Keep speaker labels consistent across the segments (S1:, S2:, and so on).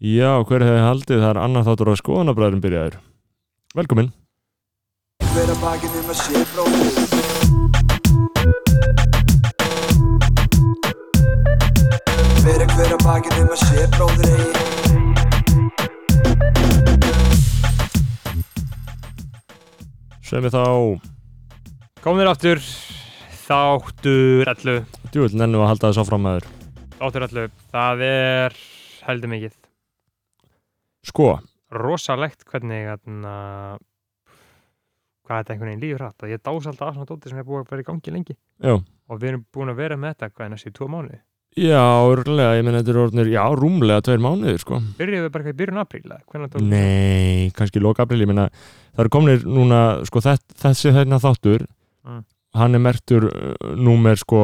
S1: Já, hver hefði haldið það er annar þáttur að skoðanabræðurinn byrjaður Velkomin
S2: Hver að bakið um að sé bróðir Hver að hver að bakið um að sé bróðir eigi
S1: Sem er þá
S3: Komum þér aftur Þáttur allu
S1: djúvill nennum að halda þess áfram með þér
S3: Þáttur allu Það er heldur mikið
S1: Sko,
S3: Rosalegt hvernig þarna Hvað þetta einhvern veginn líður hratt að Ég dás alltaf aðsna dóti sem er búið að vera í gangi lengi
S1: já
S3: Og við erum búin að vera með þetta hvað næstu í tvo mánuði
S1: Já, örgulega, ég meina þetta er orðnir Já, rúmlega tveir mánuðir, sko
S3: Byrjuðum við bara eitthvað í byrjun apríla Hvernig tók
S1: Nei, kannski loka april, ég meina Það eru komnir núna, sko, þess, þessi þeirna þáttur
S3: Mm.
S1: Hann er mertur uh, númer, sko,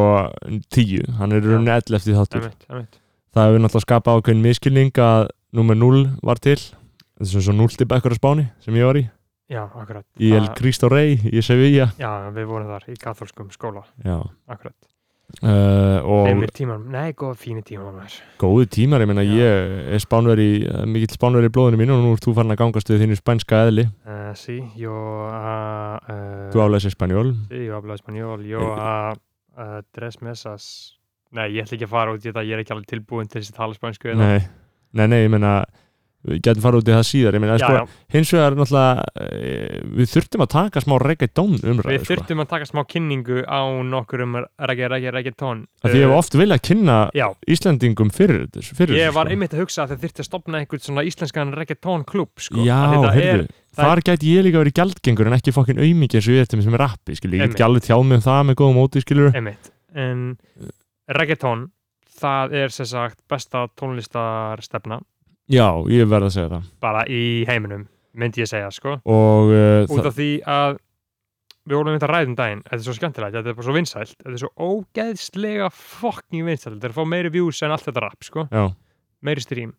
S1: tíu Hann er í rauninni 11 þáttur
S3: Einmitt, einmitt.
S1: það hefur náttúrulega skapað ákveðin miskilning að nummer 0 var til þetta er sem svo 0 til bekkur á Spáni sem ég var í
S3: Já, akkurat
S1: í El
S3: Það-
S1: Cristo Rey í Sevilla
S3: Já, við vorum þar í katholskum skóla
S1: já.
S3: Akkurat
S1: Uh, og
S3: Einmitt tímar Nei, góða fíni tímar maður.
S1: góði tímar, ég meina
S3: Já.
S1: ég er spánveri, mikill spánveri í blóðinu mínu og nú ert þú farin að gangast við þínu spænska eðli
S3: Uh, sí, yo uh, uh,
S1: þú álega sér spanjól
S3: Sí, yo hablo español, yo a uh, tres mesas. Nei, ég ætla ekki að fara út í þetta, ég er ekki alveg tilbúin til þess að tala spænsku. hérna. eða-
S1: nei. nei, nei, ég meina við getum farið út í það síðar ég meina,
S3: já,
S1: sko,
S3: já,
S1: hins vegar náttúrulega eh, við þurftum að taka smá reggaetón umræðu
S3: við
S1: sko.
S3: þurftum að taka smá kynningu á nokkur um reggae, reggae, reggae tón.
S1: Af því ég hef oft viljað kynna
S3: Já,
S1: Íslendingum fyrir þessu fyrir
S3: eh, ég
S1: þessu,
S3: var
S1: sko.
S3: einmitt að hugsa að það þyrfti að stopna einhvern svona íslenskan reggae tón klub, sko. Af því
S1: Já,
S3: það
S1: heyrðu,
S3: er- það
S1: þar gæti ég líka verið gjaldgengur en ekki fokkin aumingi eins og ég er til mér sem rappi, skilur, ég get
S3: Einmitt.
S1: ekki alveg tjáð mig um það með góðum óti, skilur
S3: Einmitt, en reggae tón, það er sem sagt besta tónlistarstefna
S1: Já, ég verð að segja það
S3: bara í heiminum, myndi ég segja, sko.
S1: og uh,
S3: út
S1: það,
S3: af því að við vorum einmitt að ræða um daginn þetta er svo skemmtilegt, þetta er bara svo vinsælt þetta er svo ógeðslega fucking vinsælt þetta er að fá meiri views en allt þetta rap sko.
S1: já,
S3: meiri stream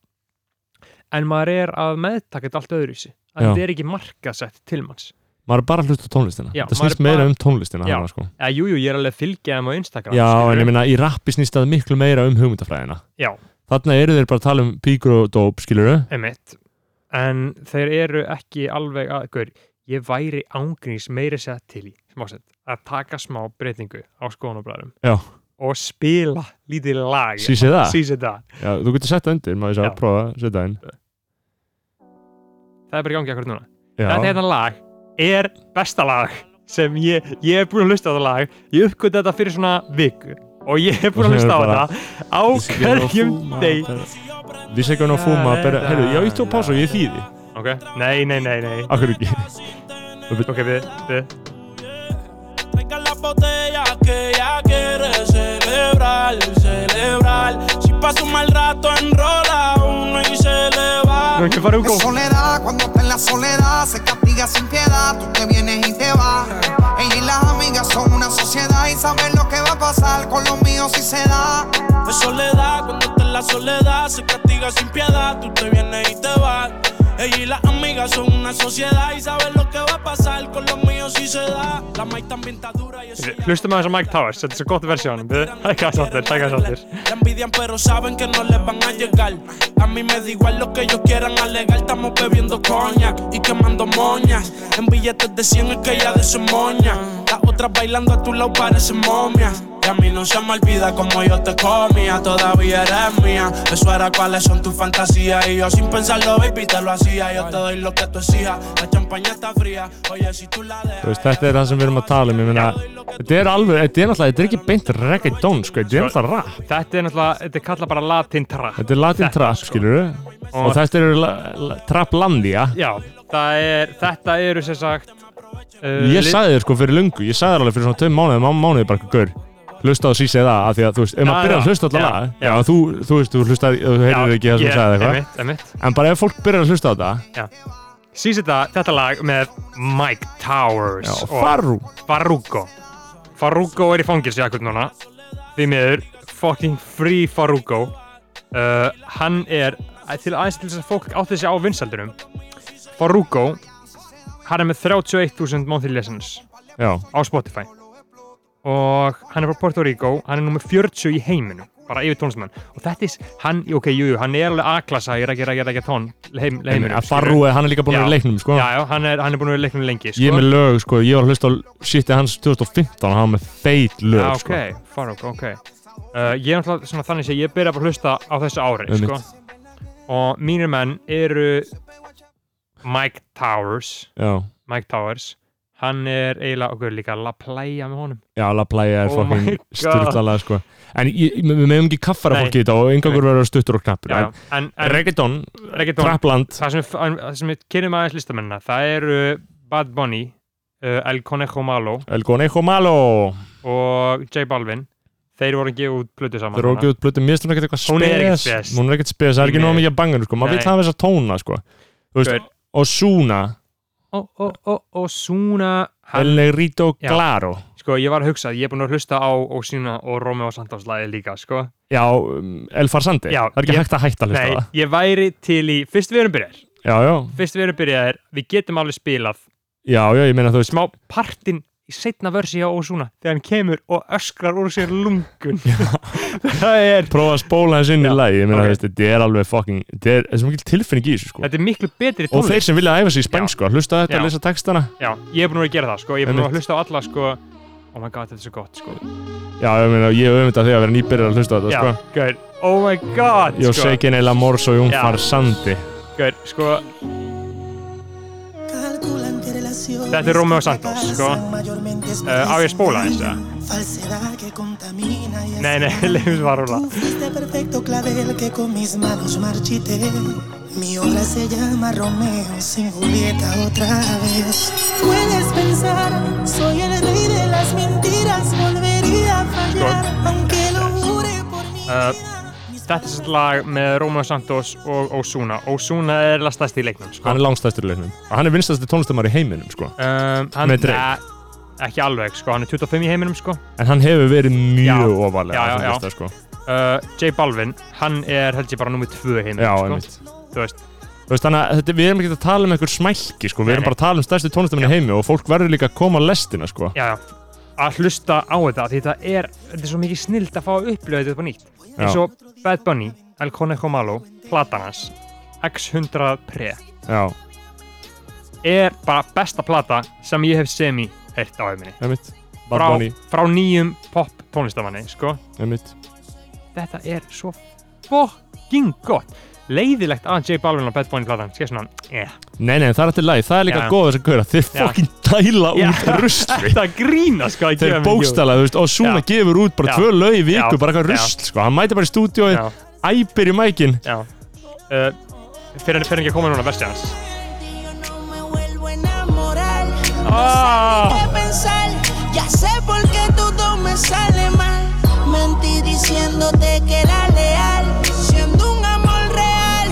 S3: en maður er að meðtaka þetta allt öðruvísi að
S1: Já.
S3: þetta er ekki markasett til manns
S1: maður er bara að hlusta á tónlistina
S3: Já,
S1: það
S3: maður
S1: snýst
S3: er
S1: meira
S3: bara-
S1: um tónlistina
S3: Já,
S1: hana, sko.
S3: eða jújú, jú, ég er alveg að fylgja þeim á Instagram
S1: já
S3: skilurðu.
S1: en ég meina, í rappi snýst það miklu meira um hugmyndafræðina
S3: já,
S1: Þarna eru þeir bara að tala um píkur og dóp, skilur
S3: einmitt en þeir eru ekki alveg að gaur, ég væri ángrís meiri sett til í, smásett að taka smá breytingu á skoðanabræðum
S1: Já,
S3: og spila lítið lag
S1: sísi það
S3: Sísi það
S1: já, Þú getur sett það undir, maður sé
S3: Já.
S1: að prófa að setja það inn
S3: það er bara í gangi akkur núna þetta
S1: Já,
S3: hérna lag er besta lag sem ég, ég er búin að hlusta á þetta lag ég uppgötta þetta fyrir svona viku og ég er búin að hlusta á
S1: Bara-
S3: þetta á hverjum deg
S1: Vissi ekki hann að fúma bara- Heyrðu, já, ég tók pása og ég þýði
S3: ok, nei, nei, nei, nei
S1: Akkur ekki
S3: ok, við, við,
S4: Venga la botella que ella quiere celebrar, celebrar. Si pasa un mal rato, enrola uno y se le va.
S3: nú ekki fara um
S5: Es
S3: góð
S5: soledad, cuando está en la soledad se castiga sin piedad, tú te vienes y te vas. Ella y las amigas son una sociedad y saben lo que va a pasar con los míos si se da.
S4: Es soledad, cuando está en la soledad, se castiga sin piedad. Tú te vienes y te vas. Ella y las amigas son una sociedad y saben lo que va a pasar con los míos si se da. La maíz también está dura y eso. ya-
S3: hlustum aðeins á Mike Towers, þetta er svo gott versjón við, hækka sáttir, hækka sáttir
S4: La envidian, pero saben que no les van a llegar. A mí me da igual lo que ellos quieran alegar. Estamos bebiendo coña y quemando moñas. En billetes de 100 es que ya de su moña. Las otras bailando a tu lado parecen momias. Y a mí no se me olvida como yo te comía. Todavía eres mía. Eso era cuáles son tus fantasías. Y yo sin pensarlo, baby, te lo hacía. Yo te doy lo que tú exijas. La champaña está fría. Oye, si tú la dejas.
S1: Þú veist, þetta er það sem við erum að tala um, ég meina, þetta er alveg, þetta er náttúrulega, þetta er ekki beint reggaeton, sko, þetta er náttúrulega rap,
S3: þetta er náttúrulega, þetta er kallað bara latin trap
S1: þetta er latin trap,
S3: sko-
S1: skilur við, og þetta eru la- la- traplandia,
S3: já, það er, þetta eru sem sagt uh,
S1: ég
S3: lit-
S1: sagði þér sko fyrir lungu, ég sagði þér alveg fyrir svona tveim mánuði, má mánuði bara, gaur, hlusta á sísi það, af því að, þú veist, ef
S3: Já,
S1: maður byrjar að
S3: já,
S1: hlusta
S3: já,
S1: alltaf lag,
S3: já.
S1: já, þú, þú veist, þú hlustaði, þú
S3: Já,
S1: heyrir ekki það sem
S3: ég-
S1: þú sagði eitthvað,
S3: einmitt, einmitt
S1: en bara ef fólk byrjar að hlusta á þetta,
S3: Sýs þetta, þetta lag með Mike Towers
S1: já, farú,
S3: Farruko Farruko er í fangilsi akkur núna Því miður, fucking free Farruko uh, Hann er til aðeins til þess að fólk átti sig á vinsaldunum Farruko Hann er með 31.000 monthly lessons
S1: já,
S3: á Spotify og hann er frá Puerto Rico hann er nummer 40 í heiminum bara yfir tónlistamenn og þetta er, hann, ok, jú, jú, hann er alveg A-klassa í regja, regja, regja tón heim,
S1: En
S3: heiminum,
S1: að Farru, hann er líka búin að vera í
S3: Já.
S1: leiknum sko.
S3: já, já, hann er, hann er búin að vera í leiknum lengi sko.
S1: Ég er með lög, sko, ég var að hlusta á shitið hans 2015 og hann var með feit lög sko.
S3: Já, Ah, ok, Farrokk, ok uh, Ég er náttúrulega svona þannig að ég byrja bara að hlusta á þessu ári sko.
S1: Einmitt.
S3: og mínir menn eru Mike Towers
S1: sko. Já,
S3: Mike Towers hann er eiginlega, ok, líka La Playa með honum
S1: já, La Playa er
S3: Oh my
S1: fucking
S3: God.
S1: styrklalega sko. En ég- við meðum ekki kaffara
S3: Nei.
S1: fólki í þetta og engangur verður stuttur og knappur
S3: já, já.
S1: En
S3: en, en
S1: Reggaeton,
S3: reggaeton,
S1: Trapland
S3: það sem, við- en það sem við kynum aðeins listamennina það eru Bad Bunny uh, El Conejo Malo
S1: El Conejo Malo
S3: og J Balvin þeir voru að gefa út plötu saman
S1: Þeir eru ekki út blötu, mér finnst hún ekkert eitthvað spes
S3: Hún er ekkert spes.
S1: Hún er ekkert spes, það er ekki
S3: Nei.
S1: nóg mikið að banga sko. Maður
S3: Nei.
S1: vil hafa þessa tóna sko. Þú
S3: Gaur.
S1: veist, Osuna,
S3: og, og, og, og Suna
S1: El Negrito
S3: Já.
S1: Claro
S3: Sko, ég var að hugsa, ég er búin að hlusta á Ósína og Romeo Santos lagi líka, sko.
S1: Já, um, El Farsandi
S3: Já,
S1: Það er ekki
S3: ég-
S1: hægt að hætta að hlusta á
S3: Nei,
S1: það
S3: ég væri til í, fyrst við erum byrjar,
S1: Já, já,
S3: fyrst við erum byrjar, við getum alveg spilað
S1: já, já, ég meina þú veist
S3: smá partinn í setna versi hjá Ósúna þegar hann kemur og öskrar úr sér lungun. það er,
S1: prófa að spóla þessu inn í
S3: Já,
S1: lagi ég meina
S3: ok.
S1: okay. þetta er alveg fucking þetta er, þetta er svo mikil tilfinning í þessu sko
S3: þetta er miklu betri
S1: og
S3: tónlist.
S1: þeir sem vilja æfa sig í spænsku sko, að hlusta á þetta
S3: Já.
S1: og lesa textana
S3: Já, ég er búin að vera að gera það, sko, ég er búin að
S1: Einmitt.
S3: hlusta á alla, sko, oh my god, þetta er svo gott, sko.
S1: já ég meina ég er auðvitað þegar að vera nýbyrjar að hlusta á
S3: Já,
S1: þetta sko
S3: gaur, oh my god,
S1: Yo
S3: sko,
S1: sé quien el amor soy un
S3: Já.
S1: farsandi
S3: gaur, sko,
S6: Þetta er Romeo Santos, sko uh, Á ég að spóla þess að Nei,
S3: nei, nei,
S6: nei,
S3: leifum bara að rúla.
S6: Fuiste perfecto clavel que con mis manos marchité. Mi obra se llama Romeo sin Julieta otra vez. Puedes pensar, soy el rey de las mentiras, volvería a fallar, aunque lo jure por mi
S3: Eh,
S6: vida. Mis
S3: Þetta er sett lag með Romeo Santos og Ósuna. Ósuna er lastast í leiknum, sko.
S1: hann er langstæstur í leiknum og hann er vinstæsti tónlistamæður í heiminum sko
S3: um, hann,
S1: Með Drake.
S3: Nei, ekki alveg, sko, hann er 25 í heiminum sko.
S1: en hann hefur verið mjög
S3: Já.
S1: ofalega
S3: Já,
S1: á
S3: já,
S1: þeim
S3: já.
S1: lista, sko.
S3: uh, J Balvin, hann er held ég bara nummið 2 í heiminum
S1: Já, einmitt.
S3: sko. Þú veist,
S1: Þú veist, þannig að þetta, við erum ekki að tala um einhver smælki sko. við
S3: Nei,
S1: erum
S3: nei.
S1: bara að tala um stærsti tónlistamenn í heimi og fólk verður líka að koma á lestina sko.
S3: já, já, að hlusta á þetta því þetta er, þetta er svo mikið snild að fá að upplifa þetta upp á nýtt eins
S1: Já.
S3: og Bad Bunny, El Conejo Malo platanas, X100 Pre
S1: já,
S3: er bara besta plata sem ég hef semi heyrt á heiminni
S1: einmitt Bad
S3: frá,
S1: Bunny,
S3: frá nýjum pop tónlistamanni sko.
S1: einmitt
S3: þetta er svo fucking gott leiðilegt að J Balvin og Bad Bunny platan sé svona, eh,
S1: Nei, nei, það er alltaf læg, það er líka
S3: Já.
S1: góð þess að gauðra Þeir
S3: Já.
S1: fokkin dæla
S3: Já.
S1: út rusli
S3: þetta grína sko að
S1: Þeir
S3: gefa mér
S1: bókstala, þú veist, og Suna
S3: Já.
S1: gefur út bara
S3: Já.
S1: tvö lög í viku,
S3: Já.
S1: bara eitthvað
S3: Já.
S1: rusl sko. Hann mæti bara í stúdíói,
S3: Já.
S1: æpir í mækin
S3: jól. já, uh, fyrir, fyrir ekki að koma núna versi hans
S7: No me vuelvo a enamorar.
S3: Ah.
S7: ¿Qué pensar? Ya sé por qué tú no me sale mal. Mentir diciéndote que era leal, siendo un amor real.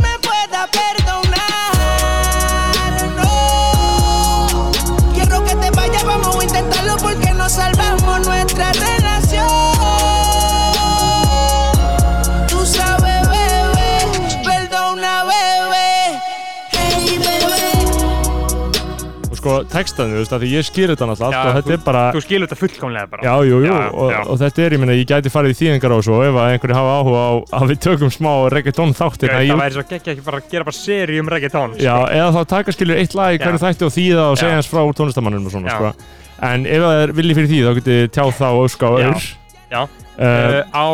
S7: me pueda perdonar. No. Quiero que te vayas, vamos a intentarlo porque nos salvamos nuestra relación. Tú sabes, bebé, perdona, bebé. Hey, bebé.
S1: og sko textaðinu, þú veist, af því ég skýr þetta náttúrulega allt og þetta
S3: þú,
S1: er bara,
S3: þú skilur þetta fullkomlega bara
S1: já, jú, jú og,
S3: já.
S1: og þetta er, ég meina, ég gæti farið í þýðingar á svo ef að einhverju hafa áhuga á að við tökum smá reggaetón þáttir
S3: Gauð, það væri svo geggja ekki bara að gera bara seri um reggaetón
S1: Já, eða þá taka skilur eitt lag í hverju
S3: Já.
S1: þætti og þýða og
S3: Já.
S1: segja hans frá tónlistamanninum og svona,
S3: Já.
S1: sko. En ef það er vilji fyrir því, þá getið þið tjáð þá ösku á
S3: Já.
S1: öður.
S3: já.
S1: Uh,
S3: Uh, á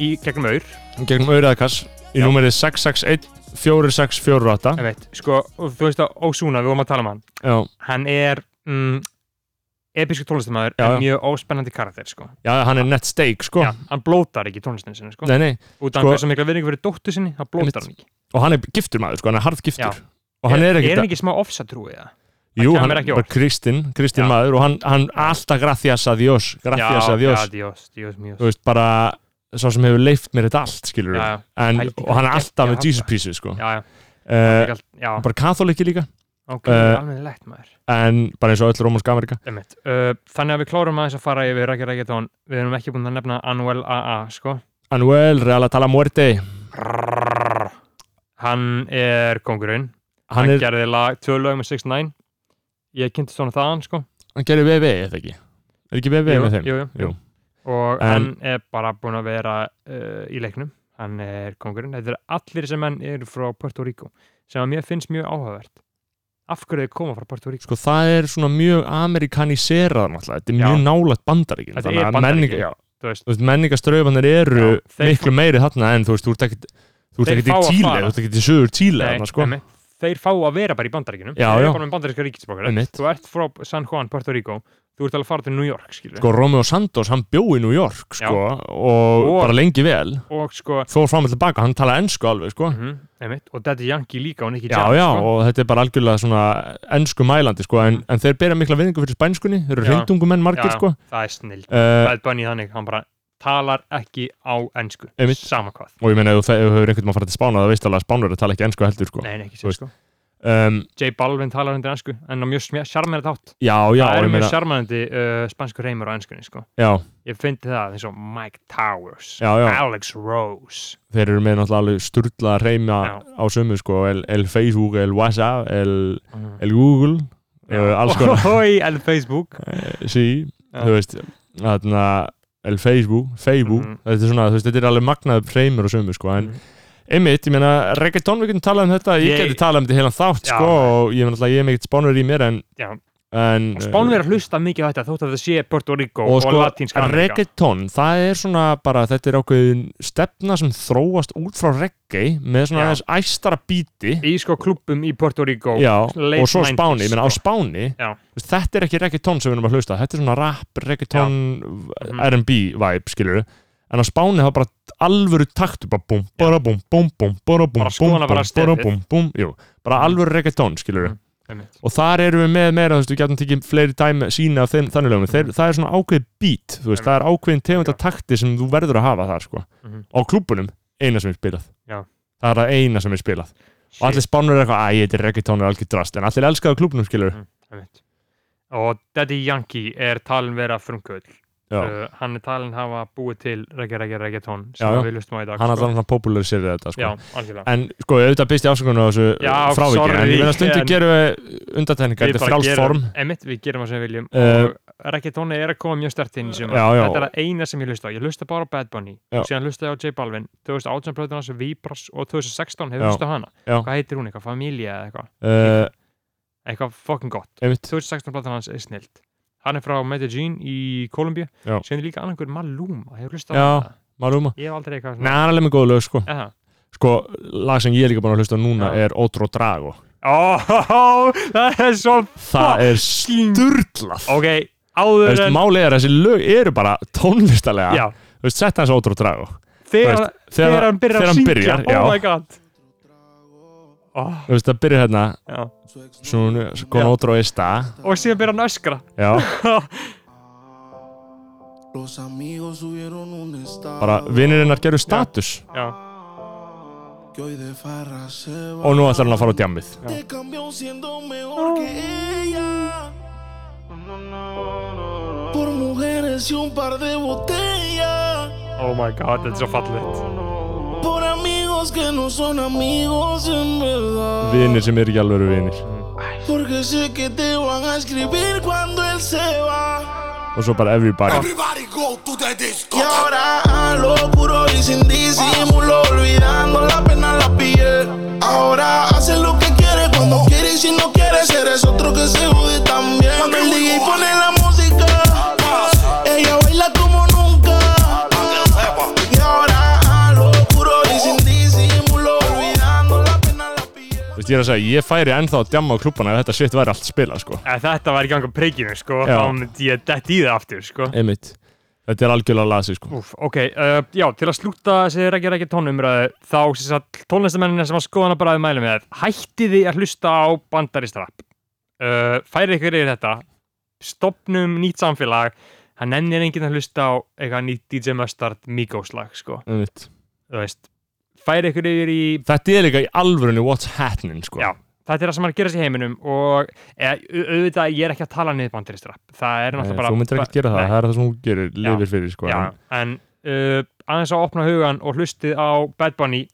S3: í gegnum aur
S1: gegnum auðræðakass í
S3: Eh, Já.
S1: númerið 661 4648
S3: veit, sko, og þú veist að Ósuna, við vorum að tala um hann
S1: já,
S3: hann er mm, episku tónlistamæður
S1: Já,
S3: en
S1: já.
S3: mjög óspennandi karakter sko.
S1: já, hann er nett steik sko
S3: já, hann blótar ekki tónlistinu sinni sko.
S1: nei, nei.
S3: út af
S1: Sko-
S3: sko, hversu mikla virðingu fyrir dóttu sinni, hann
S1: Einmitt.
S3: blótar hann ekki
S1: og hann er giftur maður sko, hann er harðgiftur og
S3: Já.
S1: hann er
S3: er hann
S1: ekkert
S3: ekki smá ofsatrúið það?
S1: jú,
S3: kemur
S1: hann er
S3: ekki
S1: bara
S3: óvart.
S1: kristinn, kristinn
S3: Já.
S1: maður og hann, hann alltaf gracias a Dios gracias a
S3: já,
S1: Dios,
S3: Dios, Dios mío
S1: þú veist bara sá sem hefur leift mér þetta allt skilur
S3: Já, já.
S1: en,
S3: Pældi
S1: og hann er
S3: hvað
S1: alltaf
S3: geggja
S1: með Jesus
S3: þetta.
S1: pieces sko.
S3: já, já,
S1: uh,
S3: uh, já,
S1: bara katholiki líka
S3: ok,
S1: eh,
S3: almennilegt maður
S1: en bara eins og öll Rómansk Amerika
S3: Einmitt. uh, þannig að við klárum aðeins að fara yfir Rækja Rækjatón, við erum ekki búin að nefna Anuel AA, sko
S1: Anuel Real Atala Muerte
S3: hann er kongurinn, hann,
S1: hann, er,
S3: gerði lag, tvö lög með 6ix9ine ég kynntist honum þaðan, sko
S1: hann gerir VV eða E, ekki er ekki VV
S3: Jú,
S1: með þeim
S3: jú, jú. og
S1: En-
S3: hann er bara búin að vera uh, í leiknum, hann er kongurinn þetta er allir sem hann eru frá Puerto Rico sem að mér finnst mjög áhugavert af hverju þau koma frá Puerto Rico
S1: sko það er svona mjög amerikaniserað náttúrulega, þetta er
S3: Já.
S1: mjög nálægt bandaríkin
S3: Þetta er Bandaríkin,
S1: menninga,
S3: þú veist,
S1: þú veist, menningaströfanir eru
S3: Já, þeir-
S1: miklu meiri þarna en þú veist, þú ert ekkit þú ert
S3: Þeir
S1: ekkit
S3: fá
S1: í
S3: að
S1: Tíli,
S3: fara.
S1: þú ert ekkit í sögur Tíli
S3: nei,
S1: þarna, sko.
S3: nei, þeir fá að vera bara í bandaríkinum
S1: Já,
S3: þeir
S1: já.
S3: eru bara með bandaríska ríkisbókar
S1: Einmitt.
S3: þú ert frá San Juan, Puerto Rico þú ert alveg að fara til New York skilur
S1: sko, Romeo Santos, hann bjó í New York
S3: Já.
S1: sko, og,
S3: Og-
S1: bara lengi vel
S3: og sko
S1: þó fram og tilbaka, hann tala ennsku alveg sko.
S3: mhm, einmitt, og Daddy Yankee líka og Nicky
S1: já,
S3: Jam
S1: já,
S3: sko.
S1: og þetta er bara algjörlega svona ennsku mælandi, sko, en, en þeir bera mikla viðingu fyrir spænskunni, þeir eru
S3: Já.
S1: hreindungumenn
S3: Já,
S1: margir,
S3: já,
S1: sko
S3: það er snill
S1: uh,
S3: Bad Bunny þannig, hann bara talar ekki á ennsku,
S1: Einmitt.
S3: sama hvað
S1: og ég meina, ef þú fe- ef þú hefur einhvern veginn að fara til Spána það veist alveg að Spánverður tala ekki ennsku heldur, sko
S3: Nei, nei,
S1: Þú
S3: ekki sér
S1: veist.
S3: sko
S1: um,
S3: J Balvin talar hendur ennsku en á mjög sjarmæri þátt
S1: já, já,
S3: það
S1: og
S3: er
S1: ég
S3: mjög
S1: meina
S3: sjarmærandi uh, spansku reymur á ennskunni sko
S1: já,
S3: ég fyndi það eins og Mike Towers
S1: Já, já.
S3: Alex Rose
S1: þeir eru með náttúrulega alveg sturla að reyma
S3: Já.
S1: á sömu, sko el, el Facebook, el WhatsApp, el,
S3: Mhm.
S1: el Google uh, alls konar,
S3: Hoi, el Facebook
S1: sí,
S3: Já.
S1: þú veist þarna, el Facebook, Facebook
S3: Mhm.
S1: þetta er svona, þú veist, þetta er alveg magnaður reymur á sömu, sko, en
S3: Mhm.
S1: Einmitt, ég meina, reggaetón við getum talað um þetta, ég,
S3: Ég-
S1: geti talað um þetta helan þátt,
S3: Já.
S1: sko, og ég, meina, náttúrulega, ég er mikið spánur í mér, en,
S3: Já.
S1: en
S3: Spánverjar hlusta mikið á þetta þótt að það sé Puerto Rico
S1: og
S3: og,
S1: sko,
S3: latínska Amerika
S1: reggaetón það er svona bara, þetta er ákveðin stefna sem þróast út frá reggae með svona
S3: Já.
S1: aðeins æstara bíti
S3: í sko klubbum í Puerto Rico
S1: já,
S3: late
S1: og svo
S3: 90s,
S1: Spáni, ég meina á
S3: sko.
S1: Spáni
S3: Já.
S1: þú veist, þetta er ekki reggaetón sem við erum að hlusta þetta er svona rap, reggaetón
S3: Mhm.
S1: R&B vibe, skilur við en á Spáni það er bara alvöru taktu bara búm, bara búm, búm, búm, bara búm
S3: Bara skoðana bara
S1: bara
S3: stefið. Mm.
S1: búm, búm, jú bara alvöru reggaetón, skilur við
S3: Mhm. Einmitt.
S1: og þar erum við með meira, þú veist, við getum tekið fleiri dæmi sína af þeim, þannig lögum, Þeir, það er svona ákveðið beat, þú veist, það er ákveðin tegund af takti sem þú verður að hafa þar, sko
S3: Mhm.
S1: á klúbunum, eina sem er spilað
S3: Já.
S1: það er það eina sem er spilað og allir spánur er eitthvað, æ, þetta er reggaetón er algjör drast, en allir elskaðu klúbunum, skilur
S3: Mhm. Einmitt. og Daddy Yankee er talin vera frumkvöld
S1: Já.
S3: uh, hann er talin hafa búið til reggae, reggae, reggaeton sem
S1: Já, já.
S3: við lustum á í dag
S1: hann
S3: sko.
S1: allan hann popularisir þetta, sko
S3: já, algjörlega
S1: en sko, auðvitað byrst ég afsökunar á þessu
S3: Já,
S1: fráviki, en
S3: sorry,
S1: ég meina stundum
S3: en-
S1: gerum við undartekningar,
S3: Við
S1: þetta er
S3: bara
S1: frálst
S3: gerum-
S1: form
S3: einmitt, við gerum það sem við viljum
S1: Eh,
S3: og reggaetoni er að koma mjög stert inn í sumar.
S1: Já, já.
S3: þetta er að eina sem ég hlusta á ég hlusta bara á Bad Bunny,
S1: Já.
S3: síðan hlusta ég á J Balvin 2018 plötun hans Vibras og 2016 hefur
S1: Já.
S3: hlusta hana,
S1: Já.
S3: hvað heitir hún, eitthvað Familia eða eitthvað,
S1: uh,
S3: eitthvað fucking gott
S1: einmitt,
S3: 2016 plötun hans er snilt hann er frá Medellín í Kolumbíu
S1: Já.
S3: sem er líka annakur Maluma, hefur hlusta á
S1: Já.
S3: hana
S1: Maluma
S3: ég hef aldrei eitthvað
S1: Nei, hann er alveg með góð lög, sko
S3: Eða.
S1: sko, lag sem ég er líka búin að hlusta á núna
S3: Já.
S1: er Otro Drago
S3: Oh, það er svo
S1: það er
S3: Fucking-
S1: sturglað
S3: ok,
S1: Þú
S3: áður
S1: veist,
S3: en
S1: málið er að þessi lög eru bara tónlistalega
S3: já,
S1: Þú veist, sett hans Otro Drago Þú
S3: þegar,
S1: veist,
S3: þegar,
S1: þegar-
S3: hann byrjar
S1: þegar
S3: að
S1: hann
S3: syngja
S1: byrjar,
S3: oh
S1: já.
S3: my god oh,
S1: Þú veist, það byrjar hérna
S3: já.
S1: svona, sko,
S3: Já.
S1: Otro Esta
S3: og síðan byrjar hann að öskra
S1: já,
S8: Los amigos subieron un estado
S1: bara vinnirinnar gerur status
S3: já,
S8: que hoy de farra se va.
S1: og nú ætlar hann að fara á djammið
S8: Te cambió siendo mejor que ella. Por mujeres y un par de botellas.
S3: oh my god, þetta er svo fallit
S8: Por amigos que no son amigos en verdad.
S1: vinnir sem eru ekki alveg vinnir
S8: Porque sé que te van a escribir cuando él se va.
S1: og svo bara everybody
S8: Y ahora a lo puro y sin disimulo, olvidando la pena en la piel. Ahora hace lo que quiere cuando quiere y si no quiere, eres otro que se jode también. Cuando el DJ pone la música, ella baila como nunca. Y ahora a lo puro y sin disimulo, olvidando la pena en la piel.
S1: Þú veist, ég er að segja, ég færi ennþá að djamma á klubbana ef þetta shit væri allt spilað, sko
S3: ef Eh, þetta var í ganga preikinu, sko
S1: Já.
S3: þá myndi ég dett í það aftur, sko
S1: einmitt, þetta er algjörlega lasi, sko
S3: Úf, ok, uh, já, til að slúta þessi reggi reggi tónumræðu, þá sem sagt tónlistamennina sem að skoðana bara að mælu með hætti því að hlusta á bandaristrapp uh, færi ykkur yfir þetta stopnum nýtt samfélag hann nennir enginn að hlusta á eitthvað nýtt DJ Mustard Migos lag, sko
S1: einmitt.
S3: þú veist, færi ykkur yfir í
S1: þetta er líka í alvörunni what's happening, sko
S3: Já. þetta er það sem er að gera sér heiminum og eða, au- auðvitað ég er ekki að tala niður bandaristrapp það er
S1: Nei,
S3: náttúrulega bara
S1: Eh, þú myndir ekki gera það,
S3: Nei.
S1: það er það sem hún gerir, lifir fyrir sko
S3: Já, en uh, aðeins að opna hugan og hlustið á Bad Bunny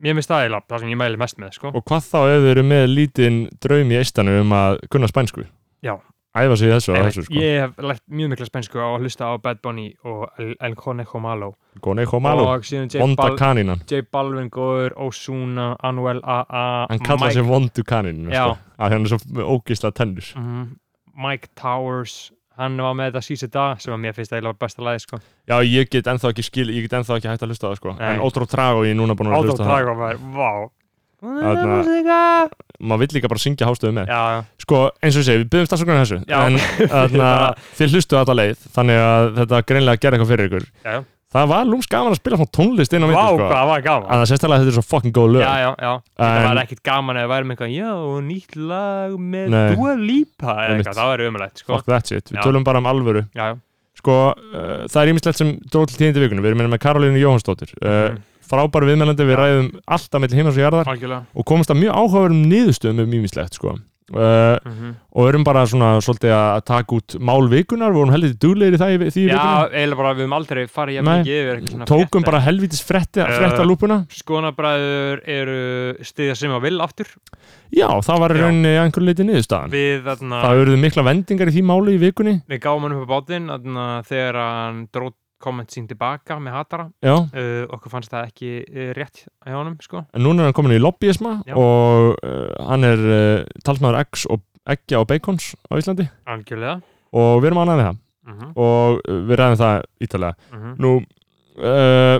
S3: mér finnst það eiginlega það sem ég mæli mest með sko.
S1: og hvað þá ef þau eru með lítinn draum í eistanu um að kunna spænsku
S3: já,
S1: æfa sig í þessu og
S3: Nei,
S1: þessu sko.
S3: Ég hef lært mjög mikla spænsku á að hlusta á Bad Bunny og El, El Conejo Malo
S1: Conejo Malo,
S3: og síðan J,
S1: vonda
S3: Bal
S1: kanínan
S3: J Balvin Góður, Ozuna, Anuel AA
S1: hann kallar sig vondu kanínun
S3: Já.
S1: sko, að hann er svo með ógisla tennur
S3: Mhm. Mike Towers hann var með þetta síðan dag sem að mér finnst eiginlega var besta lagi sko.
S1: já, ég get ennþá ekki skil, ég get ennþá ekki hægt að hlusta á það sko.
S3: Nei.
S1: en ótrú trago ég er núna búin að
S3: Átó
S1: hlusta á það
S3: Drago var, vá
S1: Þarna-
S3: Músika.
S1: maður vill líka bara syngja hástöðu með
S3: Já, já.
S1: sko, eins og ég segi, við byrjum stafsökunar þessu
S3: Já.
S1: en þarna,
S3: Bara-
S1: þið hlustuðu alltaf leið þannig að þetta greinlega gerði eitthvað fyrir ykkur
S3: Já, já.
S1: það var lúms gaman að spila svona tónlist inn á
S3: Vá,
S1: mitt
S3: hvað
S1: sko.
S3: það var gaman
S1: að það sérstælega þetta er svo fucking góð lög
S3: Já, já, já Það
S1: En-
S3: var ekkit gaman ef við værum eitthvað Já, og nýtt lag með
S1: Nei.
S3: Dua Lipa eða
S1: Einmitt.
S3: eitthvað, Það væri umlægt, sko
S1: fuck that shit, við
S3: Já.
S1: tölum bara um alvöru
S3: Já, já
S1: sko, uh, það er ímislegt sem dróð til tíðindi vikunum, við erum meina með Karolínu Jóhansdóttir uh,
S3: Mhm.
S1: frábæri viðmennandi, við ræðum alltaf mellir heimars og jarðar
S3: Algjörlega
S1: og komumst að mjög áhugaverðum niðurstöðum um ímislegt sko. uh,
S3: Mhm.
S1: og erum bara svona svolítið að taka út mál vikunar, vorum heldur duglegir í það í, því í
S3: Já,
S1: vikunum,
S3: eiginlega bara við höfum aldrei farið jafn
S1: Nei.
S3: mikið yfir eitthvað svona
S1: tókum
S3: frétta.
S1: bara helvitis frétta,
S3: Eh.
S1: frétta lúpuna
S3: Skonabræður eru stiðja sem á vil aftur
S1: já, það var í
S3: Já.
S1: rauninni að einhverju leiti niðurstaðan
S3: Við, þarna
S1: það eruðu mikla vendingar í því máli í vikunni
S3: Við gáum hann upp á bátinn þarna, Þegar hann dróð komment sín tilbaka með hatara
S1: já,
S3: uh, Okkur fannst það ekki uh, rétt hjá honum, sko
S1: en núna er hann komin í lobbyisma
S3: Já.
S1: og uh, hann er uh, talsmaður eggs og eggja og bacons á Íslandi
S3: Algjörlega
S1: og við erum ánægðið það
S3: mm
S1: og uh, við ræðum það ítalega
S3: Mhm.
S1: nú uh,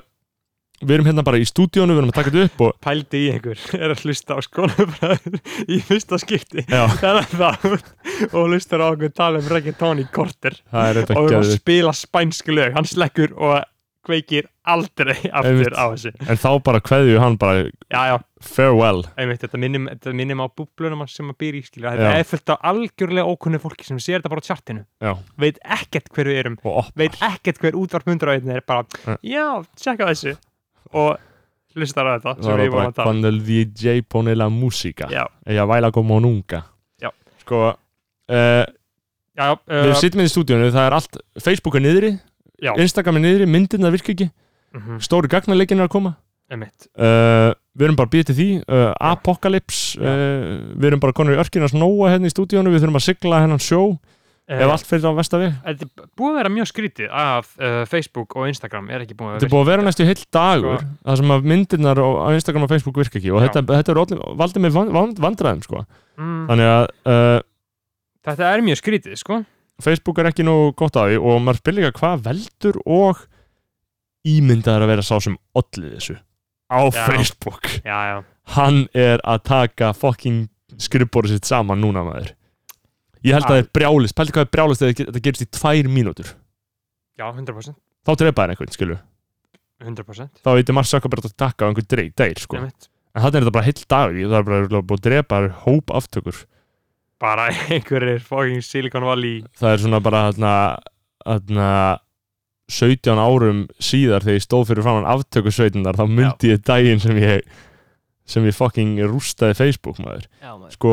S1: við erum hérna bara í stúdíónu, við erum að taka þetta upp og
S3: pældi í einhver er að hlusta á skonabræður í fyrsta skipti
S1: Já.
S3: þannig að það og hlustar á okkur tala um reggaeton í korter
S1: það er
S3: og
S1: þetta
S3: við erum að
S1: geðið
S3: spila spænsk lög hann slekkur og kveikir aldrei aftur
S1: Einmitt.
S3: á þessu
S1: en þá bara kveðju hann bara
S3: já, já,
S1: farewell
S3: einmitt, þetta minnum, þetta minnum á búblunum hans sem að býr í skilja
S1: Já.
S3: þetta er fullt af algjörlega ókunni fólki sem sér þetta bara á tjartinu
S1: já,
S3: veit ekkert hver við erum
S1: og opnar
S3: veit ekkert hver útvarp 101 er bara,
S1: Nei.
S3: já, tjekka þessu og hlustar á þetta sem
S1: það
S3: við
S1: var
S3: vorum
S1: bara
S3: að tala um.
S1: cuando el DJ pone la música
S3: já,
S1: eða væla como nunca
S3: Já.
S1: sko uh,
S3: já, já,
S1: við
S3: uh,
S1: sittum inn í stúdíónu, það er allt Facebook er niðri,
S3: Já.
S1: Instagram er niðri myndirna virka ekki,
S3: mhm.
S1: stóri gagnarleikin er að koma
S3: Emitt,
S1: uh, við erum bara býð til því uh, Apocalypse uh, við erum bara konur í örkinars nóa hérna í stúdíónu við þurfum að sigla hennan sjó ef allt fyrir á vestaveg
S3: Eh, Þetta er búið að vera mjög skrítið að uh, Facebook og Instagram er ekki búið að
S1: þetta er
S3: vera
S1: búið að vera næstu heill dagur
S3: Sko-
S1: það sem að myndirnar á á Instagram og Facebook virka ekki og
S3: Já.
S1: þetta, þetta er orðin, valdið með van, van, vandræðum sko.
S3: mm,
S1: þannig að uh,
S3: Þetta er mjög skrítið, sko
S1: Facebook er ekki nú gott á því og maður spyrir líka hvað veldur og ímyndaður að vera sá sem ollið þessu á
S3: Já.
S1: Facebook
S3: Já, já,
S1: hann er að taka fucking skrifbórið sitt saman núna maður ég held að það er brjálist pældi hvað er brjálist þegar þetta gerist í tvær mínútur
S3: já, 100%
S1: þá trepaði einhvern skilu
S3: 100%
S1: þá veitir marg sökkar bara að taka á einhvern dreig dæir sko
S3: Emitt
S1: en þannig er þetta bara heill dag það er bara örugglega búið að drepa hóp aftökur
S3: Bara einhverjir fucking Silicon Valley
S1: það er svona bara hérna hérna 17 árum síðar þegar ég stóð fyrir framann aftökusveitunar þá myndi ég daginn sem ég sem ég fucking rústaði Facebook maður
S3: Já, maður
S1: sko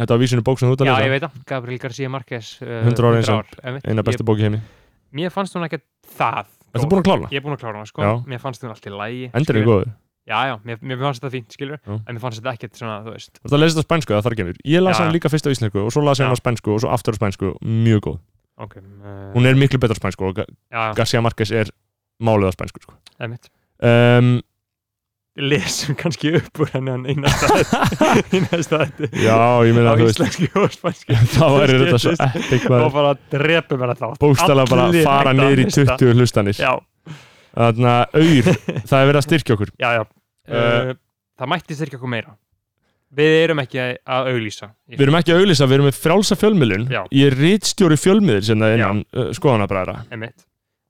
S1: þetta var vísinu bók sem þú ert að
S3: Já,
S1: lesa.
S3: ég veit það, Gabriel García Marquez uh,
S1: 100 ára eins og-
S3: einmitt.
S1: eina bestu bóki í heimi
S3: ég, Mér fannst hún ekkert það
S1: Ertu
S3: góð.
S1: búin að klára? hana?
S3: Ég er búin að klára hana, sko
S1: Já.
S3: Mér fannst hún allt í lægi
S1: Endur er góður
S3: Já, já, mér, mér fannst þetta fínt, skilur
S1: Já.
S3: En mér fannst þetta ekkert svona, þú veist
S1: Þú ert að lesa þetta á spænsku, það þarf ekki mér Ég las
S3: Já.
S1: hann líka fyrst á íslensku og svo las ég hann
S3: Já.
S1: á spænsku og svo aftur á spænsku Mjög góð
S3: Ok, uh,
S1: Hún er miklu betur á spænsku og Ga-
S3: já,
S1: García Marquez er málið á spænsku sko.
S3: emitt
S1: um,
S3: lesum kannski upp úr henni hann í næsta í næsta þetta
S1: Já, ég meina
S3: á
S1: þú veist
S3: íslensku og spænsku
S1: Það væri þetta svo
S3: Skiptist.
S1: epic
S3: og
S1: maður
S3: bara drepum henni þá
S1: Bókstala bara að fara niður í 20 hlustanir
S3: já,
S1: Þannig að auður, það er verið að styrkja okkur
S3: já, já
S1: Eh.
S3: uh, það mætti styrkja okkur meira við erum ekki að- að auglýsa
S1: Við erum ekki að auglýsa, við erum með frjálsa fjölmiðlun
S3: Já.
S1: Ég er rítstjóri fjölmiðl sem það er innan uh, skoðanabræðra
S3: emitt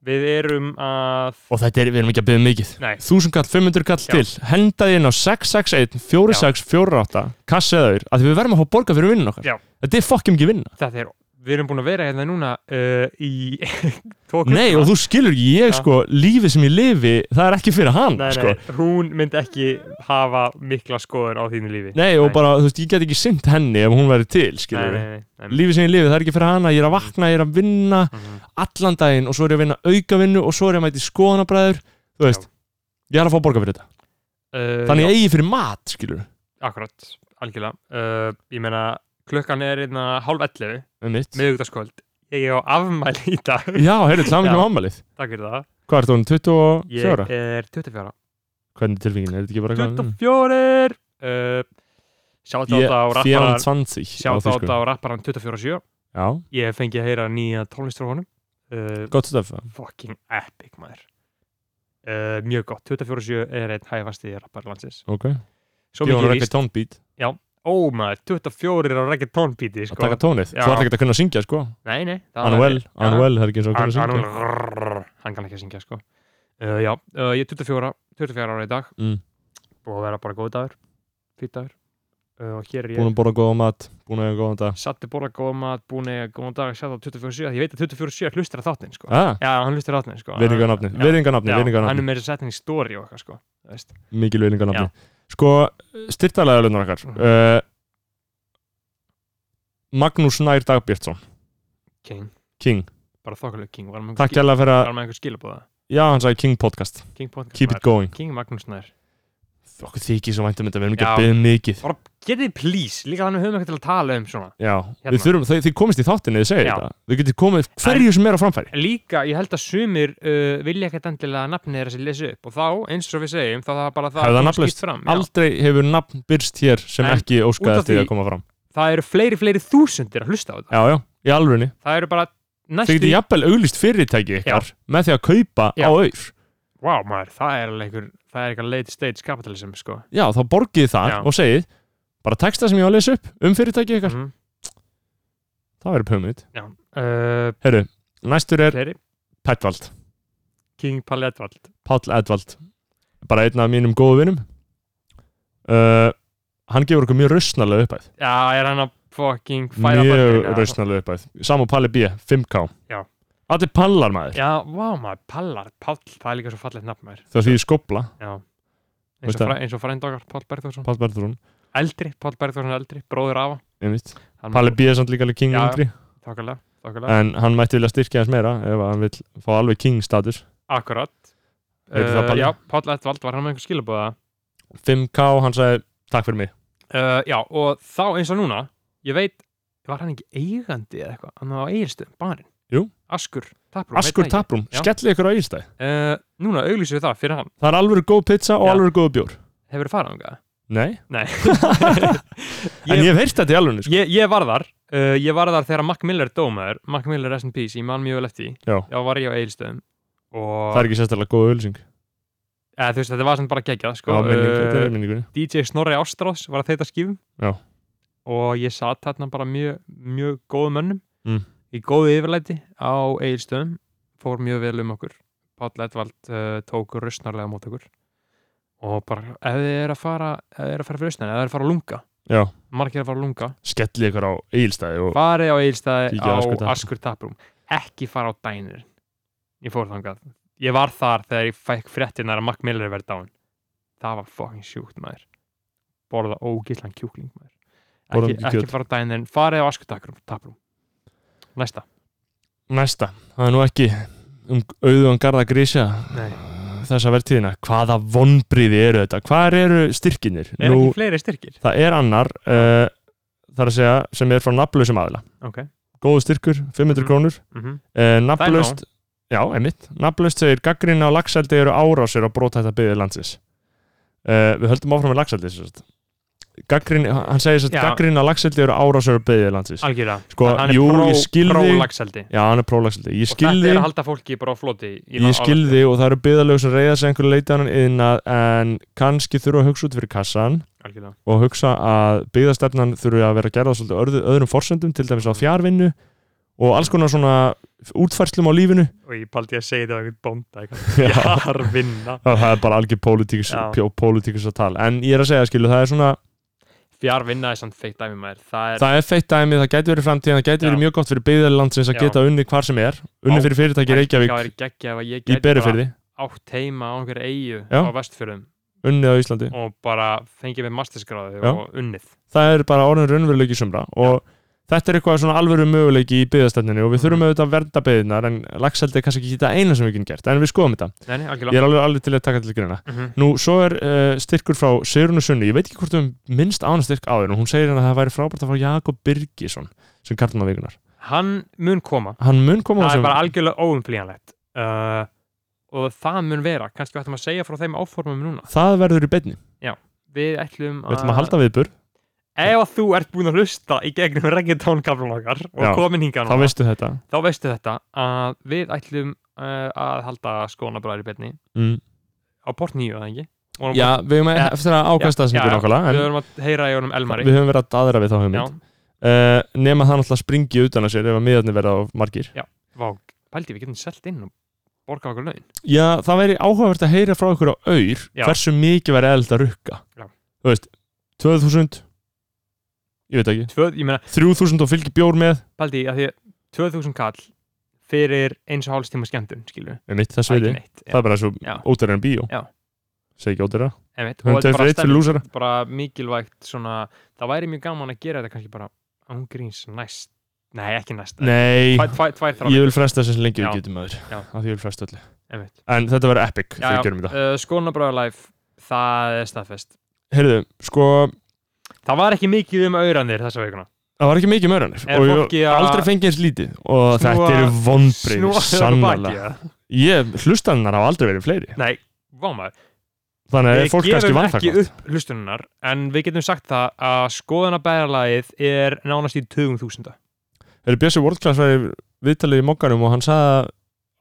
S3: við erum að
S1: Og þetta er, við erum ekki að byggja mikið
S3: nei,
S1: 1000 kall, 500 kall
S3: Já.
S1: til hendaði inn á 661 46 48 kasseðaður, að því við verðum að fá borga fyrir vinnun okkar
S3: Já.
S1: þetta er fokkum ekki vinna
S3: þetta er við erum búin að vera hérna núna uh, í tók
S1: nei og þú skilur ekki, ég
S3: Já.
S1: sko, lífið sem ég lifi það er ekki fyrir hann
S3: nei, nei,
S1: sko.
S3: hún myndi ekki hafa mikla skoðun á þínu lífi
S1: nei og
S3: Nei.
S1: bara, þú veist, ég get ekki sint henni ef hún verður til,
S3: nei,
S1: skilur við
S3: nei, nei, nei, nei.
S1: lífið sem ég lifi, það er ekki fyrir hana, ég er að vakna ég er að vinna
S3: Mhm.
S1: allan daginn og svo er ég að vinna aukavinnu og svo er ég að mæti skoðanabræður þú veist, ég er að fá borga fyrir þetta
S3: Uh,
S1: þannig eigi fyrir mat, skilur
S3: Akkurat, algjörlega uh, Ég meina, klukkan er einna hálf 11
S1: Einmitt.
S3: miðugdagskvöld ég er á afmæli í dag
S1: um Já, heyrðu, til aðmyggjum
S3: Já.
S1: ámælið
S3: takk fyrir það
S1: Hvað er það, 24?
S3: ég er 24
S1: Hvernig er tilfingin, er þetta ekki bara gaman?
S3: 24 uh, sjátt
S1: Ég-
S3: á rapparan
S1: 24
S3: sjátt
S1: á
S3: á
S1: þýsku.
S3: rapparan 24 og 7
S1: Já,
S3: ég hef fengið að heyra nýja tónlist frá honum uh,
S1: gott stöf
S3: fucking epic maður uh, mjög gott, 24 og 7 er einn hæfasti rappar landsins
S1: Ok,
S3: svo
S1: ég var
S3: mikið
S1: ekki
S3: víst,
S1: tónbít
S3: ó maður 24 er á reggaetónbíti
S1: að
S3: sko.
S1: taka tónið
S3: Já.
S1: Þú ert ekki að kunna syngja, sko
S3: nei, nei, það er-
S1: Anuel,
S3: Já.
S1: Anuel, það er ekki eins og að
S3: hann,
S1: kunna
S3: hann,
S1: syngja
S3: hann, hann kann ekki að syngja sko uh, já, uh, ég er 24, 24 ára í dag
S1: Mm.
S3: búið að vera bara góð dagur fýtt dagur uh, og hér er
S1: Búin að
S3: ég
S1: borða góða mat, búin að eiga góðan dag
S3: satt að borða góð mat, búin að eiga góðan dag satt á 24-7, ég veit að 24-7 hlustir að þáttinn sko.
S1: Ah,
S3: já, hann hlustir að þáttinn sko.
S1: Virðingarnafni,
S3: Já.
S1: virðingarnafni,
S3: Já, hann
S1: virðingarnafni
S3: er meira sett hann í story og eitthvað sko þú veist.
S1: Mikil virðingarnafni Sko, styrtalega lögnar okkar
S3: Mhm.
S1: uh, Magnús Nær Dagbjörnsson
S3: King,
S1: King,
S3: bara þokkalegu King var hann með
S1: takk
S3: einhver skil-
S1: hérlega fyrir
S3: var
S1: að
S3: hann með einhver skilabóða
S1: Já, hann sagði King podcast,
S3: King podcast
S1: keep it
S3: maður.
S1: going
S3: King Magnús Nær
S1: Okkur þykir svo væntum þetta, við erum ekki
S3: Já.
S1: að byggja mikið
S3: bara getið please, líka þannig höfum ekki til að tala um svona
S1: Já,
S3: Hérna.
S1: við þurfum, þið, þið komist í þáttinni, þið segir
S3: Já.
S1: þetta Þið getið komið hverju sem er á framfæri
S3: líka, ég held að sumir uh, vilja ekkert endilega að nafnið þeirra sér lesi upp og þá, eins og við segjum, þá það bara það
S1: Hefðu það
S3: kemur
S1: nafnlaust?
S3: skýrt fram, já.
S1: Aldrei hefur nafn byrst hér sem
S3: En
S1: ekki
S3: út
S1: óskaði
S3: af
S1: eftir því
S3: því-
S1: að koma fram
S3: það eru fleiri, fleiri þúsundir að hlusta á þetta
S1: Já, já, í alvörunni
S3: það eru bara
S1: Þið
S3: næstu
S1: getið jafnvel auglist fyrirtæki ykkar með því að kaupa
S3: Já.
S1: á auður
S3: wow, maður, það er alveg einhver það er eitthvað late stage capitalism sko.
S1: Já, þá borgið þið það
S3: Já.
S1: og segið bara texta sem ég á að lesa upp um fyrirtæki ykkar
S3: Mhm.
S1: Það verður pömmit
S3: já, uh,
S1: Herru, næstur er
S3: fleiri
S1: Petvald
S3: King Palli Edvald
S1: Páll Edvald bara einn af mínum góðu vinum uh, Hann gefur okkur mjög rausnalega uppæð
S3: já, er hann að fucking fæða
S1: Mjög
S3: barnið, já.
S1: rausnalega uppæð Sam og Palli B, 5K
S3: Já.
S1: Allir pallar maður
S3: já, wow, maður, Pallar, Pall, það er líka svo fallegt nafn maður
S1: Það því skopla,
S3: já
S1: Veist
S3: eins og,
S1: það?
S3: fræ, eins og frændokkar, Pál Bergþórsson
S1: Pall Berðrún
S3: eldri, Pál Bergþórsson eldri, bróður Ava Hann-
S1: Palli B er samt líka alveg king
S3: Mm. Já, já.
S1: yngri
S3: þokkalega, þokkalega
S1: En hann mætti vilja styrkja hans meira ef að hann vill fá alveg king status
S3: Akkurat
S1: Heyrðu það,
S3: uh,
S1: Palli?
S3: Já, Páll Edvald var hann með einhver skilabóða
S1: 5K, hann sagði takk fyrir mig
S3: uh, Já, og þá eins og núna Ég veit, var hann ekki eigandi eða eitthvað Hann var á eiginstöðum, barinn
S1: Jú.
S3: Askur, taprúm
S1: Askur Taprúm,
S3: Já.
S1: skellið ykkur á Ílstæð
S3: uh, Núna auglýsum við það fyrir hann
S1: Það er alveg góð pizza og
S3: Já.
S1: alveg góð bjór
S3: Hefur þið farað um það?
S1: Nei,
S3: Nei,
S1: en ég hef heyrt þetta í alveg sko.
S3: ég, ég var þar uh, Ég var þar þegar Mac Miller dómaður Mac Miller S&P, ég man mjög vel eftir því.
S1: Já.
S3: Já, var ég á eiginstöðum Og
S1: Það er ekki sérstaklega góð ölsing
S3: eða, þú veist, þetta var sem bara geggjað sko.
S1: Já, minning,
S3: Uh,
S1: þetta er minningunni
S3: DJ Snorri Ástráðs var að þeita skífum
S1: Já.
S3: og ég satt þarna bara mjög, mjög góðum mönnum
S1: Mm.
S3: í góðu yfirlæti á eigilstöðum fór mjög vel um okkur Páll Edvald uh, tók röstnarlega mót okkur og bara ef þið er að fara ef þið er að fara fyrir röstnarlega, ef þið er að fara að lunga
S1: Já,
S3: margir að fara að lunga,
S1: skellið ykkur á Ílstæð og...
S3: farið á eigilstæði
S1: Kíkið á
S3: á
S1: Askur Taproom.
S3: Askur Taprum ekki fara á dænir ég fór þangað, ég var þar þegar ég fæk fréttinar að Mac Miller verið dán það var fucking sjúkt maður borða ógislan kjúkling maður
S1: Borðum
S3: ekki,
S1: ekki
S3: ekki
S1: kjöt.
S3: fara á dænin en farið á askutakarum, taprum næsta,
S1: Næsta, það er nú ekki um auðvun garða grísja
S3: nei,
S1: þessa vertíðina Hvaða vonbriði eru þetta? Hvar eru styrkinir?
S3: er
S1: nú,
S3: ekki fleiri styrkir
S1: Það er annar uh, þar að segja sem er frá nafnlausum aðila
S3: ok,
S1: Góðu styrkur, 500
S3: Mhm.
S1: krónur
S3: mhm,
S1: uh, Nafnlaust Já, einmitt Nafnlaust segir gaggrinna á laxeldi eru árásir á brótætta byggði landsins uh, Við höldum áfram með laxeldi Gaggrin, hann segir að
S3: Já.
S1: gaggrinna á laxeldi eru árásir á byggði landsins
S3: algjörða
S1: Sko, jú, ég skil þig.
S3: prólagseldi
S1: Já, hann er prólaxeldi Ég
S3: og þetta
S1: skilði,
S3: er að halda fólki bara á floti í
S1: ég skilði og það eru byggðalög sem reyða sig einhverju leitanan innað en kannski þurfa að hugsa út fyrir kassan
S3: algjörða,
S1: og hugsa að byggðastefnan þurfi að vera gerða svolítið öðru, öðrum forsendum til dæmis á fjárvinnu og alls konar svona útfærslum á lífinu
S3: og ég paldi að segja þetta á einhvern bónda
S1: Já.
S3: ég har vinna
S1: það það er bara algjör pólitíkus,
S3: Já.
S1: pjó, pólitíkus að tala en ég er að segja skilu, það er svona
S3: fjár vinna er samt feitt dæmi maður það er,
S1: það er feitt dæmi, það gæti verið framtíðan það gæti
S3: Já.
S1: verið mjög gott fyrir byggðarland sem
S3: Já.
S1: að geta unni hvar sem er
S3: Á,
S1: unni fyrir fyrirtæki í Reykjavík
S3: það er geggja ef að
S1: í
S3: ég gæti bara
S1: Berufyrði,
S3: átt heima á einhverju eigu
S1: Já.
S3: á vestfjörðum
S1: unnið á Íslandi
S3: og bara fengið mér mastersgráðu
S1: Já.
S3: og unnið
S1: það er bara orðin raunveruleiki sumra og þetta er eitthvað svona alvöru möguleiki í byggðastefninu og
S3: Mhm.
S1: við þurfum auðvitað að vernda byggðinar en lagseldi er kannski ekki þetta eina sem við getum gert en við skoðum þetta,
S3: Nei, nei,
S1: ég
S3: algjörlega.
S1: er alveg, alveg til að taka til greina
S3: Mhm.
S1: Nú, svo er uh, styrkur frá Sigrun og Sunni, ég veit ekki hvort um minnst ána styrk áður en hún segir henni að það væri frábært að fá Jakob Birgisson sem kartum vikunar
S3: Hann mun koma.
S1: Hann mun koma á
S3: Það er
S1: þessum-
S3: bara algjörlega óumflýjanlegt. Uh, og það mun vera. Kannski við ættum að segja frá þeim áformum núna.
S1: Það verður í beinni,
S3: Við ætlum
S1: við ætlum að halda viðbur
S3: Ef að þú ert búin að hlusta í gegnum reggaetónkaflan okkar og
S1: Já,
S3: komin hingað
S1: Þá
S3: núna,
S1: veistu þetta
S3: þá veistu þetta að við ætlum uh, að halda skónabræðir í betni
S1: mm.
S3: á port nýju, eða ekki? Og-
S1: Já, við höfum
S3: Já.
S1: eftir að ákvæmst það sem
S3: Já,
S1: við nákvæmlega
S3: Við
S1: en
S3: höfum að heyra í honum Elmari
S1: við höfum verið að aðra við þá
S3: Já,
S1: hugmynd uh, nema það náttúrulega springi utan að sér ef að miðarnir verða of margir
S3: vá, pældi, við getum selt inn og borga okkur laun
S1: Já, það væri áhugavert að heyra frá ykkur á auður
S3: Já.
S1: hversu mikið væri eðlut að rukka
S3: Já.
S1: Þú veist, 2000 ég veit ekki,
S3: Tvö, Ég meina,
S1: 3000 og fylgir bjór með
S3: pældi, að því að 2000 kall fyrir eins og hálfs tíma skemmtun, skilur
S1: um mitt þess
S3: Það er
S1: veiði,
S3: ekki neitt
S1: það er bara svo
S3: Já.
S1: ódæra en bíó
S3: Já.
S1: segi ekki ódæra,
S3: Einmitt, og
S1: hún
S3: þetta er
S1: tegir
S3: bara
S1: fyrir eitt fyrir
S3: stemning,
S1: lúsara
S3: bara mikilvægt svona, það væri mjög gaman að gera þetta kannski bara ángríns næst nei, ekki næst,
S1: Nei,
S3: tvær, tvær, tvær þrjár
S1: ég vil fresta þess að lengi
S3: Já.
S1: við getum aður
S3: Já.
S1: af því ég vil fresta öllu,
S3: Einmitt.
S1: en þetta verður epic
S3: já,
S1: þegar við
S3: já,
S1: gerum þetta.
S3: uh, Skónabræður live það er staðfest
S1: Heyrðu, sko,
S3: það var ekki mikið um auðrandir þessa veikuna
S1: það var ekki mikið mörðanir
S3: Er
S1: og ég
S3: fólki að-
S1: aldrei fengið eins lítið og
S3: Snúa-
S1: þetta eru vonbrið, sannlega
S3: ja.
S1: Ég, hlustannar hafa aldrei verið fleiri
S3: nei, vámaður
S1: Þannig að
S3: við
S1: fólk kannski
S3: gefum
S1: vann það
S3: ekki
S1: gott
S3: upp hlustunnar en við getum sagt það að skoðanabæðarlagið er nánast í 20.000
S1: Þegar Bjössi World Class var í viðtalið í mokkanum og hann sagði að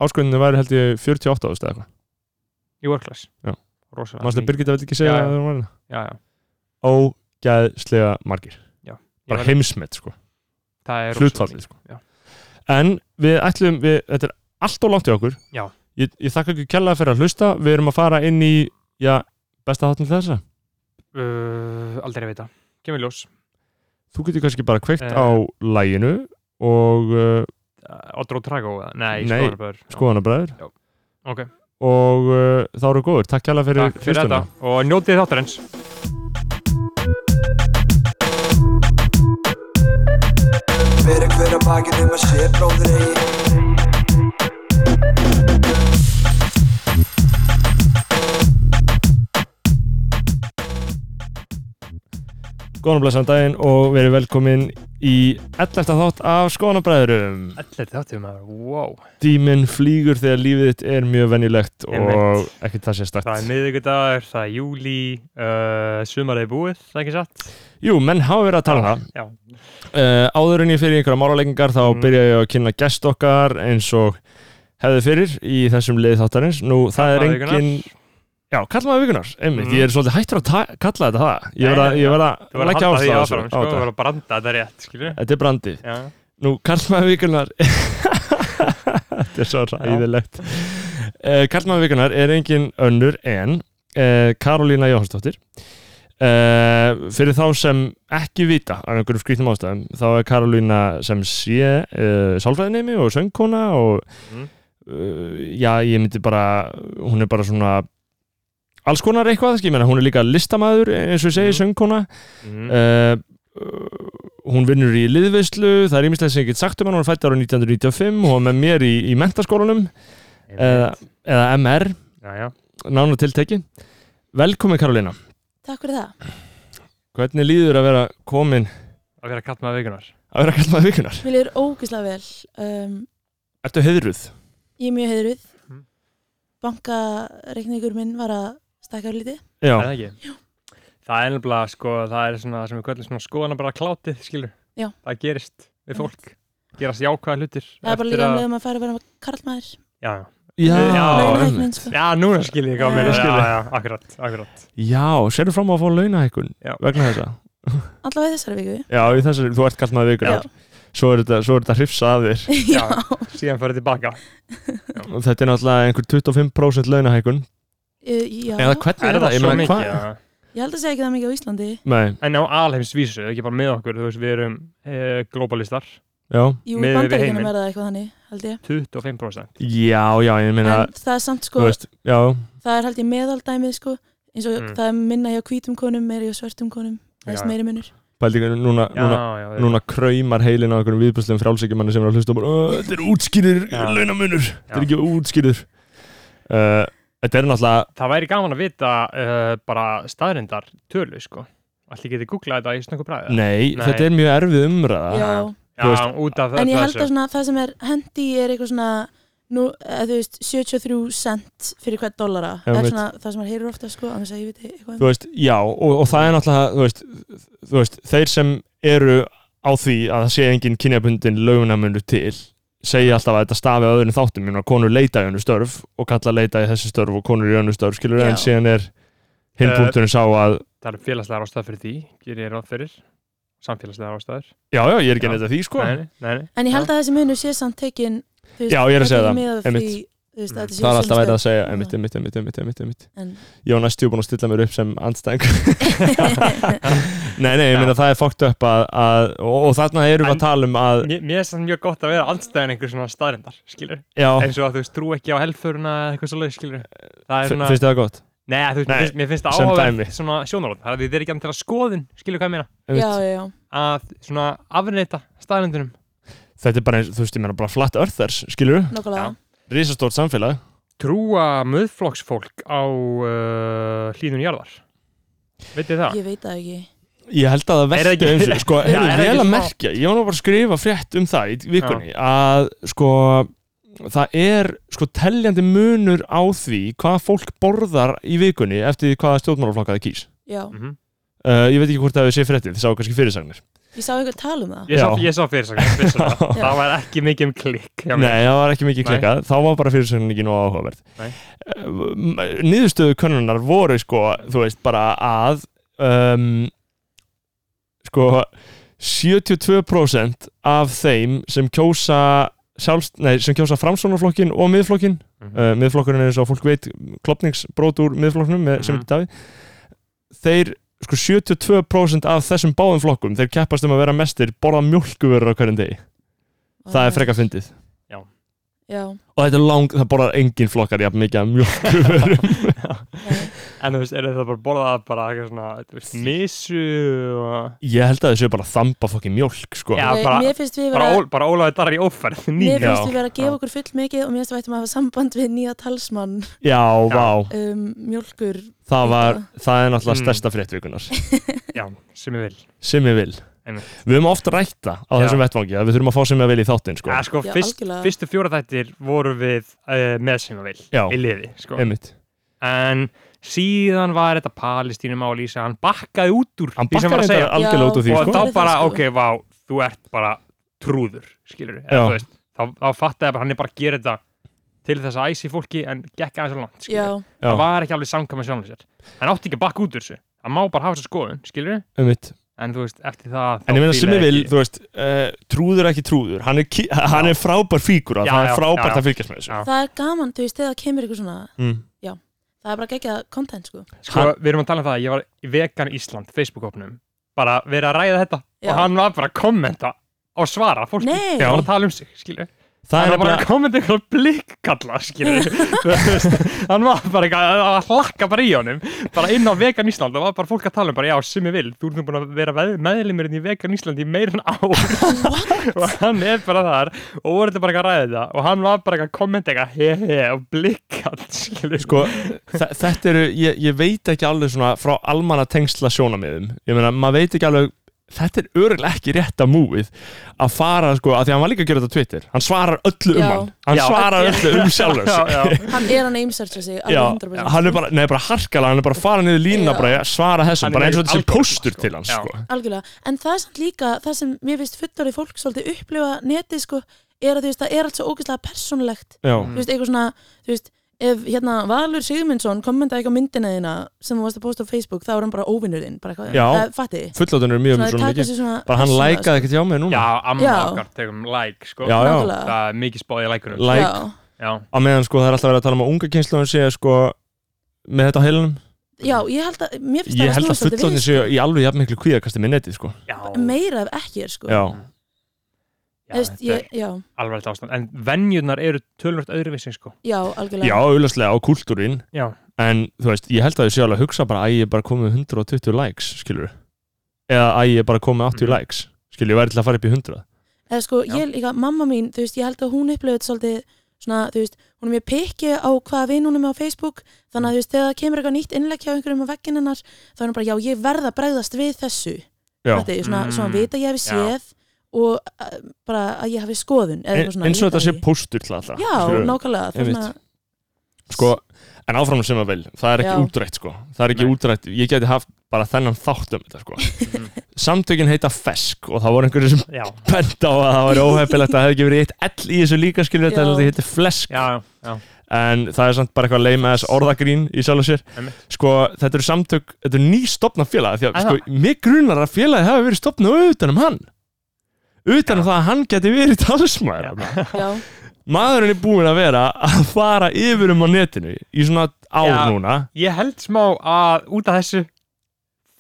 S1: ásköndinu væri held ég 48 ást eða eitthvað
S3: í World Class
S1: Já.
S3: rosalega
S1: Mástu að
S3: mikið.
S1: Birgitta veldi ekki segja
S3: Já, já.
S1: að það var
S3: já, já.
S1: Ógæðslega margir
S3: Ég
S1: Bara
S3: var-
S1: heimsmet sko,
S3: það er rosalega
S1: hlutfallið
S3: mikið.
S1: sko
S3: um Já.
S1: En við ætlum, við, þetta er allt og langt í okkur
S3: Já.
S1: Ég, ég þakka ekki kjallaði fyrir að hlusta Við erum að fara inn í, já, besta þáttin þessa
S3: uh, aldrei að vita kemur í ljós
S1: Þú getur kannski bara kveikt
S3: Eh.
S1: á læginu og uh,
S3: uh, Odro Trago eða? nei,
S1: Nei,
S3: skoðanabæður
S1: skoðanabræður
S3: ok,
S1: og uh, þá eru góður, takk kjalla fyrir
S3: takk fyrir þetta og njótið þáttarins
S2: Fyrir hver að bakið um að sé bróður eigi
S1: Góðan og blessaðan daginn og verið velkomin í 11. þátt af skoðanabræðurum.
S3: 11 þáttum maður, wow
S1: Tíminn flýgur þegar lífið þitt er mjög venjulegt og
S3: Einmitt.
S1: ekkert það sé
S3: Það er
S1: stakt.
S3: miðvikudagur, það er júli uh, sumarið er búið, það er ekki satt
S1: Jú, menn hafa verið að tala um það.
S3: Já,
S1: Uh, áður en ég fyrir einhverja málalegingar þá
S3: Mm.
S1: byrja ég að kynna gest okkar eins og hefði fyrir í þessum lið þáttarins. Nú, það er
S3: Karlmaður
S1: engin... Já, kallaði vikunar, einmitt.
S3: Mm.
S1: Ég er svolítið hættur að ta- kalla þetta það. Ég verð að-
S3: Nei,
S1: ég verð
S3: þú
S1: að
S3: verður að
S1: leggja
S3: halda því
S1: ástæða þessu. á
S3: áfram, sko, þú
S1: þetta.
S3: verður að branda þetta er rétt, skilju
S1: Þetta er brandið.
S3: Já,
S1: Nú, Karlmaður vikunar Þetta er svo ræðilegt uh, Karlmaður vikunar er engin önnur en uh, Karolína Jóhansdóttir uh, Fyrir þá sem ekki vita af einhverjum skrýttum ástæðum þá er Karolína sem sé uh, sálfræðinemi og söngkona og
S3: Mhm.
S1: uh, já, ég myndi bara hún er bara svona alls konar eitthvað, ég meina hún er líka listamaður eh, eins og ég segi,
S3: Mhm.
S1: söngkona
S3: mm.
S1: uh, Eh, hún vinnur í liðveislu það er ímislega sem ég get sagt um hann hún er fætt ára 1995, hún var með mér í, í mentaskólanum
S3: Mm.
S1: eða, eða MR,
S3: já, já.
S1: nánu tilteki Velkomin Karolina,
S7: Takk fyrir það.
S1: hvernig líður að vera komin
S3: að vera katt með vikunar
S1: að vera kallt maður vikunar?
S7: Mér er ógislega vel. Um,
S1: Ertu heiðruð?
S7: ég er mjög heiðruð.
S3: Mhm.
S7: Bankareikningur minn var að stakka á lítið.
S1: Já,
S3: Er það ekki? Það er nefnilega, sko, það er svona sem við kvöldum svona skoðana bara klátið, skilju
S7: Já.
S3: Það gerist við fólk, gerast jákvæða hlutir
S7: Það er bara
S3: eftir
S7: líka
S3: að-
S7: um leið að maður fari að vera með karlmaður.
S3: Já,
S1: já,
S3: Já,
S1: einmitt.
S7: Launareikning, sko.
S3: já, núna skil ég hvað
S7: Núna
S3: með
S1: skil
S3: Já,
S1: ég.
S3: já, akkurat, akkurat
S1: já sérðu fram á að fá launahækun
S3: Já.
S1: vegna þessa?
S7: Allavega í þessari viku.
S1: Já, í þessari, þú ert kallt maður vikunar Svo er þetta, svo er þetta hrifsa af þér
S7: Já.
S3: Síðan farið tilbaka
S1: og þetta er náttúrulega einhver 25% launahækun
S7: Uh, já.
S1: Eða hvernig er,
S3: Er það
S1: Ég
S3: svo
S1: meina,
S3: mikið?
S1: hvað-
S3: eða?
S7: Ég held að segja ekki það mikið á Íslandi.
S1: Nei,
S3: en á alheimsvísu, ekki bara með okkur þú veist, við erum eh, globalistar
S1: já
S7: Jú,
S3: Miðað við heiminn.
S7: bandaríkjunum er það eitthvað þannig, held ég.
S3: 25%
S1: Já, já, ég meina
S7: En það er samt,
S1: Þú
S7: sko,
S1: veist, já,
S7: það er held ég meðaldæmið, sko. Eins og
S3: Mm.
S7: það er minna hjá hvítum konum, meira hjá svörtum konum. Það
S3: Já,
S7: er
S3: já.
S7: meiri munur.
S1: Pældi ekki, núna,
S3: Mm. Já,
S1: núna,
S3: já, já.
S1: núna kraumar heilin á einhverjum viðbústum frálsíkjumanni sem er að hlusta og bara, "Ö, þetta er útskýrður,
S3: Já.
S1: launamunur, þetta er
S3: Já.
S1: ekki útskýrður. Uh, þetta er náttúrulega,
S3: Það væri gaman að vita uh, bara staðrindar tölu, sko. Allir getið googlað þetta í snöku bræðið.
S1: nei,
S3: Nei.
S1: þetta er mjög erfið umræða.
S3: Já.
S9: Já.
S3: Já,
S1: Þú veist-
S3: út af
S9: En
S3: öllu
S9: ég held að
S3: þessu.
S9: svona, það sem er hendi er eitthvað svona nú, eða, þú veist, 73 cent fyrir hvert dollara
S1: Já,
S9: það er
S1: mitt.
S9: svona það sem maður heyrir ofta sko annars að ég veit eitthvað um.
S1: Þú veist, já, og, og það er náttúrulega, þú veist, þú veist, þeir sem eru á því að það sé engin kynjabundin launamunur til, segja alltaf að þetta stafi að öðrum þáttum, ég meina, konur leita í önnu störf og kalla leita í þessi störf og konur í önnu störf, skilur
S9: Já.
S1: en síðan er hinn
S3: Eh,
S1: punkturinn sá að,
S3: Það er félagslegar ástæður fyrir því, gerir ég ráð fyrir. Samfélagslegar ástæður.
S1: já, já, ég er ekki
S3: Já.
S1: að neita því, sko.
S3: Nei, nei, nei.
S9: en ég held að þessi munur sé samt tekin þú
S1: Já, ég er að segja það,
S9: einmitt
S1: einmitt.
S9: því, þú veist, að
S1: Það er
S9: þetta séu
S1: alltaf
S9: sömu
S1: verið að segja,
S9: störf.
S1: emitt, emitt, emitt, emitt, emitt, emitt.
S9: En-
S1: Ég var næstu búin að stilla mér upp sem andstæðing. nei, nei, ég meina það er fokkt upp að, að og, og þarna erum við
S3: En-
S1: að tala um að,
S3: Mér mér finnst það mjög gott að vera andstæðan einhver svona staðrindar, skilur.
S1: já,
S3: Eins og að þú veist, trú ekki á helföruna eða eitthvað svolítið, skilur. Það er svona...
S1: finnst þið það gott?
S3: Nei, þú veist,
S1: Nei,
S3: mér finnst- mér finnst það
S1: sem dæmi.
S3: áhugað svona sjónarhótt. Það er- þetta er ekki andtilega skoðun, skilur hvað ég meina.
S9: já,
S1: Einmitt.
S9: já, já,
S3: Að svona afneita staðrindunum.
S1: þetta er bara, eins- þú veist, ég meina bara flatt örþers, skilur við?
S9: nokkulega
S1: Rísastórt samfélag.
S3: Trúa möðflokksfólk á uh, hlínun jarðar. Veitir það?
S9: ég veit það ekki
S1: Ég held að það
S3: Er það
S1: veldi
S3: ekki-
S1: eins og, sko,
S3: Já,
S1: heyrðu,
S3: er það
S1: vel
S3: ekki
S1: að
S3: smá-
S1: merkja, ég var nú bara að skrifa frétt um það í vikunni, að, sko, það er, sko, teljandi munur á því hvað fólk borðar í vikunni eftir því hvaða stjórnmálaflokka það kýs.
S9: já,
S3: Mhm.
S1: Uh, ég veit ekki hvort það hefur séð fréttið, þið sáu kannski fyrirsagnir.
S9: ég sá eitthvað tala um það
S3: Ég sá,
S1: Já.
S3: ég sá fyrirsakna, fyrirsakna.
S1: Já.
S3: það var ekki mikið um klikk hjá mér.
S1: Nei, það var ekki mikið
S3: Nei.
S1: klikkað, þá var bara fyrirsögnin ekki nóg áhugaverð.
S3: Nei.
S1: Uh, Niðurstöðu könnunar voru sko, þú veist, bara að um, sko 72% af þeim sem kjósa sjálfst, nei, sem kjósa framsónarflokkin og miðflokkin,
S3: Mhm.
S1: uh, miðflokkurinn er eins og fólk veit klopningsbrót úr miðflokknum með, sem
S3: Mhm.
S1: heitir Davíð þeir sko 72% af þessum báðum flokkum, þeir keppast um að vera mestir borða mjólkuvörur á hverjum degi það er freka fyndið
S9: já,
S1: og þetta er lang, það borðar engin flokkar jafn mikið af mjölkuvörum
S9: nei.
S3: En þú veist, er það bara borðað bara eitthvað svona, þú veist, misu og...
S1: ég held að þau séu bara að þamba fokkin mjölk sko.
S3: Já,
S9: Nei,
S3: bara-
S9: mér finnst við
S3: Bara,
S9: vera
S3: ól, bara ólaðið darri í óferð,
S9: Mér
S3: nýja.
S9: finnst
S1: Já.
S9: við vera að
S3: Já.
S9: gefa okkur full mikið og mér finnst við ættum að hafa samband við nýja talsmann
S1: já, vá,
S9: um, mjölkur
S1: það var það er náttúrulega
S3: Mm.
S1: stærsta fréttvíkunar
S3: Já, sem ég vil.
S1: sem ég vil
S3: Einmitt.
S1: við höfum oft rætta á
S3: Já.
S1: þessum vettvangi að við þurfum að fá sem ég vil í þáttinn sko.
S3: Já, sko,
S9: Já,
S3: fyrst,
S9: algjörlega.
S3: fyrstu fjóra þættir voru við uh, með sem ég vil
S1: Já.
S3: í liði, sko.
S1: einmitt
S3: En síðan var þetta Palestínum á Lísa, hann bakkaði út úr
S1: hann
S3: því
S1: bakkar
S3: sem var að
S1: þetta
S3: segja.
S1: algjörlega
S9: Já.
S1: út úr því
S3: Og
S1: sko.
S9: Gerðu
S3: þá
S9: það,
S3: bara,
S9: sko.
S3: ok, vá, þú ert bara trúður, skilur við.
S1: Já.
S3: Þú veist, þá, þá fattaði ég bara, hann er bara að gera þetta til þess að æsi fólki en gekk aðeins og langt, skilur
S9: Já,
S1: Já,
S3: það var ekki alveg samkvæmur sjálfum sér hann átti ekki að bakka út úr þessu hann má bara hafa þessu skoðun, skilur
S1: einmitt
S3: en þú veist, eftir það þá
S1: en ég meina
S3: fíla
S1: sem ég vil,
S3: ekki-
S1: þú veist uh, trúður ekki trúður, hann er, ki- hann er frábær fígura, það
S3: Já, já,
S1: er frábært
S3: já,
S1: að fylgjast með
S3: Já.
S1: þessu
S9: það er gaman, þú veist, þegar það kemur ykkur svona
S1: Mm.
S9: það er bara geggjað content, sko
S3: sko, við erum að tala um það, að ég var í vegan Ísland Facebook-opnum, bara verið að ræða þetta
S9: Já.
S3: og hann var bara að kommenta og svara fólki,
S9: Nei.
S3: bara að tala um sig skilur,
S1: það
S3: hann
S1: er
S3: var bara
S1: nefnilega
S3: að kommenta eitthvað blikkalla, skilur Þú veist, hann var bara eitthvað að hlakka bara í honum, bara inn á vegan Ísland og var bara fólk að tala um, bara já, sem ég vil þú ert nú búin að vera meðlumurinn í vegan Ísland í meirinn ár og hann er bara þar og voru þetta bara eitthvað að ræða þetta og hann var bara eitthvað að kommenta eitthvað he he og blikkall skilur
S1: sko, þe- þetta eru ég, ég veit ekki alveg svona frá almanna tengsla sjónamiðum, ég meina, maður veit ekki alveg þetta er örgulega ekki rétta múið að fara, sko, að því að hann var líka að gera þetta á Twitter, hann svarar öllu um
S9: Já.
S1: hann hann
S3: Já.
S1: svarar öllu um sjálfur
S3: já,
S1: sig
S3: já,
S9: Hann er hann að ímsörsa sig, alveg
S1: Já,
S9: 100%
S1: hann er bara, nei, bara harkala, hann er bara að fara niður línuna
S9: Já.
S1: bara að svara þessum,
S3: Hann er
S1: bara eins og
S3: í
S1: þetta sé
S3: algoritma,
S1: póstur
S3: sko.
S1: til hans,
S3: Já.
S1: sko
S9: Algjörlega, en það er samt líka það sem mér finnst fullorðið fólk svolítið upplifa netið, sko, er að þú veist, það er allt svo ógeðslega persónulegt
S1: Já,
S3: Mm.
S9: þú veist, eitthvað svona, þú veist ef hérna Valur Sigmundsson kommenta eitthvað myndina þína sem þú varst að posta á Facebook þá er hann bara óvinnurinn, bara eitthvað,
S1: Já.
S9: það fatti
S1: fulláttunir eru mjög um svona mikið bara hann lækaði ekkert hjá mig núna
S3: já, amma
S9: Já.
S3: okkar tegum like sko.
S1: Já, já.
S9: Nákvæmlega.
S3: það er mikið spáðið í lækunum
S1: Like.
S9: já.
S3: já,
S1: á meðan, sko, það er alltaf verið að tala um að unga kynslaðun sé, sko, með þetta á heilanum
S9: já, ég held að mér finnst
S1: ég held
S9: snúa
S1: að
S9: svolítið
S1: fullotni
S9: við,
S1: séu í alveg jafn miklu kvíðakasti með netið sko.
S3: já,
S9: sko, meira ef ekki er sko
S1: já.
S3: já
S9: Þú veist,
S3: þetta
S9: ég, já,
S3: er alveg þetta ástand en venjurnar eru tölvöld öðruvísi sko.
S9: já,
S1: já,
S9: algjörlega
S1: auðvitað á kultúrin
S3: já,
S1: en þú veist, ég held að þau séu alveg að hugsa bara að ég er bara komið með 120 likes skilur eða að ég er bara komið 80
S3: Mm.
S1: likes skilju, ég væri til að fara upp í 100
S9: eða sko,
S3: Já.
S9: ég líka, mamma mín, þú veist, ég held að hún upplöfði þetta svolítið svona, þú veist, hún er mjög pikki á hvaða vin hún er með á Facebook þannig að þú veist, þegar það kemur eitthvað nýtt innlegg hjá einhverjum á veggin hennar, þá er hún bara, já, ég verð að bregðast við þessu,
S1: já,
S9: þetta er svona,
S3: Mm.
S9: svona vita ég hafi
S3: Já.
S9: séð og uh, bara að ég hafi skoðun eða
S1: En-
S9: eitthvað svona,
S1: E- eins og
S9: ég
S1: þetta
S9: veit
S1: sé
S9: það ekki.
S1: póstur til alltaf
S9: Já,
S1: skilurðu.
S9: nákvæmlega, það er
S1: Einmitt.
S9: svona,
S1: sko, en áfram sem að vel það er ekki
S9: Já.
S1: útrætt sko, það er ekki
S3: Nei.
S1: útrætt ég geti haft bara þennan þátt um þetta sko samtökin heita fesk og það voru einhverju sem
S3: Mm. Já,
S1: bent á að það væri óhefilegt að það hefði ekki verið eitt ell í þessu líka skilur þetta
S9: Já.
S1: en þetta heitir flesk
S3: já, já,
S1: en það er samt bara eitthvað leima þess orðagrín í sjálf og sér
S3: Einmitt.
S1: sko þetta eru samtök, þetta eru nýstopna félag því að
S3: Er
S1: sko mig grunar að félagi hafi verið stopna utan um hann utan um það að hann geti verið talsmaður þarna
S9: já,
S1: maðurinn er búinn að vera að fara yfir um á netinu í svona ár
S3: Já.
S1: núna
S3: Ég held smá að út af þessu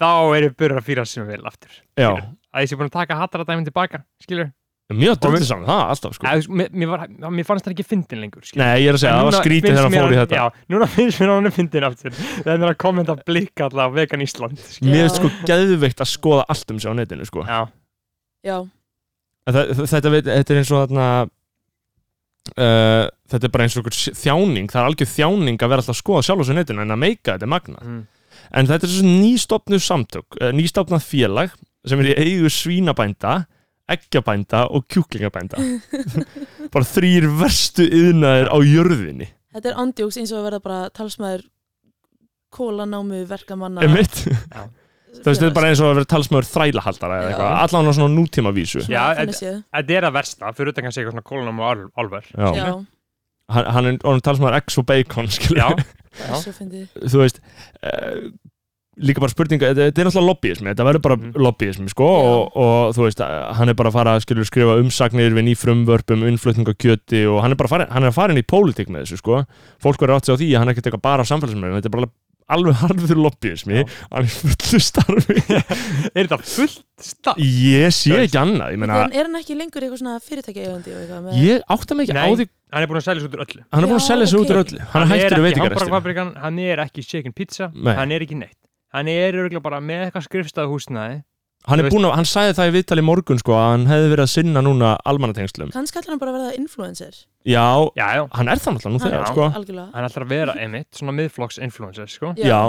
S3: þá eru byrjar að fýra sem vel aftur
S1: já,
S3: að ég sé búin að taka hattara dæmin tilbaka skilur,
S1: Hm. mjög drullið saman það alltaf sko
S3: eða, þú veist, mér, mér, var, mér fannst það ekki fyndin lengur skilur.
S1: nei, ég er að segja, það var skrítið þegar hann fór í þetta
S3: já, núna finnst mér hann fyndin aftur það er mér að kommenta blika allavega vegan Ísland skilur.
S1: mér
S9: Já.
S1: finnst sko geðveikt að skoða allt um sig á netinu sko
S3: já,
S9: já,
S1: En þa- þa- þetta, veit, þetta er eins og þarna Uh, þetta er bara eins og einhver s- þjáning það er algjör þjáning að vera alltaf að skoða sjálf þessu netinu en að meika þetta er magnað
S3: Mm.
S1: en þetta er svo nýstopnu samtök uh, nýstopnað félag sem er í eigu svínabænda eggjabænda og kjúklingabænda bara þrýr verstu yðnaðir á jörðinni
S9: þetta er andjóks eins og að verða bara talsmaður kólanámu verkamanna
S1: emitt, þú veist þetta er
S9: félags.
S1: bara eins og að vera talsmaður þrælahaldara eða
S9: Já.
S1: eitthvað, allan á svona nútíma vísu
S9: Svona
S3: Já,
S9: þannig séð.
S3: þetta er að versta fyrir utan kannski eitthvað svona kólunum og álver
S1: Já.
S9: já,
S1: hann, hann er orðinn talsmaður eggs og bacon skilur
S3: já,
S9: það er svo fyndið
S1: þú veist uh, líka bara spurninga, þetta, þetta er náttúrulega lobbyismi þetta verður bara
S3: Mhm.
S1: lobbyismi sko
S9: Já.
S1: og, og þú veist, eh, hann er bara að fara að skilur skrifa umsagnir við nýfrumvörpum innflutning á kjöti og hann er bara farin, hann er farin í pólitík með þessu sko, fólk verður átt sig á því að hann er ekki teka bara á samfélagsmyndum, þetta er bara alveg harður lobbyismi,
S3: Já.
S1: hann er fullu starfi
S3: er þetta fullt stað
S1: ég sé ekki annað, ég meina
S9: En er hann ekki lengur eitthvað svona fyrirtækja eigandi og eitthvað með
S1: ég átta mig ekki á
S3: Nei.
S1: því
S3: hann er búin að selja svo út úr öllu
S1: hann er búin að
S9: Já,
S1: selja sig út úr
S9: ok.
S1: öllu hann er
S3: er
S1: hættur að
S3: ekki
S1: veitingarestina
S3: hamborgarfabrikan, hann er ekki chicken pizza
S1: Nei.
S3: hann er ekki neitt hann er örgulega bara með eitthvað skrifstæðhúsnaði
S1: hann, er
S3: þú veist-
S1: búinn að- hann sagði það í viðtali í morgun sko, að hann hefði verið að sinna núna almannatengslum
S9: kannski ætlar hann bara að verða influencer
S1: já,
S3: já, já,
S1: hann er það náttúrulega nú
S9: Hann-
S1: þegar
S3: Já.
S1: sko.
S9: algjörlega
S3: hann ætlar að vera einmitt svona miðflokks influencer sko.
S1: já.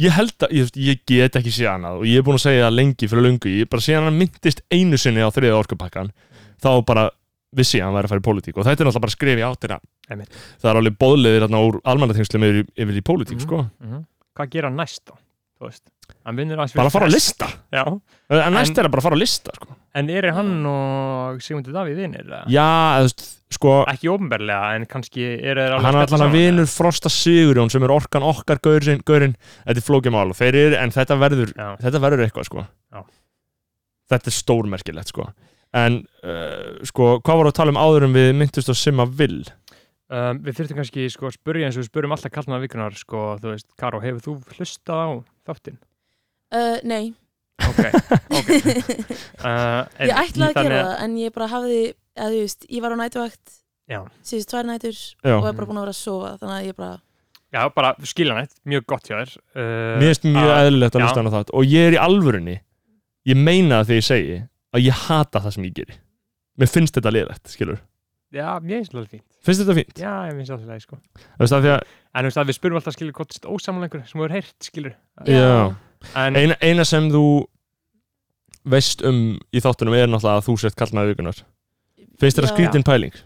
S1: ég held að, ég, ég get ekki séð annað og ég er búin að segja það lengi fyrir löngu ég bara séð hann myndist einu sinni á þriða orkupakkan þá bara vissi ég að hann væri að fara í pólitík og þetta er náttúrulega bara skrif í áttina
S3: Einmitt.
S1: það er alveg bóðleðir þarna úr almannatengslum yfir, í- yfir í pólitík
S3: Mhm.
S1: sko
S3: Mhm. hvað gera hann næst þá Þú veist, hann vinnur aðeins
S1: bara að fara að
S3: frest.
S1: lista,
S3: já.
S1: en næst er að bara fara að lista sko.
S3: en er hann og Sigmundur Davíð vinnir
S1: já, eða, þú veist, sko
S3: ekki ofnberlega en kannski er þeir alveg
S1: hann er
S3: að spjalla
S1: allan að
S3: saman,
S1: vinur Frosta Sigurjón sem er orkan okkar gaurin, gaurin þetta er flókjumál og þeir eru, en þetta verður
S3: eða? já.
S1: þetta verður eitthvað sko
S3: Já.
S1: þetta er stórmerkilegt sko en uh, sko hvað var að tala um áður um við myndust að simma vill
S3: Um, við þurftum kannski sko, að spurja eins og við spurjum alltaf kallnaða vikunar sko, þú veist, Karó, hefur þú hlustað á þáttinn?
S9: Uh, nei,
S3: ok, ok uh, en
S9: ég ætlaði að
S3: þannig
S9: gera það en ég bara hafði, eða þú veist, ég var á nætuvægt
S3: Já.
S9: síðust tvær nætur
S1: Já.
S9: og er bara búin að vera að sofa þannig að ég bara,
S3: já, bara skiljanætt, mjög gott hjá þér uh,
S1: mér finnst mjög
S3: að-
S1: eðlilegt að
S3: já.
S1: lusta hann á það og ég er í alvörunni ég meina það þegar ég segi að ég hata það sem ég geri mér finnst þetta liðlegt skilur
S3: já, mér finnst alltaf fínt
S1: finnst þetta fínt
S3: já, ég finnst alltaf leið sko
S1: Þú veist, af því að,
S3: En þú veist að við spurum alltaf skilur hvort þetta ósamlengur sem við erum heyrt skilur
S9: Já.
S1: já.
S3: En
S1: Eina, eina sem þú veist um í þáttunum er náttúrulega að þú sett kallnaði vikunar finnst þetta
S9: Já.
S1: skrítin pæling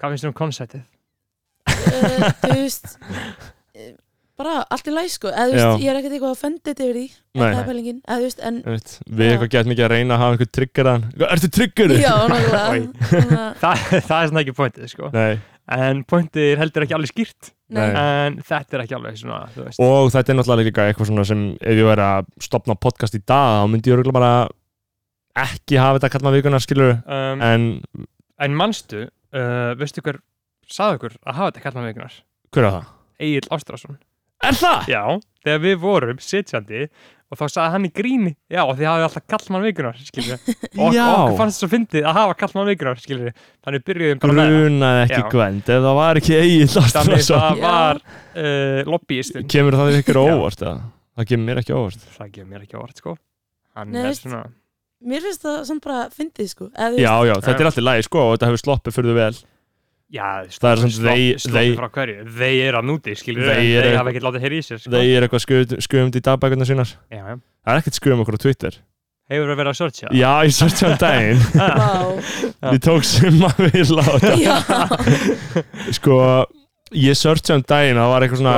S3: hvað finnst þér um konceptið?
S9: uh, þú veist uh, bara allt í læg sko eða þú
S1: Já.
S9: veist, ég er ekkert eitthvað að fendi þetta yfir því en
S1: Nei.
S9: það er pælingin, eða þú veist, en
S1: Einmitt. við
S9: Já.
S1: eitthvað gett mikið að reyna að hafa einhvern triggeran ertu triggerið?
S9: já,
S3: Oj.
S9: náttúrulega Þannig að-
S3: Þa, það er svona ekki pointið sko
S1: Nei.
S3: En pointið er heldur ekki alveg skýrt
S9: nei,
S1: Nei.
S3: En þetta er ekki alveg svona þú veist
S1: og þetta er náttúrulega líka eitthvað svona sem ef ég væri að stopna podcast í dag þá myndi ég örgulega bara ekki hafa þetta kallma vikuna skilur
S3: um,
S1: en
S3: En manstu, uh, veistu hver sagði okkur að hafa þetta kallan veikunar?
S1: hver er það?
S3: Egil Ástrásson
S1: Er það?
S3: Já, þegar við vorum sitjandi og þá sagði hann í gríni Já, og þið hafið alltaf kallmann vikunar, skilur Og
S1: Já.
S3: okkur fannst svo fyndið að hafa kallmann vikunar, skilur Þannig byrjuðum bara með það
S1: Grunaði ekki
S3: Já.
S1: Gvend ef það var ekki eigin
S3: Þannig
S1: Lastrason
S3: það var uh, lobbyistinn
S1: kemur það ykkur
S3: Já.
S1: óvart eða? það kemur mér ekki óvart
S3: það gefur mér ekki á orð sko hann
S9: Nei,
S3: er
S9: veist-
S3: svona
S9: Mér finnst það samt bara fyndið sko Eða, þú
S1: Já, já,
S3: Já.
S1: þetta er alltaf læg sko og þetta hefur sloppið fyrir vel
S3: Sko. Já, sko,
S1: Það er samt they- they-
S3: frá hverju, þeir eru að núti, skilur
S1: They
S3: þeir,
S1: eru-
S3: þeir hafa ekkert látið hér í sér, sko.
S1: Þeir eru eitthvað skuð, skuðum í dagbækurnar sínar
S3: Já, já.
S1: Það er ekkert skuðum okkur á Twitter
S3: Hefur verið að searcha? Ah.
S1: Já, ég sörti hann daginn
S9: Vá
S1: Ég tók sem að vilja á þetta
S9: Já
S1: Sko, ég sörti hann daginn Það var eitthvað svona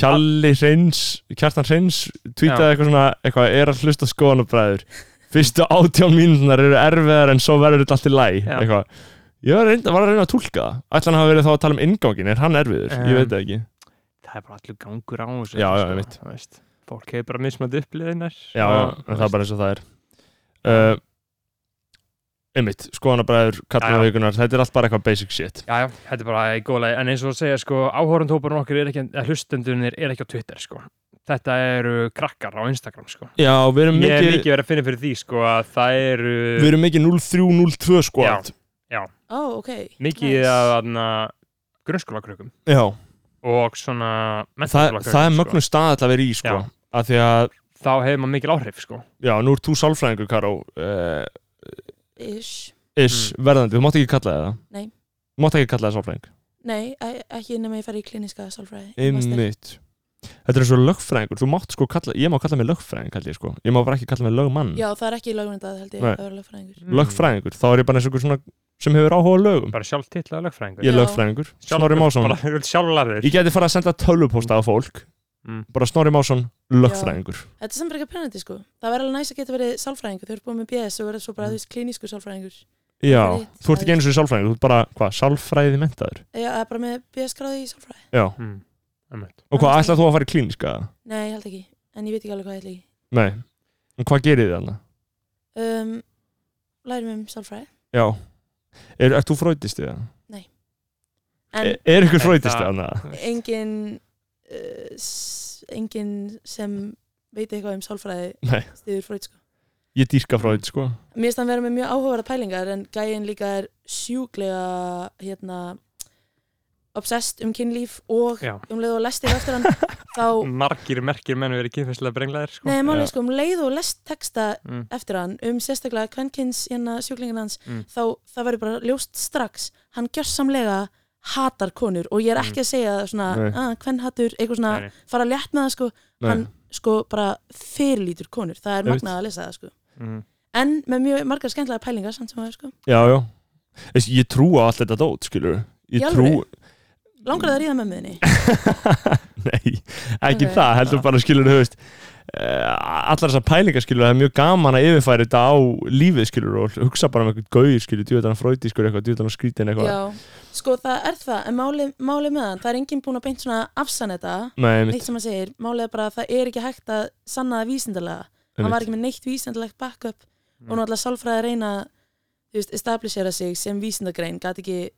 S1: Kjalli Hreins, Kjartan Hreins Tweetaði
S3: Já.
S1: eitthvað svona, eitthvað er að hlusta skoðanabræður Fyrstu átján mínunar eru erfiðar en svo verður þetta allt í læg
S3: Já.
S1: Eitthvað Ég var, reynda, var að reyna að tólka það Ætlan hafa verið þá að tala um inngangin, er hann erfiður? Ég
S3: Um,
S1: veit það ekki
S3: Það er bara allur gangur á þessu.
S1: Já, já,
S3: sko,
S1: einmitt.
S3: þú veist. Fólk hefur bara mismandi uppliðinar.
S1: já, já, en það er bara eins og það er uh, einmitt, skoðanabræður,
S3: Já,
S1: kallar
S3: já.
S1: vikunar þetta er allt bara eitthvað basic shit
S3: Já, já, þetta er bara í góðlega, en eins og að segja, sko, áhórundhóparinn okkur er ekki, að hlustendunir er ekki á Twitter, sko. Þetta eru krakkar á Instagram, sko.
S1: já, við erum
S3: Ég er
S1: mikið,
S3: mikið verið að finna fyrir því, sko, að það eru
S1: við erum mikið 0302 skoðat
S9: Ó, ok
S3: mikið
S9: Nice.
S3: að, aðna, grunnskólakrökkum
S1: já,
S3: og svona
S1: það,
S3: menntaskólakrökkum,
S1: það er
S3: sko.
S1: mögnum stað að vera í sko,
S3: Já.
S1: af því að
S3: Þá hefur maður mikil áhrif, sko.
S1: já, nú er þú sálfræðingur, Karó uh,
S9: Ish
S1: is
S3: Mm.
S1: verðandi, þú mátt ekki kalla það
S9: Nei.
S1: þú mátt ekki kalla það sálfræðing
S9: Nei, e- ekki nema ég fari í kliniska sálfræði í master.
S1: einmitt Þetta er eins og lögfræðingur, þú mátt sko kalla, ég má kalla mig lögfræðing held ég sko, ég má bara ekki kalla mig lögmann
S9: Já, það er ekki lögmyndað held ég
S1: Nei.
S9: að vera lögfræðingur
S1: Mm.
S3: Mm.
S1: Lögfræðingur, þá er ég bara eins og einhver svona sem hefur áhuga á lögum
S3: Bara sjálf titlað lögfræðingur.
S1: Ég er
S9: Já.
S1: lögfræðingur, Snorri Másson
S3: Bara sjálflæður.
S1: Ég geti fara að senda tölvupósta á fólk
S3: Mm.
S1: Bara Snorri Másson, lögfræðingur
S9: Þetta er sem bara ekki penandi sko Það væri alveg næst að geta verið sálfræðingur Þau eru búin með BS og verið svo bara,
S3: Mm.
S9: þú veist, klinískur sálfræðingur
S1: Já,
S9: Rétt,
S1: þú ert ekki einu svo í sálfræðingur Þú ert bara, hvað, sálfræði mentaður
S9: Já, eða bara með BS gráði í sálfræði
S1: Já,
S3: Mm. einmitt.
S1: og hvað, ætlar þú að fara í klíniska?
S9: Nei, ég held ekki, en ég veit ekki alveg hvað ég ætla í
S1: Nei, en hvað gerir þið þarna?
S9: um, Lærum um sálfræði
S1: Já, er, er þú fröytist þið það?
S9: En
S1: Er, er ykkur
S3: Þetta-
S1: fröytist þið þarna?
S3: Eh.
S9: engin uh, s- engin sem veit eitthvað um sálfræði
S1: Nei.
S9: stiður fröyt sko
S1: Ég dýrka fröyt, sko
S9: Mér finnst hann vera með mjög áhugaverða pælingar en gæin líka er sjúklega hérna obsessed um kynlíf og
S3: Já. Mm.
S9: um leið og lestir eftir hann þá,
S3: Margir merkir menn verið kynfæslega brenglaðir, sko.
S9: nei
S1: Já.
S9: máli sko um leið og lest texta
S3: Mm.
S9: eftir hann um sérstaklega kvenkins hérna sjúklingin hans
S3: Mm.
S9: þá það verður bara ljóst strax hann gjörsamlega hatar konur og ég er ekki að segja það svona
S1: Nei.
S9: að kvennhatur, eitthvað svona
S3: Nei, nei.
S9: fara létt með það sko
S1: Nei,
S9: hann sko bara fyrirlítur konur það er
S1: Ég veit.
S9: magnað að lesa það sko
S3: Mm.
S9: en með mjög margar skemmtilega pælingar samt sem það sko
S1: já, já Ég, ég trú á allt þetta dót, skilur Ég
S9: Í
S1: trú,
S9: alvöru? Langar það að ríða með miðinni?
S1: Nei, ekki
S9: Ok.
S1: það, heldur bara skilur þú veist eh, allar þessar pælingar skilur það er mjög gaman að yfirfæra þetta á lífið skilur og hugsa bara um eitthvað gauð skilur djúðan fröyti skilur eitthvað, djúðan skrítin eitthvað
S9: Já, sko það er það en málið máli með hann, það er enginn búin að beint svona afsanna þetta,
S1: Nei, mitt,
S9: neitt sem hann segir málið er bara að það er ekki hægt að sanna það vísindalega, hann var
S1: mitt.
S9: ekki með neitt vísindalegt backup
S3: Mm.
S9: og náttúrulega sálfræði að reyna að, þú veist, establishera sig sem vísindagrein, gat ekki,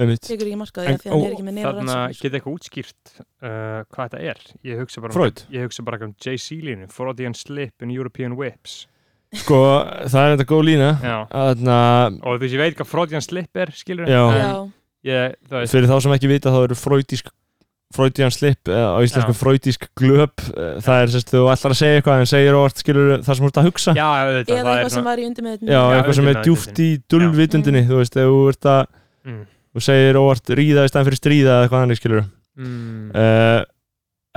S1: mitt.
S9: tekur ekki markaði
S1: En-
S9: því að hann
S1: og
S9: er ekki með neina
S3: Þarna
S9: rannsóknir
S3: geta eitthvað útskýrt uh, hvað þetta er. Ég hugsa bara um,
S1: Freud.
S3: Ég hugsa bara um J.C. línu, Freudian Slip in European Whips.
S1: Sko, það er þetta góð lína
S3: Já.
S1: Þarna,
S3: Og þú veist, ég veit hvað Freudian Slip er, skilur
S1: Já.
S3: en
S9: Já,
S3: Ég, þú veist,
S1: fyrir þá sem ekki vita þá eru fröytísk fröytíðan slip eh, á íslensku
S3: Já.
S1: fröytísk glöp eh, það er sérst þú ætlar að segja eitthvað en segir óvart skilur það sem þú ert að hugsa
S3: já, auðvitað,
S9: eða
S3: það er
S9: eitthvað sem
S3: svona-
S9: var í undirmiðunum
S1: Já, eitthvað sem er
S3: auðvitað,
S1: djúft í dulvitundinni þú veist, ef þú ert að
S3: Mm.
S1: þú segir óvart ríða í staðan fyrir stríða eða hvað hann er skilur
S3: Mm.
S1: uh,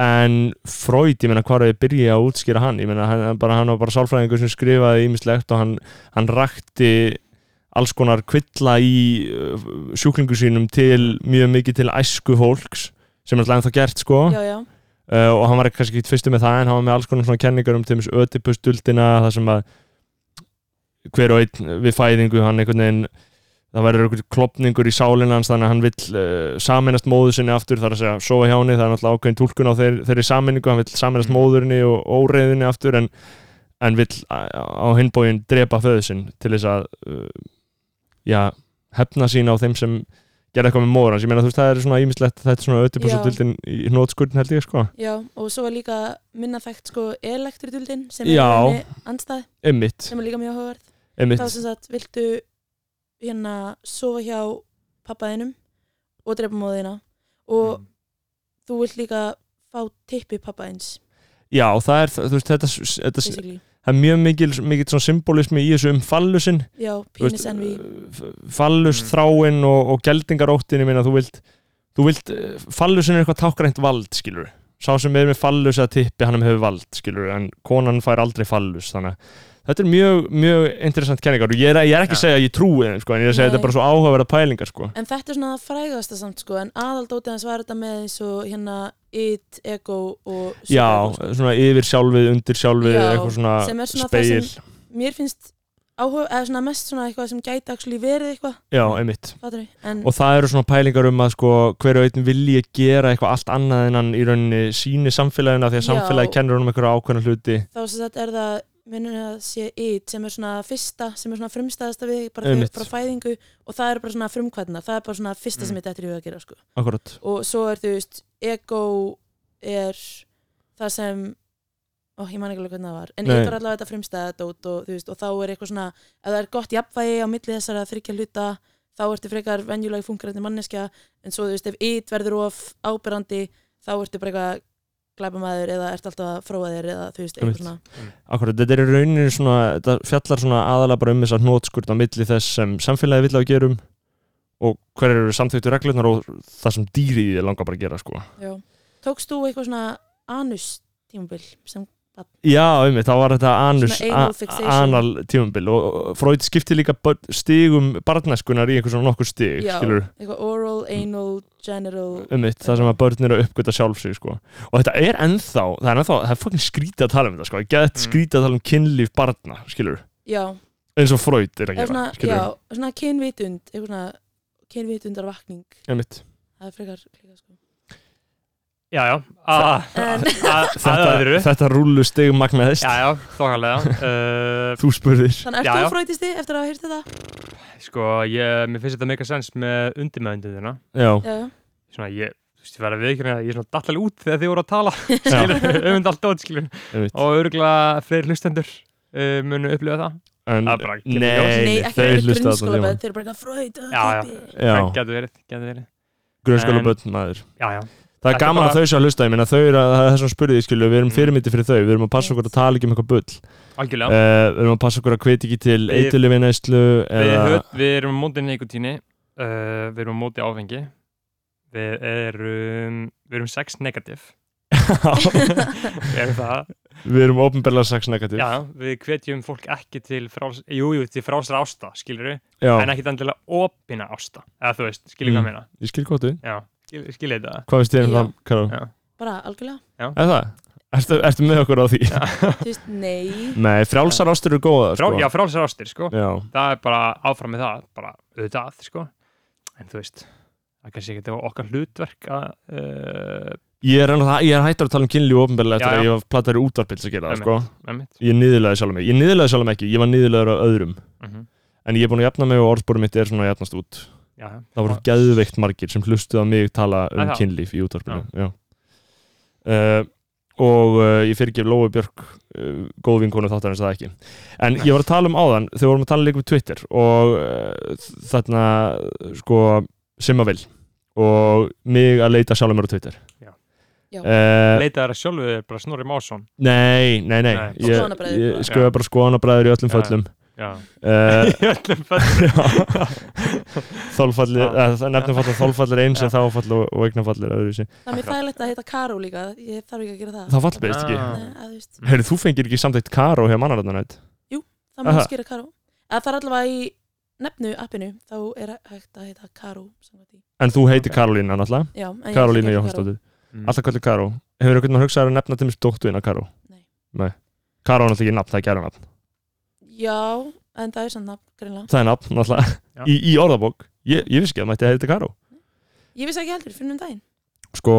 S1: en Freud, ég meina hvað er ég byrja að útskýra hann ég meina hann, hann bara, hann var bara sálfræðingur sem skrifaði ímislegt og hann, hann rakti alls konar kvilla í uh, sjúklingu sínum til mjög mikið til æsku fólks sem er alltaf ennþá gert sko
S9: já, já,
S1: uh, og hann var ekki- kannski ekki fyrstu með það en hann var með alls konar svona kenningar um til þess ötipustuldina það sem að hver og einn við fæðingu hann einhvern veginn það verður einhvern klopningur í sálinn hans þannig að hann vill uh, saminast móður sinni aftur þar að segja sofa hjá henni það er náttúrulega ákveðin tólkun á þeir, þeirri saminningu hann vill saminast
S3: Mm.
S1: móðurinni og óreiðinni aftur en, en vill á- á hinbógin drepa föðu sinn til þess að uh, já, hefna sín á þeim sem gerði eitthvað með móður hans ég meina þú veist það er svona ímislegt þetta er svona ötipustuldin í nótskurðin held ég sko
S9: já og svo er líka minna þekkt sko elektriduldin sem
S1: Já.
S9: er andstæð
S1: Einmitt,
S9: sem er líka mjög áhugaverð þá
S1: einmitt,
S9: sem sagt, viltu hérna sofa hjá pappaðinum
S1: Mm.
S9: og drepa móðina og þú vilt líka fá tippi pappaðins
S1: já, það er, þú veist, þetta, þetta
S9: basically.
S1: það er mjög mikil, mikil svona symbolismi í þessu um fallusin
S9: Já,
S1: Þú uh,
S9: penis envy.
S1: fallus,
S3: Mm.
S1: þráin og, og geldingaróttinu minna, þú vilt, þú vilt eh, fallusin er eitthvað tákrænt vald, skilur sá sem er með fallus að tippi, hann hefur vald skilur, en konan fær aldrei fallus þannig að þetta er mjög, mjög interessant kenningar og ég er, ég er ekki að
S3: Já.
S1: segja að ég trúi þeim, sko, en ég er að segja að þetta
S9: Nei.
S1: er bara svo áhugaverða pælingar, sko
S9: En þetta er svona það frægasta samt sko en aðaldótið hans var þetta með eins og hérna it, ego og super
S1: Já,
S9: ego, sko.
S1: svona yfir sjálfið, undir sjálfið
S9: Já,
S1: eitthvað svona,
S9: sem er svona það
S1: speil
S9: Mér finnst áhuga, eða svona mest svona eitthvað sem gæti actually verið eitthvað,
S1: Já, einmitt
S9: fattur við en,
S1: Mm. Og það eru svona pælingar um að sko hver og einn vilji gera eitthvað allt annað en hann í rauninni síni samfélagina því að
S9: Já.
S1: samfélagi kennur honum einhverja ákveðna hluti
S9: þá sem sagt er það minnur að sé ít sem er svona fyrsta sem er svona frumstæðasta við bara
S1: Einmitt.
S9: þegar frá fæðingu og það er bara svona frumkvæðnar það er bara svona fyrsta
S1: Mm.
S9: sem ég dættir í huga að gera sko.
S1: Akkurat
S9: og svo er þú veist ego er það sem ó, ég man ekki alveg hvernig það var en
S1: Nei.
S9: ít var allavega þetta frumstæða dót og, þú veist, og þá er eitthvað svona ef það er gott jafnvægi á milli þessara þryggja hluta þá ertu frekar venjulegi funkarandi manneskja en svo þú veist ef ít verður of ábyrrandi þá ertu bara eitthvað glæpamaður eða ert alltaf að fróa þér eða þú veist
S1: Einmitt.
S9: eitthvað svona
S1: Akkurat, þetta er í rauninni svona þetta fjallar svona aðalega bara um þess að nótskurt á milli þess sem samfélagi vill að við gerum og hver eru samþyktu reglurnar og það sem dýrið er langar bara að gera sko
S9: Já. Tókst þú eitthvað svona anus tímabil sem
S1: Já, einmitt, þá var þetta anus,
S9: Svona anal
S1: a-
S9: fixation.
S1: anal tímumbil og og Freud skipti líka börn- stigum barnæskunar í einhver svona nokkur stig,
S9: Já.
S1: skilur
S9: eitthvað oral, anal, general
S1: einmitt, það um sem að börn eru að uppgöta sjálf sig sko. og þetta er ennþá, það er ennþá það er fokkin skrítið að tala um þetta, sko. gett
S3: Mm.
S1: skrítið að tala um kynlíf barna, skilur
S9: Já,
S1: eins og Freud er að
S9: eða
S1: gera,
S9: svona,
S1: skilur
S9: já, svona kynvitund eitthvað svona kynvitundarvakning
S1: einmitt,
S9: það er frekar klika sko
S3: Já, já, að
S9: En-
S3: að öðru
S1: þetta, þetta rúlu stig magnaðist,
S3: Já, já, þokkalega uh,
S1: þú spurðir
S3: Já,
S9: Þannig ert
S3: já.
S9: þú frætisti eftir að hafa hýrt þetta?
S3: Sko, ég, mér finnst þetta meika sens með undirmeðundið þina
S1: já,
S9: Já, já.
S3: Svona, ég, þú veist, ég verða viðkjörna Ég er svona dattalega út þegar þið voru að tala
S1: um
S3: Skilur, öfund allt dót, skilur
S1: einmitt
S3: Og örgulega fleiri hlustendur uh, munu upplifa það
S1: en,
S3: Það er bara að
S1: nei,
S3: gera ljós.
S9: Nei,
S1: nei,
S9: ekki
S1: þau
S9: alveg
S1: hlusta alltaf
S9: grunnskóla
S1: tíma
S9: þeir eru bara eitthvað fröyd
S3: Já, já. Það
S1: já,
S3: getur verið, getur verið
S1: grunnskóla börn maður
S3: Já, já,
S1: Það er
S3: Þetta er
S1: gaman
S3: bara-
S1: að þau sé að hlusta, ég meina þau eru að það er svona spurðið, skilju, við erum
S3: Mm.
S1: fyrirmyndi fyrir þau, við erum að passa okkur að tala ekki um eitthvað bull, uh,
S3: algjörlega
S1: við erum að passa okkur að hviti ekki til
S3: Við-
S1: eitulvinæslu
S3: við,
S1: Eh, eða,
S3: höf, við erum á móti neikotíni uh, Við erum á móti áfengi Við erum Við erum sex negativ Við erum það
S1: við erum ofnbærlega sex negativ.
S3: Já, við hvetjum fólk ekki til fráls, jú, jú, til frálsra ásta, skilur við,
S1: Já,
S3: en ekki endilega opina ásta, eða þú veist, skilur
S1: Mm.
S3: hvað mm. meina,
S1: ég skil gott við.
S3: já, skil, skilur þetta.
S1: Hvað veist þér um
S9: Já.
S1: það, Karol?
S3: Já.
S9: Bara algjörlega
S1: Er það? Ertu, ertu með okkur á því?
S9: Þú veist, nei
S1: Nei, frjálsar ástur eru góða,
S3: Frá,
S1: sko.
S3: Já, frálsra ástir, sko,
S1: Já.
S3: það er bara áfram með það, bara auðvitað, sko, en þú veist, það kannski ekki þetta okkar hlutverk að, uh,
S1: Ég er, enn- ég er hættur að tala um kynlíf ofnbærlega
S3: Já,
S1: eftir að
S3: já.
S1: ég var platar í útvarpils að gera það, sko.
S3: með mitt,
S1: Ég niðurlega sjálf mig. Ég niðurlega sjálf mig ekki, ég var niðurlegaður af öðrum.
S3: mm
S1: En ég er búin að jafna mig og orðspórum mitt er svona að jafnast út.
S3: já, já.
S1: það voru geðveikt margir sem hlustuð á mig tala um
S3: Æ, já.
S1: kynlíf í útarpinu já. Uh, og uh, ég fyrirgef Lóu Björk uh, góð vinkonu þáttarins það ekki en ég var að tala um áðan þegar vorum að tala líka um Twitter og uh, þarna sko sem að vil og mig að leita sjálfum mér á Twitter
S3: Já.
S9: Já.
S1: Eh,
S3: Leitað þeirra sjálfu er bara Snorri Másson,
S1: nei, nei, nei,
S3: Nei.
S1: ég,
S9: Skoðanabræður
S1: ég
S9: bara.
S1: skoða bara skoðanabræður í öllum
S3: Já.
S1: föllum
S3: já,
S1: uh,
S3: í öllum fættur,
S1: þolfallir,
S3: Já.
S1: eh, nefnum falla þolfallir eins en þáfall og, og eignafallir öðruvísi.
S9: Það er mér þægilegt að heita Karó líka Ég þarf ekki að gera það
S1: það fallbeist
S3: Ah.
S1: ekki
S9: Nei, að, þú veist,
S1: Heyrðu, þú fengir ekki samtækt Karó hjá mannaröðnarnætt
S9: Það má
S1: Aha.
S9: skýra Karó Að það er allavega í nefnu appinu þá er hægt að heita Karó samkvæmt því.
S1: En þú heitir Karolína náttúrulega
S9: Já, en ég ætla ekki að
S1: Karolína
S9: heita
S1: Jóhannsdóttir Alltaf kallir Karó Hefur einhvern veginn hugsað að nefna til mér dóttuðina Karó?
S9: Nei.
S1: Nei Karó er náttúrulega ekki nafn, það er gæra nafn
S9: Já, en það er samt nafn, greinlega.
S1: Það er nafn
S3: Já.
S1: náttúrulega í, í orðabók Ég, ég vissi ekki að mætti að heita Karó
S9: Ég vissi ekki heldur, finnum um daginn.
S1: Sko,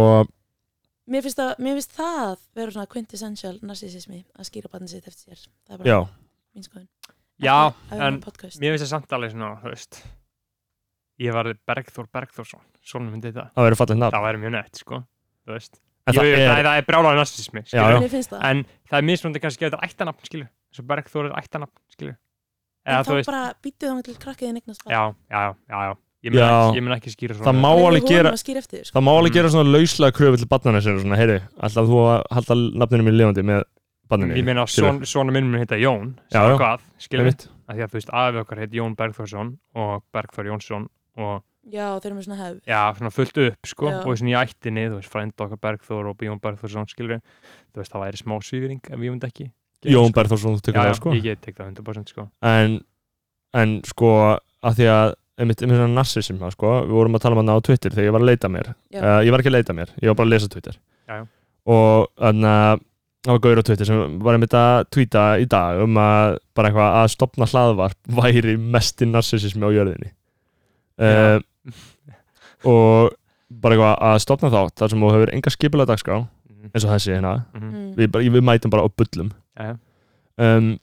S9: Mér finnst, að, mér finnst það vera svona quintessential narcissismi að skýra barnið sitt eftir sér. Það er bara
S1: já
S9: mín skoðun.
S3: Já,
S9: Ekki að vera
S3: en
S9: með podcast.
S3: mér finnst það samt alveg svona, þú veist, ég var Bergþór Bergþórsson, svona myndi þetta,
S1: Það verður fallið nafn
S3: það væri mjög nett, sko, þú veist,
S1: En
S3: jú,
S1: það
S3: jú, það,
S1: er
S3: það er brjálæði narsismi,
S1: Já, já.
S3: skilur,
S9: Mér finnst það.
S3: en það er mismunandi kannski að þetta er ættanafn, skilur, eins og Bergþór er ættanafn, skilur,
S9: En
S3: eða
S9: þá
S3: þú veist,
S9: bara býttu þá til krakkiðin eignast
S3: já, já, já, já, Ég mun,
S1: Já.
S3: ekki, ég mun ekki skýra svona
S1: það má
S9: Við
S1: alveg
S9: vorum
S1: gera
S9: að skýra eftir, sko.
S1: það má alveg
S3: Mm.
S1: gera svona lauslega kröfu til barnana sinna svona, heyri, alltaf þú að halda nafninu mínu lifandi með barninu
S3: Ég meina,
S1: Skilur.
S3: son, svona minn mun heita Jón
S1: Já,
S3: sem
S1: já.
S3: hvað, skilur við
S1: Einmitt.
S3: að því að þú veist, afi okkar heit Jón Bergþórsson og Bergþór Jónsson og
S9: Já, þeir eru með svona hefð.
S3: já, svona fullt upp, sko
S9: Já.
S3: og svona í ættinni, þú veist, frænda okkar Bergþór og Jón Bergþórsson, skilur við þú veist, það væri smá svífing, ef ég myndi ekki gera,
S1: Jón
S3: sko.
S1: Berðarsson þú
S3: Já,
S1: tekur
S3: já,
S1: það sko
S3: ég get tekið það 100% sko
S1: en, en sko að því að einmitt um hérna narsism sko, við vorum að tala um hann á Twitter þegar ég var að leita mér
S9: Já.
S1: uh, ég var ekki að leita mér, ég var bara að lesa Twitter
S3: Já, já.
S1: og þannig að það var gauður á Twitter sem var einmitt að tweeta í dag um að bara eitthvað að stopna hlaðvarp væri mesti narsismi á jörðinni uh, og bara eitthvað að stopna þátt þar sem þú hefur enga skipulega dagskrá
S3: Mhm,
S1: eins og þessi hérna,
S3: mhm,
S9: Mm.
S1: við, bara, við mætum bara á bullum
S3: já, já.
S1: um,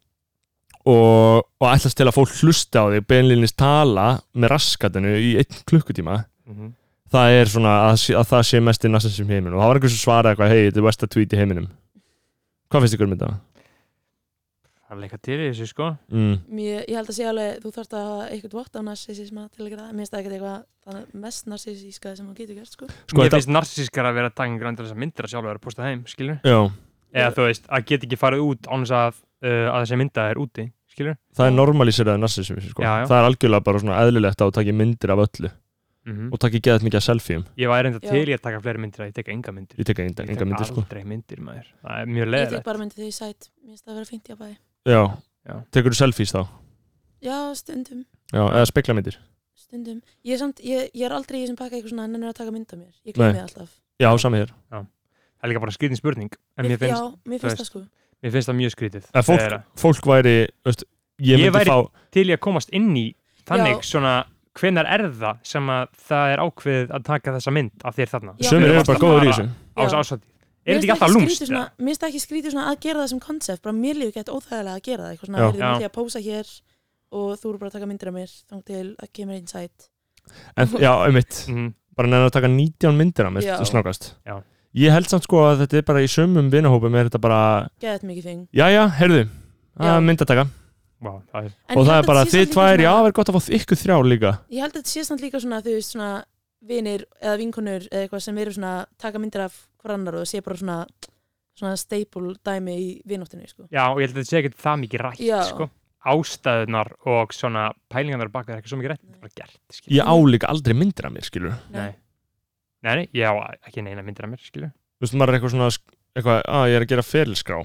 S1: og, og ætlast til að fólk hlusta á þig beinlíðinist tala með raskatinu í einn klukkutíma
S3: mhm,
S1: það er svona að, sé- að það sé mest í næsta sem heiminum og það var einhver sem svaraði eitthvað hei, þetta er besta tweet í heiminum hvað finnst ykkur um þetta?
S3: Það er leika til í þessu sko
S1: Mm.
S9: Mér, ég held að sé alveg, þú þarft að hafa eitthvað vott á narsisisma til að gera það. Mér finnst það ekkert eitthvað þannig mest narsisíska sem hún getur gert, sko.
S1: Sko,
S3: Mér
S1: þetta-
S3: finnst narsískar að vera að taka grann til þess að myndir að sjálfur að posta heim, skilur
S1: Já,
S3: Eða þú veist, að geta ekki farið út án þess að, uh, að þessi mynda er úti, skilur
S1: það er normaliseraði narsismi sko.
S3: Já, já.
S1: það er algjörlega bara svona eðlilegt að taka myndir af öllu
S3: mm
S1: og taka geðað mikið af selfieum
S3: Ég var reynda
S9: Já.
S3: til í að taka fleiri myndir að ég teka enga myndir
S1: ég tek enga, enga myndir sko.
S3: aldrei myndir maður Það er mjög
S9: Ég tek
S3: leðilegt
S9: bara myndi þau sæt. Mér finnst það vera fínt í að bæði.
S1: Já,
S3: Já.
S1: tekur þú selfies þá?
S9: Já, stundum,
S1: Já, eða speklamyndir?
S9: stundum. Ég er, samt, ég, ég er aldrei í þessum pakka eitthvað svona en er að taka mynd af mér.
S1: Nei.
S9: Ég glem ég alltaf.
S1: Já, sami hér
S3: Það er líka bara skritin spurning En mér finnst,
S9: Já, mér
S3: þú
S9: finnst það,
S3: veist,
S9: sko.
S3: mér finnst það mjög skrítið
S1: Ef fólk,
S3: Þegar-
S1: fólk væri, veist, ég
S3: Ég
S1: myndi
S3: væri-
S1: fá
S3: Til í að komast inn í þannig
S9: Já.
S3: svona Hvenar er það sem að það er ákveðið að taka þessa mynd af þér þarna
S9: Já.
S1: Sumir
S9: Þú
S1: eru
S9: varst
S1: bara
S9: að
S1: góður í
S3: fara.
S1: þessu
S3: á þessu
S9: Já.
S3: ásvætti Er þetta
S9: Mér
S3: ekki alltaf
S9: finnst
S3: lúmst?
S9: skrítið svona- Mér finnst það ekki skrítið svona að gera það sem konsept bara mér lífi gett óþægilega að gera það eitthvað
S1: Já.
S9: svona, heyrðu,
S3: Já.
S9: nú ætla ég að pósa hér og þú eru bara að taka myndir af mér þang til að kemur einn sæt
S1: En, já, einmitt,
S3: Mm,
S1: bara nefnir að taka 19 myndir af mér
S9: Já.
S1: snákast
S3: Já.
S1: Ég held samt sko að þetta er bara í sömum vinahópum er þetta bara,
S9: geðað mikið þing
S1: jæja, heyrðu
S9: Já.
S1: að myndataka
S3: vá, það er
S9: En
S1: og
S9: ég
S1: það
S9: held
S1: er
S9: að
S1: bara
S9: þetta sé
S1: þið
S9: samt líka
S1: tvær, já,
S9: svona-
S1: verður gott að fá ykkur þrjá líka
S9: Ég held að þetta sé samt líka svona þú veist svona vinir eða vinkonur eða eitthvað sem eru svona að taka myndir af hver annar og það sé bara svona svona staple dæmi í vinóttinu sko.
S3: Já, og ég held að þetta sé ekkert það mikið rætt,
S9: Já.
S3: sko. Ástæðunar og svona pælingarnar baka er ekki svo mikið rætt, þetta er bara gert, skilur.
S9: Mm.
S1: Ég á líka aldrei myndir af mér, skilur
S3: Nei. Nei, nei, ég á ekki neina myndir af mér, skilur.
S1: Þú veist, maður er eitthvað svona, sk- eitthvað, að ég er að gera ferilskrá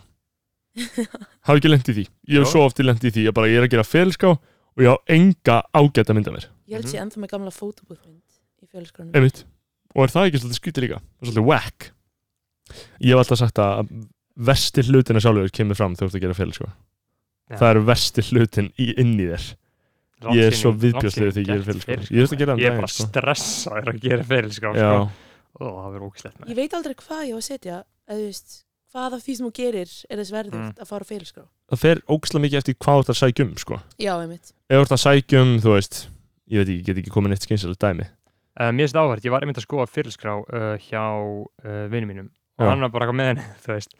S1: Haf ekki lent í því Ég hef
S3: Jó.
S1: svo oft lent í því, ég bara, ég er að gera ferilskrá og ég á enga ágæta mynd af mér
S3: Mhm.
S9: Ég held að sé ennþá með gamla fótobúðmynd í fjöluskránum
S1: Einmitt. Og er það ekki svolítið skrítið líka? Og Svolítið whack. Ég hef alltaf sagt að versti hlutina sjálfur kemur fram þegar þú ert að gera félag, sko.
S3: Já.
S1: Það eru versti hlutin í, inn í þér. Ég er svo viðbjóðslegur þegar ég gera feril, sko. Ég veist að gera hann
S3: Ég er
S1: daginn,
S3: bara
S1: sko.
S3: stressaður að gera feril, sko.
S1: Já,
S3: Ó, það verður ógislegt með.
S9: Ég veit aldrei hvað ég á að setja eða þú veist hvað af því sem þú gerir er þess verðugt
S3: Mm.
S9: að fara á fjöluskrá
S1: það fer ógslag mikið eftir hvað þú ert að sækja um, sko.
S9: Já, einmitt
S1: Ef þú ert að sækja um, þú veist, ég veit ekki, ég get ekki komin eitt skynsalegt dæmi.
S3: Uh, mér finnst áhverð, ég var einmitt að skoða fyrirskrá uh, hjá uh, vinnu mínum og
S1: Já.
S3: hann var bara eitthvað með henni, þú veist,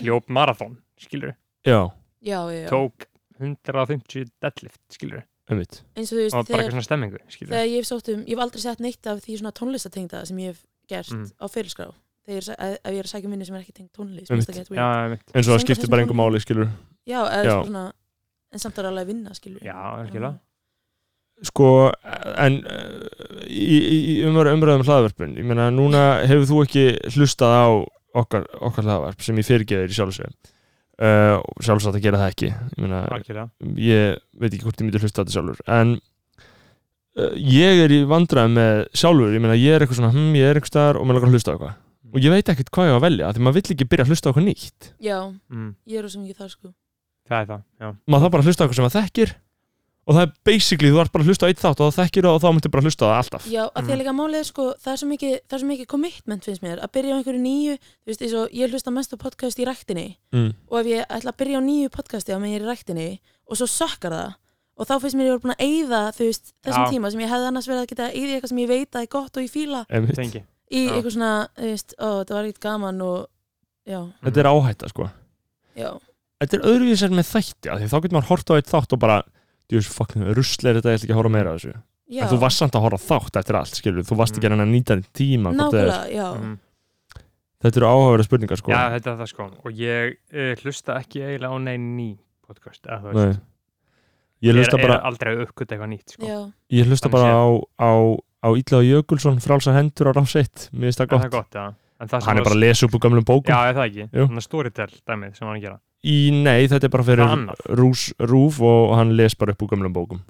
S3: hljóp marathón, skilur,
S1: Já,
S9: Já, já, já.
S3: tók 150 deadlift, skilur,
S1: einmitt.
S9: eins og þú
S3: og bara
S9: veist
S3: eitthvað
S9: þegar,
S3: svona stemmingu, skilur.
S9: þegar ég hef sótt um, ég hef aldrei sett neitt af því svona tónlistatengda sem ég hef gert
S3: Mm.
S9: á fyrirskrá þegar ég er að- ef ég er að sækja minni sem er ekki tengd tónlist mér finnst það
S1: Einmitt.
S9: gett
S3: Já,
S9: weird.
S3: einmitt.
S1: En svo það
S9: Syngja
S1: skiptir
S9: þessum
S1: bara engu
S9: tónum.
S1: máli, skilur.
S9: Já, eða
S1: Já.
S9: svona en samt er alveg að vinna, skilur
S3: Já, algjörlega.
S1: sko en eh, í, í, í umræðum, umræðum hlaðvarpun ég meina núna hefur þú ekki hlustað á okkar, okkar hlaðvarp sem ég fyrirgeðir í sjálfsveg uh, sjálfsagt að gera það ekki ég meina
S3: algjörlega.
S1: ég veit ekki hvort ég myndi hlusta á þetta sjálfur en uh, ég er í vandræðum með sjálfur ég meina ég er eitthvað svona hm, ég er eitthvað staðar og maður lakar að hlusta á eitthvað og ég veit ekkert hvað ég á að velja af því maður vill ekki byrja að hlusta á eitthvað nýtt
S9: Já,
S3: Mm,
S9: ég er rosa mikið þar sko
S3: það er það, já.
S1: maður þarf bara að hlusta á eitthvað sem maður þekkir og það er basically þú ert bara að hlusta á eitt þátt og það þekkir það og þá myndir bara að hlusta á það alltaf
S9: Já, af
S3: Mm.
S9: því að líka málið er sko, það er svo mikið, það er svo mikið commitment finnst mér, að byrja á einhverju nýju þú veist, eins og ég hlusta mest á podcast í ræktinni
S1: mm.
S9: og ef ég ætla að byrja á nýju podcasti á meðan ég er í ræktinni og svo sökkar það og þá finnst mér ég voru búin að eyða þú veist, þessum
S3: Já.
S9: tíma sem ég hefði annars verið að geta að eyða í eitthvað sem ég veit að er gott og ég fíla
S1: Einmitt.
S3: Tengi.
S9: í
S3: Já.
S9: eitthvað svona, þú veist, ó, það var ekkert gaman og já,
S1: Þetta er áhætta sko
S9: já,
S1: Þetta er öðruvísar með þætti af því þá getur maður hort á eitt þátt og bara djús, fucking, rusl er þetta, ég ætla ekki að horfa meira á þessu
S9: já,
S1: en þú varst samt að horfa á þátt eftir allt skilur, þú varst ekki
S3: Mm.
S1: að reyna að nýta þinn tíma hvort það er-
S9: nákvæmlega, já
S1: Mm,
S3: Mhm.
S1: þetta eru áhugaverða spurningar sko
S3: Já, þetta er það sko og ég uh, hlusta ekki eiginlega á neinn ný podcast eða, þú
S1: Nei.
S3: veist.
S1: ég hlusta
S3: er,
S1: bara,
S3: er aldrei að uppgöta eitthvað nýtt sko.
S9: já,
S1: ég hlusta
S3: þannig
S1: bara á, á, á Ítla og Jökulsson frálsa hendur á rásitt, mér finnst það gott,
S3: En það er gott ja. en það sem
S1: hann er
S3: var-
S1: bara að lesa upp úr gamlum bókum
S3: já, er það ekki,
S1: Jú.
S3: þannig að storytell dæmið sem hann er að gera
S1: í nei, þetta er bara
S3: Það
S1: fyrir
S3: annað.
S1: rús, rúf og hann les bara upp úr gamlum bókum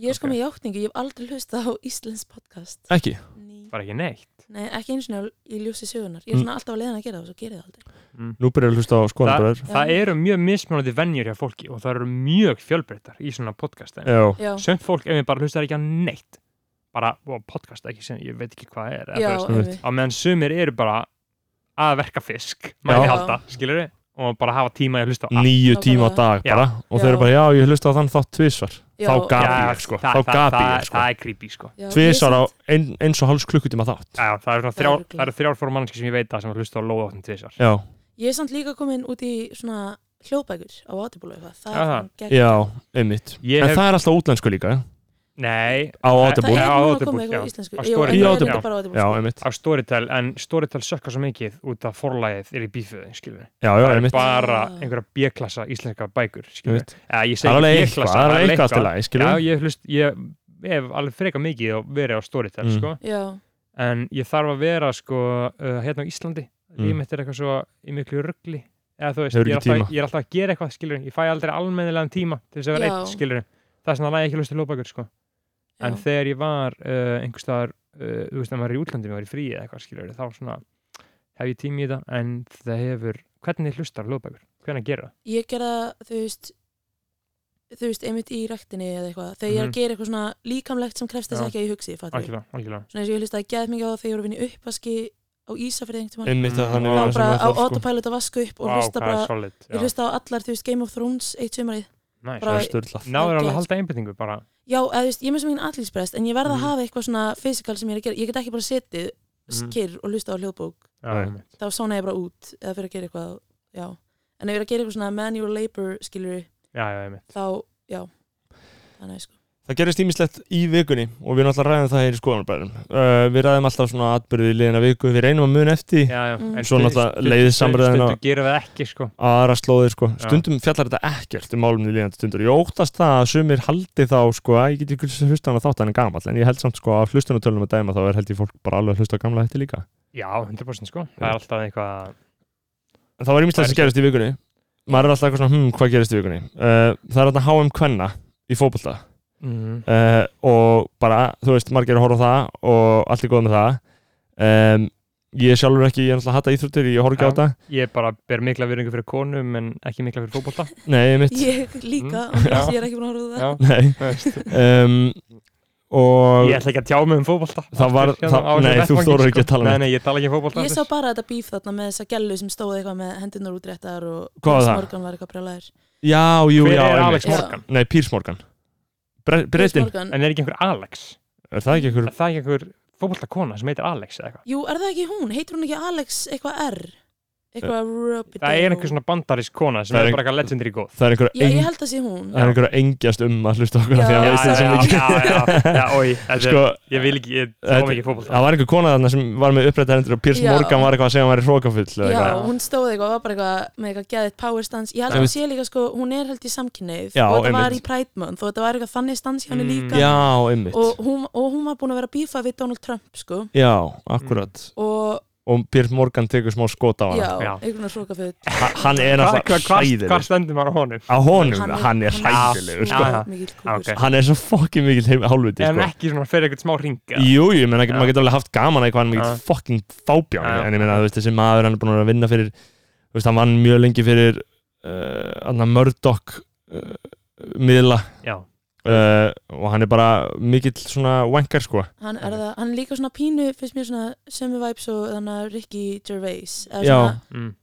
S9: ég er sko
S3: Ok.
S9: með játningu, ég hef aldrei hlustað á Íslands podcast
S1: ekki,
S9: Ný.
S3: bara ekki neitt
S9: Nei, ekki eins og í ljósi sögunar
S3: Mm.
S9: ég er svona alltaf að leiðan að gera það og svo gerir það aldrei
S1: nú byrjar að hlusta á skoðanbræður
S3: það eru mjög mismunandi venjur hjá fólki og það eru mjög fjölbreyttar í svona podcast yeah.
S1: já,
S9: já,
S3: sönd fólk ef við bara hlustar ekki á neitt bara, og podcast ekki sem ég veit ekki hvað er eða
S9: já,
S3: þú veist.
S1: einmitt.
S9: einmitt.
S3: á meðan sumir eru bara að verka fisk mæli
S9: Já.
S3: halda, skilur og bara hafa tíma í að hlusta á allt.
S1: nýju tíma á
S9: Nákvæmlega.
S1: dag
S3: Já.
S1: bara og þau
S9: Já.
S1: eru bara, já, ég hlusta á þann þátt tvisvar
S9: Já,
S1: þá
S9: og-
S1: gapi
S3: Já,
S1: ég, sko,
S3: það-
S1: þá
S3: það-
S1: gapi
S3: það-
S1: ég, sko
S3: það er creepy sko
S9: Já, ég
S1: tvisvar á
S9: samt-
S1: ein, eins og hálfs klukkutíma þátt
S3: Já, það eru svona
S9: Það er
S3: þrjár,
S9: ruglað.
S3: það eru þrjár fór mannski sem ég veit að sem að hlusta á lóðáttin tvisar.
S1: já,
S9: ég er samt líka komin út í svona hljóðbækur á Audible og eitthvað það
S3: Aha.
S9: er gegn
S1: já, einmitt
S3: Ég
S1: en
S3: hef,
S1: það er alltaf útlensku líka
S3: nei,
S1: á
S9: það
S1: Audible,
S9: er
S3: Já,
S9: núna að
S3: Audible,
S9: koma
S3: já.
S9: eitthvað á íslensku
S3: Á
S9: Jú,
S3: Storytel.
S9: en það
S1: Í
S9: er
S1: Audible.
S9: reyndar bara á Audible
S1: já,
S9: sko.
S1: einmitt
S3: á Storytel, en Storytel sökkar svo mikið út af forlægið er í bífiði, skilur við.
S1: já, já,
S3: Það er
S1: einmitt
S3: bara
S9: Ah.
S3: einhverja B-klassa íslenska bækur, skilur við.
S1: Einmitt.
S3: Eða
S1: það er
S3: ég segi
S1: alveg
S3: ekki
S1: eitthvað,
S3: B-klassa,
S1: það er alveg eitthvað til að,
S3: Já,
S1: skilur
S3: ég hlust, ég, ég hef alveg freka mikið og verið á Storytel,
S1: Mm.
S3: sko.
S9: já,
S3: En ég þarf að vera, sko, uh, hérna á Íslandi.
S1: Mm.
S3: Ég mitt er eitthvað svo í miklu ruggli. Eða þú veist,
S1: Hefur
S3: ég
S1: ekki
S3: er, alltaf,
S1: tíma.
S3: ég er alltaf að gera eitthvað, skilur við. Ég fæ aldrei almennilegan tíma til þess að vera
S9: Já.
S3: eitt, skilur við. Það er svona að lægi ekki hlusta lóðbækur, sko.
S9: já.
S3: en þegar ég var uh, einhvers staðar, uh, þú veist, ef maður er í útlandi maður er í fríi eða eitthvað skilur, þá svona hef ég tími í það, en það hefur hvernig hlustar hljóðbækur, hvernig gera það
S9: ég gera það, þú veist þú veist, einmitt í rektinni eða eitthvað þegar ég er
S3: Mhm.
S9: að gera eitthvað svona líkamlegt sem krefst þess
S3: Já.
S9: ekki að ég hugsi, fattu
S3: algjörlega, algjörlega,
S9: svona eins og ég hlustaði gæð mikið á það þegar ég voru að vinna upp vaski á Ísafrið einhvern tímann
S1: einmitt að þannig
S3: Þá
S9: þá
S1: var
S9: bara
S1: sem
S9: á
S1: að það,
S9: autopilot að vaska upp og
S3: sko. Vá, hvað er
S9: hlusta bara
S3: solid
S9: ég hlusta á allar, þú veist, Game of Thrones eitt sumarið
S3: nice.
S9: bara-
S1: sko störlað
S3: náður alveg
S9: ágætt.
S3: að halda einbyrtingu bara,
S9: já, eða þú veist, ég er með sem engin atlýsprest en ég verð að
S3: Mhm.
S9: hafa eitthvað svona physical sem ég er að gera ég get ekki bara setið skyrr og hlusta á hljóðbók
S3: já,
S1: Nei.
S3: einmitt.
S9: þá svona ég bara út eða fyrir að gera eitthvað, já en ef ég er að gera eitthvað svona manual labor skilur
S3: já, já, einmitt.
S9: þá, já það er næst sko
S1: Það gerist ímislegt í vikunni og við náttúrulega ræðum það hér í skoðanabæðum uh, Við ræðum alltaf svona atbyrði í liðina viku við reynum að muna eftir
S3: Já, já, en
S9: Mm.
S1: Svo
S3: stund-
S1: náttúrulega
S3: stund-
S1: leiðir
S3: stund-
S1: samræðan á-
S3: stundum gerum við ekki sko
S1: að aðra slóðir sko.
S3: Já.
S1: stundum fjallar þetta ekkert um málumni líðandi stundur ég óttast það að sumir haldi þá sko, að ég get ekki hlustan að þátt hann er gamall en ég held samt sko að hlustunatölum að dæma þá er held ég fólk bara alveg að hlusta á gamla þetta líka
S3: já, 100% sko, það er alltaf eitthvað
S1: en það var ímislegt sem gerist í vikunni maður er alltaf eitthvað svona, hm, hvað gerist í vikunni uh, það er alltaf HM Kvenna í fótbolta
S3: mm.
S1: uh, og bara, þú veist, margir að horfa á það og allt er góð með það um, ég sjálfur ekki, ég er náttúrulega að hata íþróttir ég horf ekki á
S3: Já.
S1: þetta,
S3: ég bara ber mikla virðingu fyrir konum en ekki mikla fyrir fótbolta
S1: nei, mitt
S9: ég líka,
S3: Mm.
S9: annars
S3: Já.
S9: ég er ekki búin að horfa á það
S3: Já.
S1: nei, um, og
S3: ég ætla ekki að tjá mig um fótbolta
S1: Það var-
S3: Aftur,
S1: það-
S3: á þessum
S1: nei, þú
S3: vettvangi, sko.
S1: þorir ekki að tala um
S3: nei, nei, ég tala ekki um fótbolta
S9: Ég
S3: aftur.
S9: sá bara þetta bíf þarna með þessa gellu sem stóði eitthvað með hendunar útréttar og
S1: Hvað var það?
S9: Morgan var eitthvað brjálæður.
S1: Já, jú,
S3: Hver
S1: já,
S3: er
S1: einmitt.
S3: Alex
S9: Já.
S3: Morgan?
S1: Nei, Pírs Morgan Bre
S9: Piers
S1: Breitin,
S9: Morgan.
S3: En er ekki einhver Alex?
S1: er það ekki einhver
S3: Er það ekki einhver fótboltakona sem heitir Alex eða eitthvað?
S9: Jú, er það ekki hún? Heitir hún ekki Alex eitthvað R? Eitthvað Rubidoux?
S3: Það er einhver svona bandarísk kona sem
S1: Það er
S3: er
S1: ein-
S3: bara eitthvað legendary góð.
S1: Það er einhver,
S9: Já,
S1: eng,
S9: ég held að sé hún.
S1: það er einhver að engjast um að hlusta okkur
S9: Já.
S1: af því að
S9: Já,
S1: hann veist það
S9: já,
S1: sem ekki
S3: já, já, já, oi, þetta
S1: Sko,
S3: er, ég vil ekki, ég tóm
S1: þetta-
S3: ekki fótbolta.
S1: það var einhver kona þarna sem var með upprættar hendur og Pírs
S9: Já.
S1: Morgan var eitthvað að segja að hann væri hrókafull eða
S9: Já,
S1: eitthvað.
S9: hún stóð eitthvað og var bara eitthvað með eitthvað geðið power stance. Ég held að hún sé líka sko, hún er held í samkynneið
S1: Já,
S9: og þetta var
S1: einmitt.
S9: í Pride Month og þetta var eitthvað þannig stans hjá henni
S3: Mm.
S9: líka.
S1: já, einmitt
S9: Og hún, og hún var búin að vera bífað við Donald Trump sko
S1: Já, akkurat
S9: og
S1: Og Pírs Morgan tekur smá skot á
S9: já,
S1: hana
S3: Já.
S9: einhvern veginn svokaföld.
S1: Ha- Hann er
S3: Hvað,
S1: alltaf
S3: hvað, hvað, hvað
S1: hræðilegur
S3: stendur maður á honum?
S1: Á honum,
S9: Hann er-
S1: hann er
S9: hann er-
S1: hræðilegur
S3: Já,
S1: sko.
S3: já.
S9: Mikill
S3: Já,
S9: kúkur.
S3: ok.
S1: Hann er svo fokkin mikill heim- hálfviti
S3: Er hann
S1: sko.
S3: ekki svona fyrir eitthvað smá ringa?
S1: Jú, jú, ég menna ekki,
S3: Já.
S1: maður getur alveg haft gaman að eitthvað hann
S3: Já.
S1: mikið fucking fábján
S3: Já.
S1: en ég meina, þú veist, þessi maður hann er búin að vera að vinna fyrir þú veist, hann vann mjög lengi fyrir uh, Murdoch uh, miðla
S3: Já.
S1: uh, og hann er bara mikill svona wankar, sko
S9: hann er það, hann er líka svona pínu finnst mér svona sömu vibes og þannig að Ricky Gervais eða
S1: Já.
S9: svona,
S3: Mm.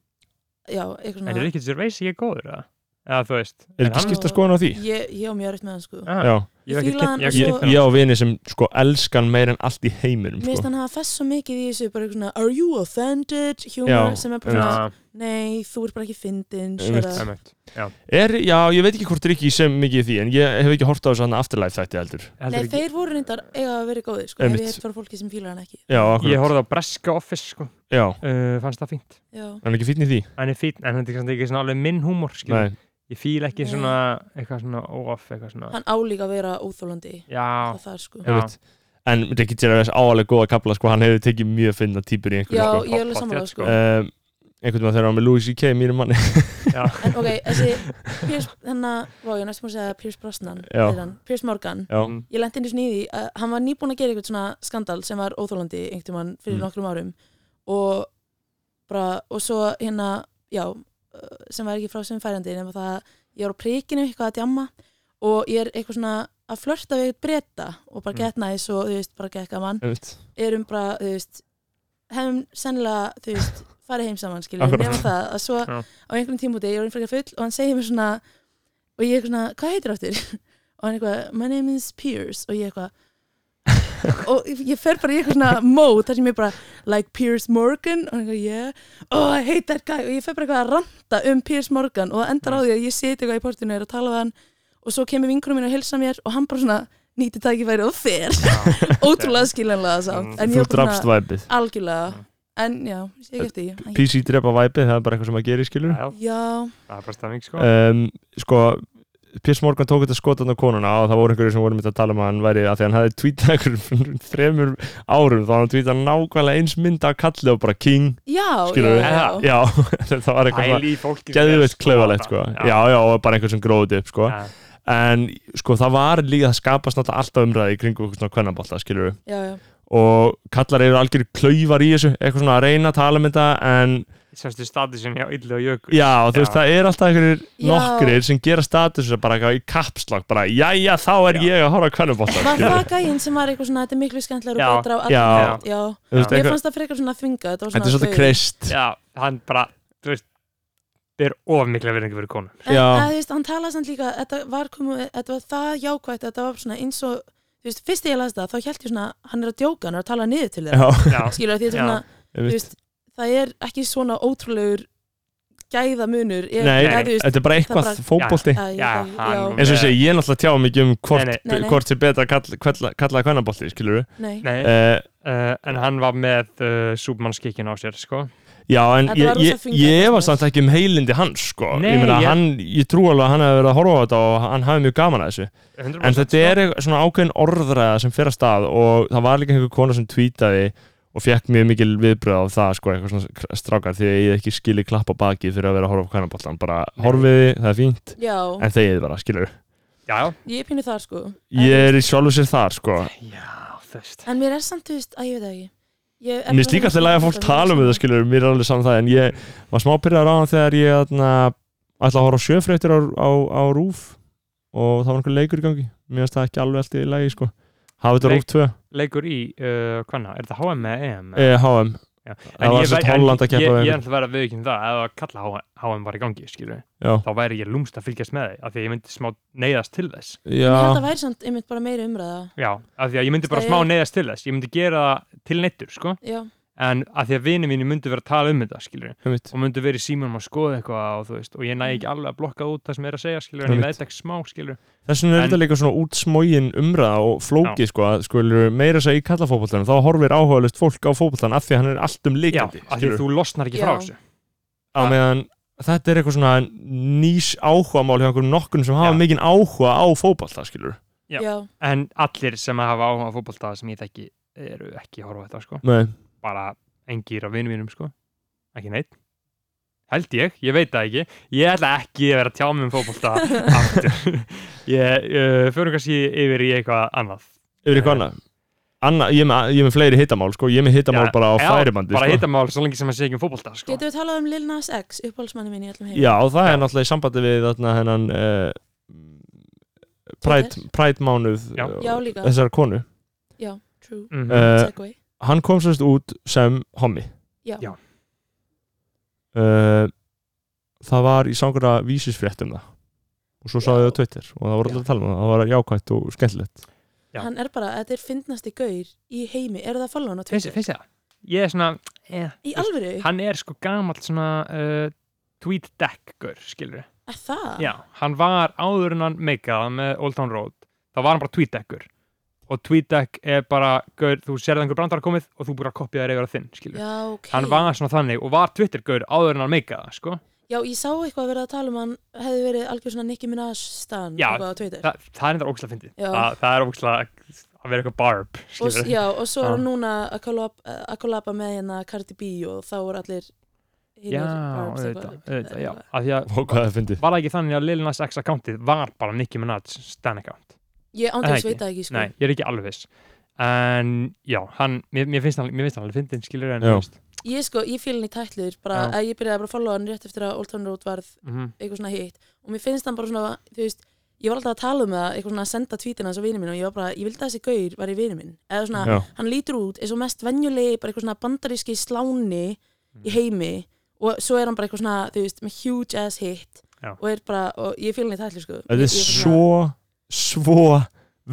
S9: já, eitthvað
S3: En er
S9: svona
S3: ekki Gervais ekki góður, eða? eða þú veist
S1: Er ekki
S3: hann-
S1: skipta skoðan á því?
S9: Ég, ég á mjög öryggt með hann sko
S3: Ah,
S1: Já,
S3: ég hef
S9: Ég
S3: ekki
S9: fíla
S3: kynnt-
S9: hann
S3: ég hef
S9: svo-
S3: ekki kynnt
S1: ég
S3: hennar
S1: á vini sem sko elskan meir en allt í heiminum
S9: Mér finnst
S1: sko.
S9: hann hafa fest svo mikið í þessu bara eitthvað svona Are you offended? Humor
S1: Já,
S9: sem er bara svona
S3: Já,
S9: Nei, þú ert bara ekki fyndin
S1: Einmitt.
S9: shut up."
S3: einmitt.
S1: er, Já, ég veit ekki hvort er ekki sem mikið í því en ég hef ekki hort á þessu hann afterlife þætti heldur
S9: Nei,
S3: Heldur ekki-
S9: þeir voru reyndar eiga að vera góðir sko,
S1: Einmitt.
S9: Ef ég er frá fólki sem fílar hann ekki
S1: Já, akkurat
S3: Ég horfði á Breska Office sko,
S1: Já,
S3: uh, fannst það fínt
S9: Já,
S1: hann er ekki fínn í því
S3: Hann er fínt, en þetta er kannski ekki svona alveg minn húmor skilur.
S1: Nei,
S3: Ég fíl ekki
S9: Nei.
S3: svona eitthvað svona off, eitthvað svona
S9: hann álíka að vera óþólandi
S3: Já,
S9: Það þar sko
S3: Já.
S1: ég veit En þetta ekki til að vera áalega góða kapla sko, hann hefur tekið mjög finna típur í einhverju
S9: Já,
S1: sko.
S9: ég er alveg
S3: Pottþétt,
S9: samanlega
S3: sko. Mm.
S9: sko
S1: um, einhvern veginn þegar hann var með Louis C.K. mínum manni
S3: já,
S9: En ok, þessi Pierce, hennar, vá, ég er næstum að segja Pierce Brosnan
S1: Já.
S9: heitir hann, Pierce Morgan
S1: já,
S9: Ég lendi einu svona í því að hann var nýbúin að gera eitthvað svona skandal sem var óþólandi einhvern mann
S1: Mm.
S9: fyrir nokkrum árum og bara, og svo hérna já, uh, sem var ekki frá sem færandi nema það að ég var á prikinu eitthvað að djamma og ég er eitthvað svona að flörta við eitthvað breyta og bara
S3: Mm.
S9: get næs og þú veist, bara gekka mann
S1: einmitt
S9: erum bara, þú veist hefum sennilega, þú veist, farið heim saman skilur,
S1: Akkurat.
S9: nema það að svo
S3: Já.
S9: á einhverjum tímúti, ég er orðin frekar full og hann segir mér svona og ég er eitthvað svona, hvað heitir áttir? og hann eitthvað, my name is Pierce og ég eitthvað og ég fer bara í eitthvað svona mót þar sem ég bara, like Pierce Morgan og hann eitthvað, yeah, oh, I hate that guy og ég fer bara eitthvað að ranta um Pierce Morgan og það endar á því að ég seti eitthvað í portinu og er að tala við hann og svo kemur vinkunum mín að hilsa mér og hann bara svona nýti tækifæri og fer ótrúlega skiljanlega
S3: Mm.
S9: samt en
S1: Þú
S9: ég var bara
S1: drafst
S9: svona,
S1: væpið
S9: algjörlega en já, ég sé ekki eftir því Hann-
S1: PC drepa væpið, það er bara eitthvað sem að gera í skilur
S3: já,
S9: já,
S3: það er bara stafning sko
S1: um, Sko, Piers Morgan tók þetta skotan á konuna og það voru einhverju sem voru mitt að tala um að hann væri að því að hann hefði tweetað einhverjum fyrir þremur árum þá hann tweetað nákvæmlega eins mynda að kalli og bara king
S9: já,
S1: Skilur
S9: já, já,
S1: Já, þetta var eitthvað
S3: Pæli í fólki
S1: geðveitt klefalegt sko Já, já, og bara einhver sem gróði upp sko
S3: já.
S1: En sko, það var líka að skapast náttúrulega alltaf umræði í kringum svona kvennabólta, skilur
S9: já, já.
S1: og kallar eru algjör klaufar í þessu eitthvað svona að reyna að tala um þetta en
S3: Sjástu statusin hjá Illu og Jökul
S1: já, þú veist,
S3: Já.
S1: það er alltaf einhverjir
S9: Já.
S1: nokkrir sem gera status bara eitthvað í kapslag, bara jæja, þá er
S3: Já.
S1: ég að horfa kvennabóttar
S9: var það gæinn sem var eitthvað svona þetta er miklu skemmtilega
S3: Já,
S9: og betra á
S1: já.
S9: allan hátt, já,
S1: veist,
S9: ég
S1: eitthvað,
S9: fannst það frekar svona þvinga þetta var
S1: þetta er
S9: svona
S1: svolítið kreist
S3: Já, hann bara, þú veist ber of mikla verðingi fyrir konu
S9: en
S1: Já.
S9: að, þú veist, hann talaði samt líka þetta var, komu, þetta var það jákvætt þetta var svona eins og þú veist, fyrst þegar ég las það, þá held ég svona hann er að djóka, hann er að tala niður til þeirra
S1: já,
S3: Já,
S9: skilur því
S3: Já.
S9: þetta er svona
S1: ég
S9: þú
S1: veist
S9: veist, það er ekki svona ótrúlegur gæðamunur ef-
S1: nei,
S9: ef þú veist,
S1: þetta er bara
S9: það
S1: eitthvað
S9: bara-
S1: fótbólti
S9: að ég-
S3: Já,
S9: já,
S3: hann-
S1: eins og ég segi, ég náttúrulega tjá mikið um hvort,
S3: Nei,
S9: nei. Nei, nei.
S1: hvort er betra að kalla, kalla, kalla Eh, kvennabótti, skilur við
S9: nei.
S3: nei, eh, en hann var með uh, súpmannskikkin á sér, sko
S1: Já, en
S9: Þetta
S1: ég,
S9: var rosa
S1: ég,
S9: þvingaður
S1: ég var
S9: persónur.
S1: samt ekki um heilindi hans, sko.
S3: Nei,
S1: ég meina,
S3: ég-
S1: hann, ég trú alveg að hann hefði verið að horfa á þetta og hann hafi mjög gaman að þessu.
S3: 100%
S1: En þetta er eitthvað- svona ákveðin orðræða sem fer að stað og það var líka einhver kona sem tweetaði og fekk mjög mikil viðbröð af það sko, eitthvað svona kr- strákar því að ég ekki skili klappa bakið fyrir að vera að horfa á kanabollan bara horfiði, það er fínt,
S9: já,
S1: en þegiði bara, skilur
S3: Já,
S9: ég er pínu þar sko
S1: Ég er í sjálfu sér þar, sko
S3: já, þú veist
S9: en mér er samt, þú veist, að ég veit það ekki Ég er
S1: Mér finnst líka alltaf að fólk tala um þetta, skilur mér er alveg saman það, en ég var smá pyrraður á hann þegar ég atna, ætla að horfa á sjöfréttir á, á, á rúf og það var einhver leikur í gangi Mér finnst það ekki alveg allt í lagi, sko Hafið þetta
S3: Leik-
S1: rúf 2,
S3: Leikur í, uh, hvaðna, er þetta HM eða EM?
S1: eh, HM
S3: Já.
S1: það var sem sagt Holland að keppa
S3: við
S1: við
S3: Ég
S1: einhvern.
S3: er alltaf að vera að viðkynna það, ef að kalla HM, HM var í gangi, skilur
S1: Já,
S3: þá væri ég lúmst að fylgjast með þig af því að ég myndi smá neyðast til þess
S1: já.
S9: þetta væri samt einmitt bara meiri umræða
S3: já, af því að ég myndi bara
S9: Það
S3: smá
S9: er-
S3: neyðast til þess ég myndi gera það til neittur, sko
S9: já,
S3: en af því að vinið mínu myndi vera að tala um þetta, skilur
S1: einmitt.
S3: og myndi vera í símanum að skoða eitthvað og þú veist, og ég næ ekki alveg að blokka út það sem er að segja, skilur, en ég
S1: Einmitt.
S3: veit ekki smá, skilur
S1: Þess vegna er
S3: En-
S1: þetta líka svona útsmógin umræða og flókið sko að skulur meira segja í kallafótboltanum þá horfir áhugaðlust fólk á fótboltan af því að hann er allt um
S3: já,
S1: líkandi
S3: af því að þú losnar ekki
S9: Já.
S3: frá þessu
S1: á
S3: Ah.
S1: meðan þetta er eitthvað svona nýs áhugamál hjá einhverjum nokkun sem hafa
S3: Já.
S1: mikinn áhuga á fótbolta skilur
S3: Já.
S9: já,
S3: en allir sem að hafa áhuga á fótbolta sem ég þekki eru ekki að horfa á þetta, sko
S1: Nei,
S3: bara engir á vinið mínum, sko ekki neitt held ég, ég veit það ekki, ég ætla ekki að vera að tjá mig um fótbolta aftur ég, uh, förum kannski yfir í eitthvað annað
S1: yfir eitthvað annað Anna, ég, er með, ég er með fleiri hittamál sko, ég er með hittamál
S3: Já,
S1: bara á
S3: já,
S1: færibandi
S3: bara
S1: sko.
S3: hittamál svo lengi sem að segja ekki um fótbolta, sko
S9: getum við talað um Lil Nas X uppáhaldsmanni minn í allum heim
S1: Já, og það
S3: Já.
S1: er náttúrulega í sambandi við þarna hennan uh, Pride,
S9: Twitter.
S1: Pride mánuð
S3: Já.
S1: eh,
S9: Já, líka.
S1: þessarar konu
S9: já, true,
S3: Mhm.
S1: uh,
S9: segway
S1: hann kom sérst út sem hommi
S9: Já.
S3: Já.
S1: Eh, það var í sangur að vísisfrétt um það og svo sáðu þau á Twitter og það voru allir að tala um það, það var jákvætt og skemmtilegt
S3: Já.
S9: Hann er bara, þetta er fyndnasti gaur í heimi Er það að follow hann á
S3: finnst
S9: Twitter?
S3: finnst þér það? Ég er svona eh,
S9: Í alvöru?
S3: hann er sko gamall svona uh, tweet deck-gur, skilur
S9: Er það?
S3: Já, hann var áður en hann meikaða með Old Town Road þá var hann bara tweetdekkur og tweetdeck er bara, gaur, þú sérði einhver brandar komið og þú búir að kopja þér yfir að þinn skilur.
S9: Já, ok.
S3: hann var svona þannig og var twittergaur áður en hann meikaða sko.
S9: Já, ég sá eitthvað að vera að tala um hann hefði verið algjör svona Nicki Minaj stan
S3: Já,
S9: eitthvað á Twitter.
S3: Þa, það er enda ógslag fyndið
S9: Já.
S3: Þa, það er ógslag að vera eitthvað barb
S9: og, s-
S3: skilur.
S9: já, og svo er hann
S3: Já.
S9: núna að kollab- að kollaba með hérna Cardi B og þá voru allir hinir
S3: já,
S9: Barbs
S3: auðvitað,
S9: eitthvað-
S3: auðvitað, já. Af því að
S1: og hvað það fyndi
S3: var það ekki þannig að Lil Nas X accountið var bara Nicki Minaj stan account Er
S9: Ég
S3: það
S9: ándið
S3: ekki?
S9: sveita ekki, sko.
S3: Nei, ég er ekki alveg viss en já, hann, mér, mér finnst hann mér finnst hann alveg fyndin, skilur en
S1: Já.
S3: þú veist
S9: Ég sko, ég fíl hann í tætlur, bara
S3: Já.
S9: að ég byrjaði bara að followa hann rétt eftir að Old Town Road varð
S3: mhm,
S9: eitthvað svona hitt og mér finnst hann bara svona, þú veist, ég var alltaf að tala um það, eitthvað svona að senda tweetina hans á vinið minn og ég var bara, ég vildi að þessi gaur var í vinið minn. Eða svona,
S1: Já.
S9: hann lítur út eins og mest venjulegi bara eitthvað svona bandaríski sláni
S3: Mm.
S9: í heimi og svo er hann bara eitthvað svona, þú veist, með huge ass hit
S3: Já.
S9: og er bara, og ég fíl hann í tætlu sko
S1: þetta
S9: Ég-
S1: er
S9: ég
S1: svo, svo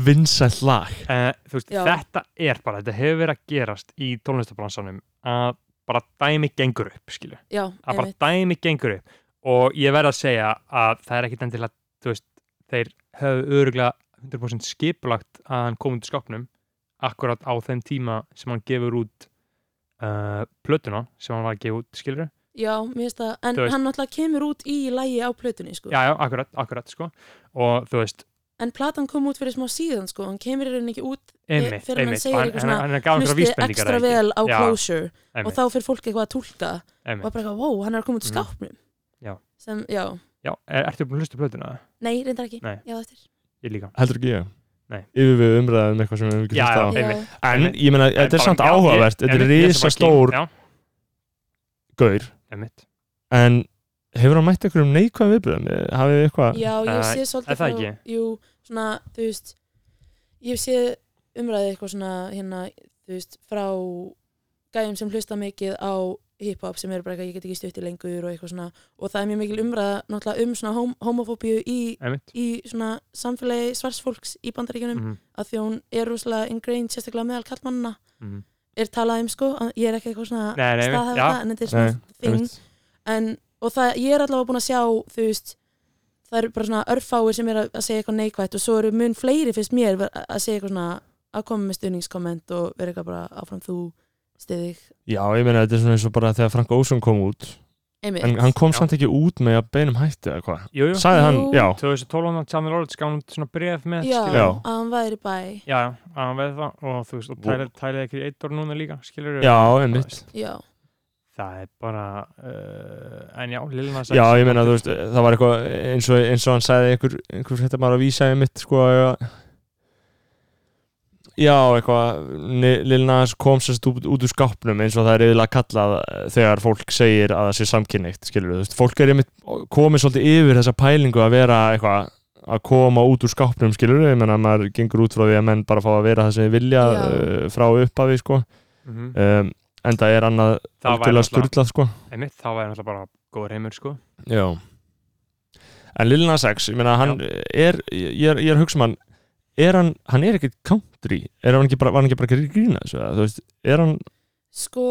S1: vinsælt lag
S3: Eh, þú veist,
S9: Já.
S3: þetta er bara, þetta hefur verið að gerast í tónlistabransanum að bara dæmi gengur upp, skilju,
S9: já,
S3: að bara
S9: einmitt,
S3: dæmi gengur upp og ég verð að segja að það er ekkit endilega, þú veist, þeir höfðu öruglega 100% skipulagt að hann kom undir skápnum akkurat á þeim tíma sem hann gefur út uh, plötuna sem hann var að gefa út, skilju
S9: já, mér finnst það en
S3: Þú veist-
S9: hann náttúrulega kemur út í lægi á plötunni sko
S3: já, já, akkurat, akkurat, sko og þú veist,
S9: en platan kom út fyrir smá síðan sko hann kemur í rauninni ekki út
S3: einmitt,
S9: Fyrr en hann
S3: einmitt
S9: segir
S3: og
S9: eitthvað
S3: hann,
S9: svona,
S3: hann, hann gaf einhverja
S9: hlustið
S3: vísbendingar
S9: ekstra
S3: eða ekki?
S9: vel á
S3: Já,
S9: Closure og
S3: einmitt,
S9: þá fyrir fólk eitthvað að túlka
S3: einmitt.
S9: og bara eitthvað, wow, hann er að koma út úr
S3: Mhm.
S9: skápnum
S3: Já.
S9: sem, já,
S3: já, er, ertu búin að hlusta á plötuna?
S9: nei, reyndar ekki
S3: Nei.
S9: já, þetta
S3: Ég líka
S1: heldur ekki ég
S3: Nei.
S1: yfir við umræðum um eitthvað sem við hefum ekki
S3: Já,
S1: hlustað á.
S3: já.
S9: er
S3: Einmitt.
S1: en
S3: Einmitt.
S1: ég meina, þetta er
S3: bara-
S1: samt
S3: já, ég-
S1: áhugavert þetta er
S3: einmitt, ég sem
S1: risa
S3: var að
S1: stór
S3: kíkja- Já,
S1: gaur
S3: einmitt
S1: en hefur hann mætt einhverjum neikvæðum viðbröðum hafið þið eitthvað
S9: Já, ég
S3: Eh,
S9: sé
S3: er
S9: svolítið
S3: það ekki?
S9: jú, svona, þú veist ég sé umræðið eitthvað svona hérna, þú veist, frá gæjum sem hlusta mikið á hip-hop sem eru bara eitthvað, ég get ekki stutt í lengur og eitthvað svona, og það er mjög mikil umræða náttúrulega um svona hom homofóbíu í,
S3: Einmitt.
S9: í svona samfélagi svarsfólks í bandaríkjunum,
S3: Mhm,
S9: að því hún er rosalega ingrained, sérstaklega meðal kallmannana
S3: mhm.
S9: er talað um sko, að- ég er ekki eitthvað svona
S3: Nei, nei, einmitt,
S9: staðhæfa
S3: já.
S9: það, en þetta er svona
S1: Nei,
S9: þing en, og það, ég er allavega búin að sjá þú veist, það eru bara svona örfáir sem er að, að segja eitthvað neikvætt og svo eru mun fleiri finnst mér ver- að segja eitthvað svona að koma með stuðningskomment og vera eitthvað bara áfram þú stiðig
S1: já, ég meina, þetta er svona eins og bara þegar Frank Ósson kom út
S9: einmitt,
S1: en hann kom
S3: Já.
S1: samt ekki út með að beinum hætti eða hvað
S3: Jú, jú
S1: sagði hann,
S9: Jú.
S1: já,
S3: 2012 hann Channel Orleans gaf hann út svona bref með
S9: já,
S3: skilurðu.
S1: Já.
S9: að hann væri bæ
S3: Já, já, að hann veið það og þú veist, og tælið tæli ekki eittor núna líka, skilur
S1: já, einmitt
S9: já,
S3: Það er bara, uh, en já, Lilna
S1: já, ég meina, þú veist, það var eitthvað eins og, eins og hann sagði einhver, einhver þetta maður að vísa einmitt, sko að- já, eitthvað Ni- Lil Nas kom sérst út, út úr skápnum eins og það er yfirlega kallað eh, þegar fólk segir að það sé samkynneitt, skilur þú veist, fólk er einmitt komið svolítið yfir þessa pælingu að vera eitthvað að koma út úr skápnum, skilur ég meina, maður gengur út frá því að menn bara fá að vera það sem þið vilja
S9: Já.
S1: já. frá upphafi, sko
S3: mm -hmm.
S1: um, en það er annað
S3: Það væri
S1: algjörlega
S3: náttúrulega-
S1: sturlað, sko
S3: Einmitt, þá væri náttúrulega bara góður heimur, sko
S1: Já En Lil Nas X, ég meina hann er, ég er, ég er að hugsa um hann er hann, hann er ekkert country er hann ekki bara, var hann ekki bara að grína þessu eða, þú veist, er hann
S9: sko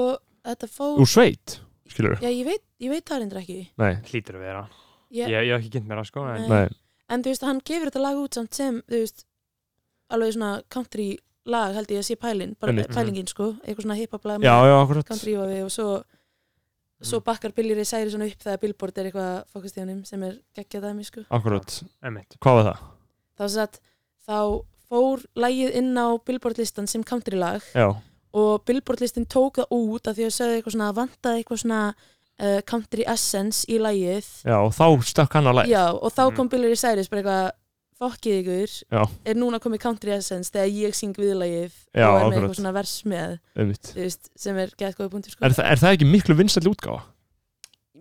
S9: þetta fór
S1: úr sveit skilur,
S9: já, ég veit, ég veit það reyndir ekki
S1: nei,
S3: Hlýtur að vera
S9: ég,
S3: Ég, ég hef ekki kynnt mér það, sko en,
S9: Nei.
S1: nei
S9: en þú veist, hann gefur þetta lag út samt sem, þú veist alveg svona country lag held ég að sé pælin, bara
S1: Einmitt.
S9: pælingin sko eitthvað svona hip-hop lag með
S1: já, já, akkurat
S9: country yfir við og svo svo
S1: Mm.
S9: bakkar Billy Ray Cyrus hann upp þegar Billboard er eitthvað að fokast í honum sem er geggja dæmi sko
S1: akkurat,
S3: Einmitt,
S1: hvað var það?
S9: þá, satt, þá fór lægið inn á Billboard listan sem country lag
S1: Já,
S9: og Billboard listin tók það út af því að sögðu eitthvað svona vantaði eitthvað svona uh, country essence í lægið
S1: já, og þá stökk hann að læg
S9: Já, og þá
S1: Mhm.
S9: kom Billy Ray Cyrus bara eitthvað fokkið ykkur,
S1: Já.
S9: er núna komið country essence þegar ég syng viðlægið
S1: Já,
S9: og er með
S1: akkurat.
S9: eitthvað svona vers með
S1: einmitt
S9: þú veist, sem er gett góða punktur sko.
S1: er, þa- er það ekki miklu vinsætli útgáfa?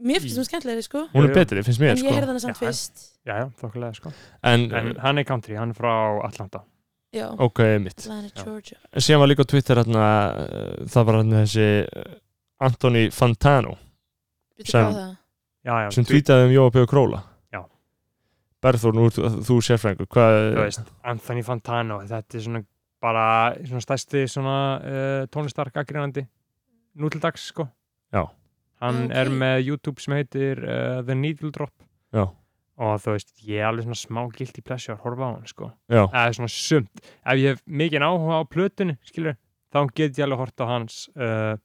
S9: mér finnst það skemmtilegri sko
S1: Hún
S3: Jú,
S1: er
S3: jú.
S1: betri, finnst mér,
S9: en
S1: sko
S9: ég heyrði hana samt
S3: Já, já.
S9: fyrst
S3: já, já, þokkulega, sko
S1: En,
S3: En hann er country, hann er frá Atlanta
S9: já,
S1: ok, einmitt
S9: Atlanta,
S3: Já.
S9: Georgia
S1: Síðan var líka á Twitter hérna, eh, það var hérna þessi eh, Anthony Fantano
S9: Býttu
S1: Sem-
S9: hvað var það?
S3: Já, já,
S1: sem
S3: tweet-
S1: tweetaði um Jóa P. Króla
S3: Já.
S1: Berður, nú ert þú, þú sérfræðingur, hvað
S3: þú veist, Anthony Fantano þetta er svona bara svona stærsti svona uh, tónlistark aggrinandi nútildags sko
S1: Já.
S3: hann
S9: Ok.
S3: er með YouTube sem heitir uh, The Needle Drop
S1: Já.
S3: og þú veist, ég er alveg svona smá guilty pleasure að horfa á hann sko
S1: Já,
S3: eða svona sumt, ef ég hef mikið áhuga á plötunni, skilur, þá get ég alveg hort á hans uh,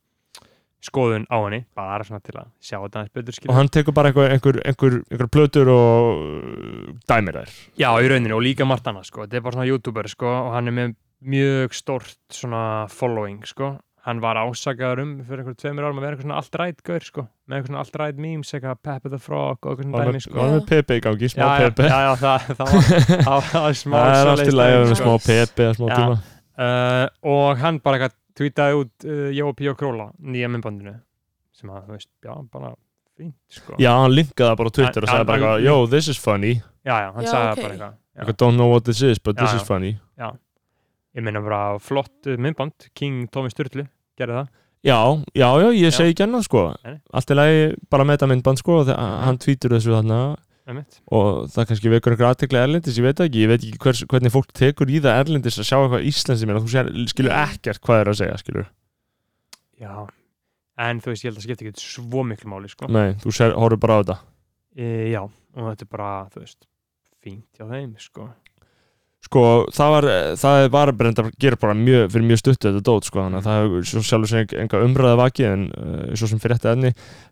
S3: skoðun á henni, bara svona til að sjá þetta hans betur
S1: og
S3: skilur,
S1: hann tekur bara einhver, einhver, einhver, einhver plötur og uh, dæmir þær
S3: já í rauninni og líka margt annað sko, þetta er bara svona youtuber sko og hann er með mjög stort svona following sko, hann var ásakaður um fyrir einhverjum tveimur árum að vera einhver svona allt rætt gaur sko, með einhver svona allt rætt memes eitthvað Peppa the Frog og eitthvað
S1: og hann
S3: svona dæmi
S1: er
S3: sko
S1: með pepe í gangi, smá
S3: já, já,
S1: pepe
S3: já, já, það, það, var, það, var, það var smá
S1: Það er allt
S3: svoleiðis
S1: í lagi að
S3: dæmi,
S1: vera með
S3: sko.
S1: smá pepe eða smá
S3: Já.
S1: tíma
S3: uh, og hann bara eitthvað tweetaði út uh, Jóa Píó Króla nýja myndbandinu sem að þú veist, já, bara fínt sko.
S1: Já, hann linkaði það bara á Twitter og
S3: Hann-
S1: sagði bara
S3: hann-
S1: eitthvað, Yo, this is funny
S3: já, já, hann
S9: Já,
S3: sagði
S9: ok.
S3: bara eitthvað
S1: I
S3: já.
S1: don't know what this is, but this
S3: Já,
S1: is
S3: já.
S1: funny
S3: ég meina bara flott uh, myndband King Tómi Sturlu gerði það
S1: Já, já, já, ég
S3: Já.
S1: segi ekki annað sko
S3: Nei, nei.
S1: Allt í lagi bara með þetta myndband sko og þe- hann tvítur þessu þarna
S3: einmitt.
S1: og það kannski vekur einhver aðtekla erlendis, ég veit það ekki, ég veit ekki hvers, hvernig fólk tekur í það erlendis að sjá eitthvað íslensi mér þú sér, skilur ekkert hvað er að segja, skilur
S3: já, en þú veist, ég held að skipta ekki svo miklu máli sko.
S1: Nei, þú sér, horfir bara á þetta
S3: e, já, og þetta er bara, þú veist fínt hjá þeim, sko
S1: Sko, það var, það var brenda að gera bara mjög, fyrir mjög stuttu þetta dót, sko, þannig að það er svo sjálfur sem enga umræða vakið en uh, svo sem fyrir þetta enni,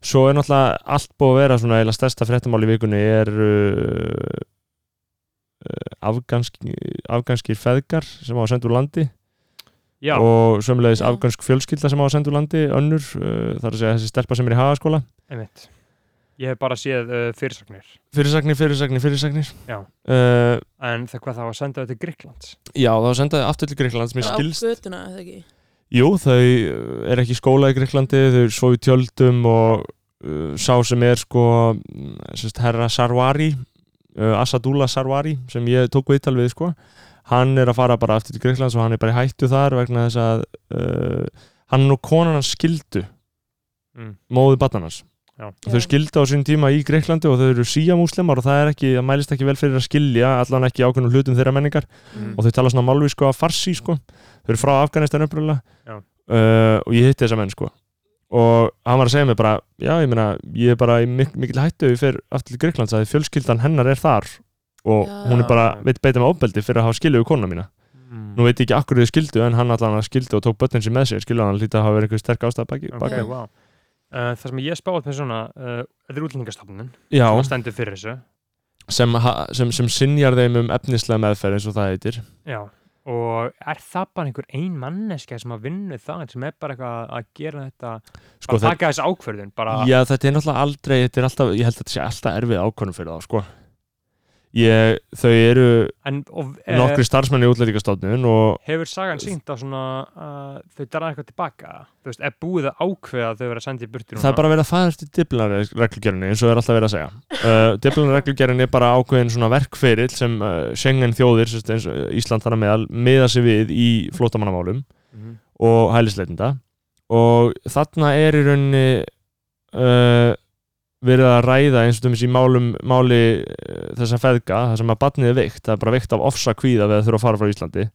S1: svo er náttúrulega allt búið að vera svona eða stærsta fréttamál í vikunni er uh, uh, afganski, afganskir feðgar sem á að senda úr landi
S3: já,
S1: og sömulegis
S9: Já.
S1: afgansk fjölskylda sem á að senda úr landi, önnur, uh, þar að segja þessi stelpa sem er í hagaskóla.
S3: einmitt ég hef bara séð uh, fyrirsagnir
S1: Fyrirsagnir, fyrirsagnir, fyrirsagnir.
S3: Já.
S1: Uh,
S3: en það hvað það var að senda þetta til Gríklands
S1: já, þá sendaði aftur til Greiklands, mér
S9: Bara
S1: skilst
S9: Á götuna, eða ekki?
S1: Jú, þau uh, eru ekki í skóla í Greiklandi, þau eru svo í tjöldum og uh, sá sem er sko mm, sérst, herra Sarwari, uh, Asadullah Sarwari sem ég tók viðtal við sko, hann er að fara bara aftur til Greiklands og hann er bara í hættu þar vegna þess að uh, hann og konan hans skildu
S3: mm.
S1: móðu barnarnas.
S3: Já.
S1: Og Þau
S9: Já.
S1: skildu á sín tíma í Greiklandi og þau eru síamúslimar og það er ekki, það mælist ekki vel fyrir að skilja allan ekki ákveðnum hlutum þeirra menningar
S3: Mm.
S1: og þau tala svona malvi sko að farsi sko þau eru frá Afganistan uppröðlega
S3: Já.
S1: uh, og ég hitti þessa menn sko og hann var að segja mér bara já ég meina ég er bara í mik mikil hættu ef ég fer aftur til Greiklands að fjölskyldan hennar er þar og
S9: Já.
S1: hún er bara veit beita með ofbeldi fyrir að hafa skilju við konuna mína
S3: Mm.
S1: nú veit ég ekki akkur þau skildu en hann allan að skildu og tók börnin sér með sér skilju hann lítið að hafa verið einhver sterk ástæða baki,
S3: Ok,
S1: baki.
S3: wow. Uh, það sem ég spáði með svona, uh, þetta er útlendingastofnun
S1: Já,
S3: sem stendur fyrir þessu
S1: sem, ha- sem, sem sinjar þeim um efnislega meðferð eins og það heitir
S3: Já. og er það bara einhver ein manneskja sem að vinna það sem er bara eitthvað að gera þetta
S1: sko,
S3: bara
S1: þeir,
S3: taka þessi ákverðun bara,
S1: Já, þetta er náttúrulega aldrei, þetta er alltaf, ég held að þetta sé alltaf erfið ákvörðum fyrir þá, sko. Ég, þau eru
S3: en, og, eh,
S1: nokkri starfsmenn í útlendingastofnun og
S3: hefur sagan sínt að svona uh, þau dara eitthvað tilbaka þú veist, er búið að ákveða að þau vera að senda í burtu
S1: það er bara verið að fara eftir diplinarreglugjörninni eins og það er alltaf verið að segja. Uh, diplinarreglugjörninni er bara ákveðin svona verkferill sem uh, Schengen þjóðir, sérst, eins, og Ísland þar að meðal, miða sig við í flótamannamálum
S3: Mhm.
S1: og hælisleitinda og þarna er í rauninni uh, verið að ræða eins og dæmis í málum, máli uh, þessa feðga, það sem að barnið er veikt það er bara veikt af ofsa kvíða við að þurfa að fara frá Íslandi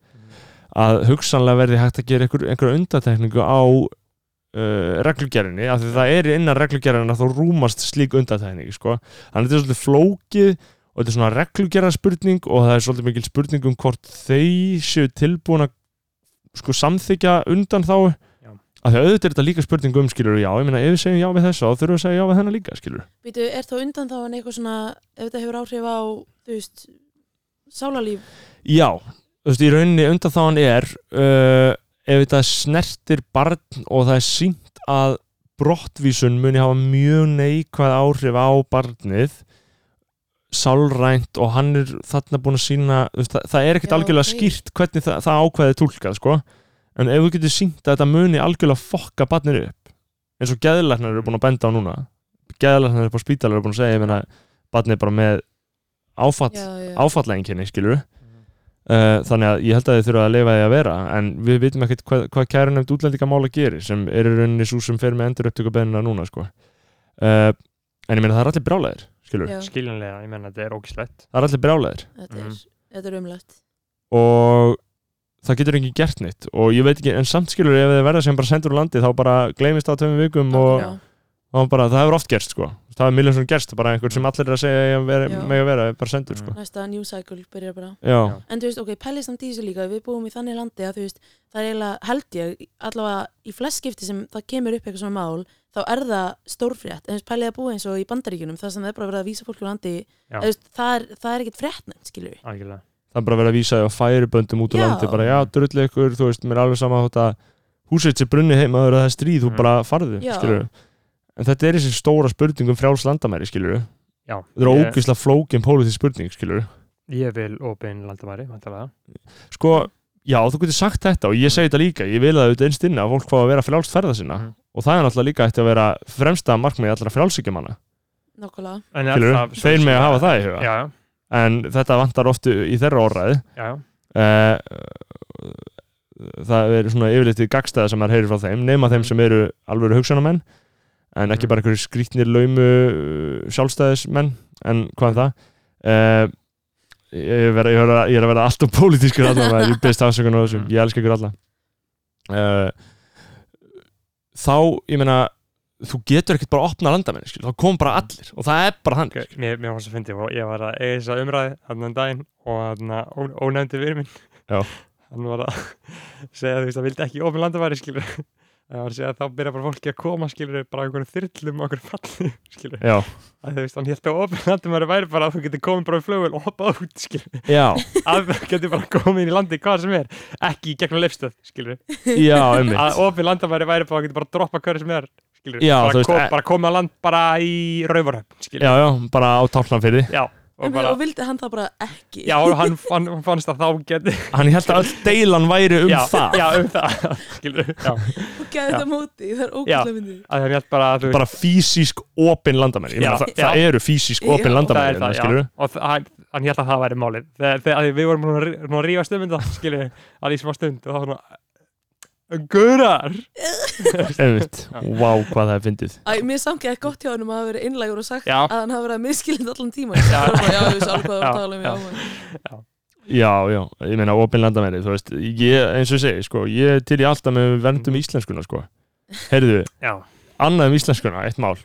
S1: að hugsanlega verði hægt að gera einhver, einhverja undatekningu á uh, reglugerinni, af því það er innan reglugerinna þá rúmast slík undatekning sko. þannig að þetta er svolítið flókið og þetta er svona reglugerðarspurning og það er svolítið mikil spurning um hvort þau séu tilbúin að sko samþykja undan þá
S3: Já.
S1: að því auðvitað er þetta líka spurning um skilur já, ég meina ef við segjum já við þessa þá þurfum við að segja já við hennar líka skilur
S9: Býtu, er þá undan þá en eitthvað svona, ef þetta hefur áhrif á, þú veist, sálarlíf?
S1: já, þú veist, í rauninni undan þáan er uh, ef þetta snertir barn og það er sínt að brottvísun muni hafa mjög neikvæð áhrif á barnið sálrænt og hann er þarna búin að sína veist, það, það er ekkert
S9: Já,
S1: algjörlega
S9: ok.
S1: skýrt hvernig það, það ákvæði tólkað sko. en ef þú getur sínt að þetta muni algjörlega fokka barnir upp eins og geðlæknar eru búin að benda á núna geðlæknar upp á spítalar eru búin að segja ég meina, barnið er bara með áfatt
S9: Já, já. Mhm.
S1: áfallaenginni, skilur Uh, þannig að ég held að þið þurfa að leifa því að vera en við vitum ekkert hvað, hvað kærunefnd útlendingamála gerir sem er í rauninni svo sem fer með endur upptöku núna sko. uh, en ég Eh, meina það er allir brálaðir skilur.
S9: Já,
S3: skiljanlega, ég menna þetta er ógislegt
S1: Það er allir brjálæðir
S9: þetta er,
S3: Mhm.
S9: þetta er umlegt
S1: og það getur ekki gert neitt og ég veit ekki, en samt skilur ef þið verða sem bara sendur úr landi þá bara gleymist það á tveimum vikum og
S9: Já.
S1: þá bara, það hefur oft gerst sko það hefur miljónsson gerst, bara einhvern sem allir er að segja að vera,
S9: Já. Mm.
S1: mega vera, er bara sendur sko
S9: Næsta new cycle byrjar bara
S1: Já,
S3: Já.
S9: En þú veist, ok, pælið samt í þessu líka Við búum í þannig landi að þú veist Það er eiginlega, held ég, allavega í flest skipti sem það kemur upp eitthvað svona mál þá er það stórfrétt, en þú veist, pælið að búa eins og í bandaríkjunum, þar sem það er bara verið að vísa fólk úr landi,
S3: Já.
S9: eða, þú veist, það er, það er ekkit fréttnæmt, skilur við
S3: algjörlega
S1: það er bara verið að vísa því á færiböndum út á
S9: Já.
S1: landi, bara já, drullið ykkur þú veist, mér er alveg sama þótt að húsveit sér brunni heima þegar það er stríð, þú
S3: Mm.
S1: bara farðu
S9: Já.
S1: skilur en þetta er þessi stóra spurning um fráls landamæri, skilur
S3: Já,
S1: þetta er
S3: ég-
S1: ógislega flókin pólitíð spurning, skilur
S3: Ég vil opin landamæri, vantarlega.
S1: sko, já, þú getur sagt þetta og ég segi þetta líka, ég vil að auðvitað einst inni að fólk fá að vera frjálst ferða sinna
S3: Mhm.
S1: og það er náttúrulega líka eftir að vera fremsta markmið allra frjálsíkjumanna,
S9: Nákvæmlega,
S3: En er
S1: skilur,
S3: það-
S1: þeir með að hafa það í
S3: Já,
S1: huga
S3: já,
S1: en þetta vantar oftu í þeirra orðræði
S3: já, já.
S1: Eh, það er svona yfirleitt í gagstæða sem maður heyrir frá þeim nema þeim sem eru alvöru hugsanamenn en ekki
S3: Mhm.
S1: bara einhverju skrýtnir laumu uh, sjálfstæðismenn en hvað um það uh, ég, er vera, ég, vera, ég er að vera alltaf pólitískur allan maður, ég best afsökun á þessu
S3: Mhm.
S1: ég elska ykkur alla uh, þá, ég meina þú getur ekkert bara að opna landamenn skil, þá kom bara allir og það er bara hann
S3: Ok, Mér, mér fannst að fyndi og ég var að eiga þessa umræði hann um daginn og hann að ónefndi fyrir minn.
S1: Já.
S3: Hann var að segja þú veist að vildi ekki opin landamæri, skilur. Það var að segja að þá byrja bara fólki að koma, skilur, bara á einhverjum þyrlum og einhverjum falli, skilur.
S1: já,
S3: Að þú veist, hann held að opin landamæri væri bara að þú getur komið bara í flugvel og hoppað út, skilur.
S1: já,
S3: Að þú getur bara komið inn í landi hvað sem er, ekki í gegnum leifstöð, skilur.
S1: já, einmitt
S3: að opið landamæri væri bara að geta bara að droppa hverju sem er skilur,
S1: Já, þú
S3: bara,
S1: veist,
S3: kom,
S1: e-
S3: bara koma að land bara í rauvarhöfn skilur,
S1: já, já, bara á tálnafyrði
S3: já, og
S9: og, bara,
S3: bara
S9: og vildi hann það bara ekki
S3: já, og hann fann, hann fannst að þá geti
S1: hann held að öll deilan væri um
S3: já,
S1: það
S3: já, um það, skilur já,
S9: og gæði þetta á móti, það er
S3: Já.
S9: ógæðlega myndið
S3: að hann held bara að þú
S1: bara fysísk opin landamenn Ég meina,
S3: Já,
S1: það,
S3: já.
S1: það eru fysísk opin
S9: Já.
S3: það
S1: landamenn
S3: er það,
S1: skilurðu?
S3: já, og það- hann, hann held að það væri málið þegar, þegar að við vorum nú að rí- nú að rífa stundum það, skilur, að í smá stund og þá var hann Gurar!
S1: einmitt, vá hvað það er fyndið
S9: Æ, mér samkið ekki gott hjá hann að hafa verið innlægur og sagt
S3: Já.
S9: að hann hafa verið að miskilin allan tíma já, já, ég vissi alveg hvað það var að tala um já,
S3: Já,
S9: já.
S1: já, já, ég meina opin landamenn þú veist, ég, eins og ég segi, sko ég er til í alltaf með
S3: Mm.
S1: verndum íslenskuna, sko heyrðu,
S3: Já,
S1: annað um íslenskuna, eitt mál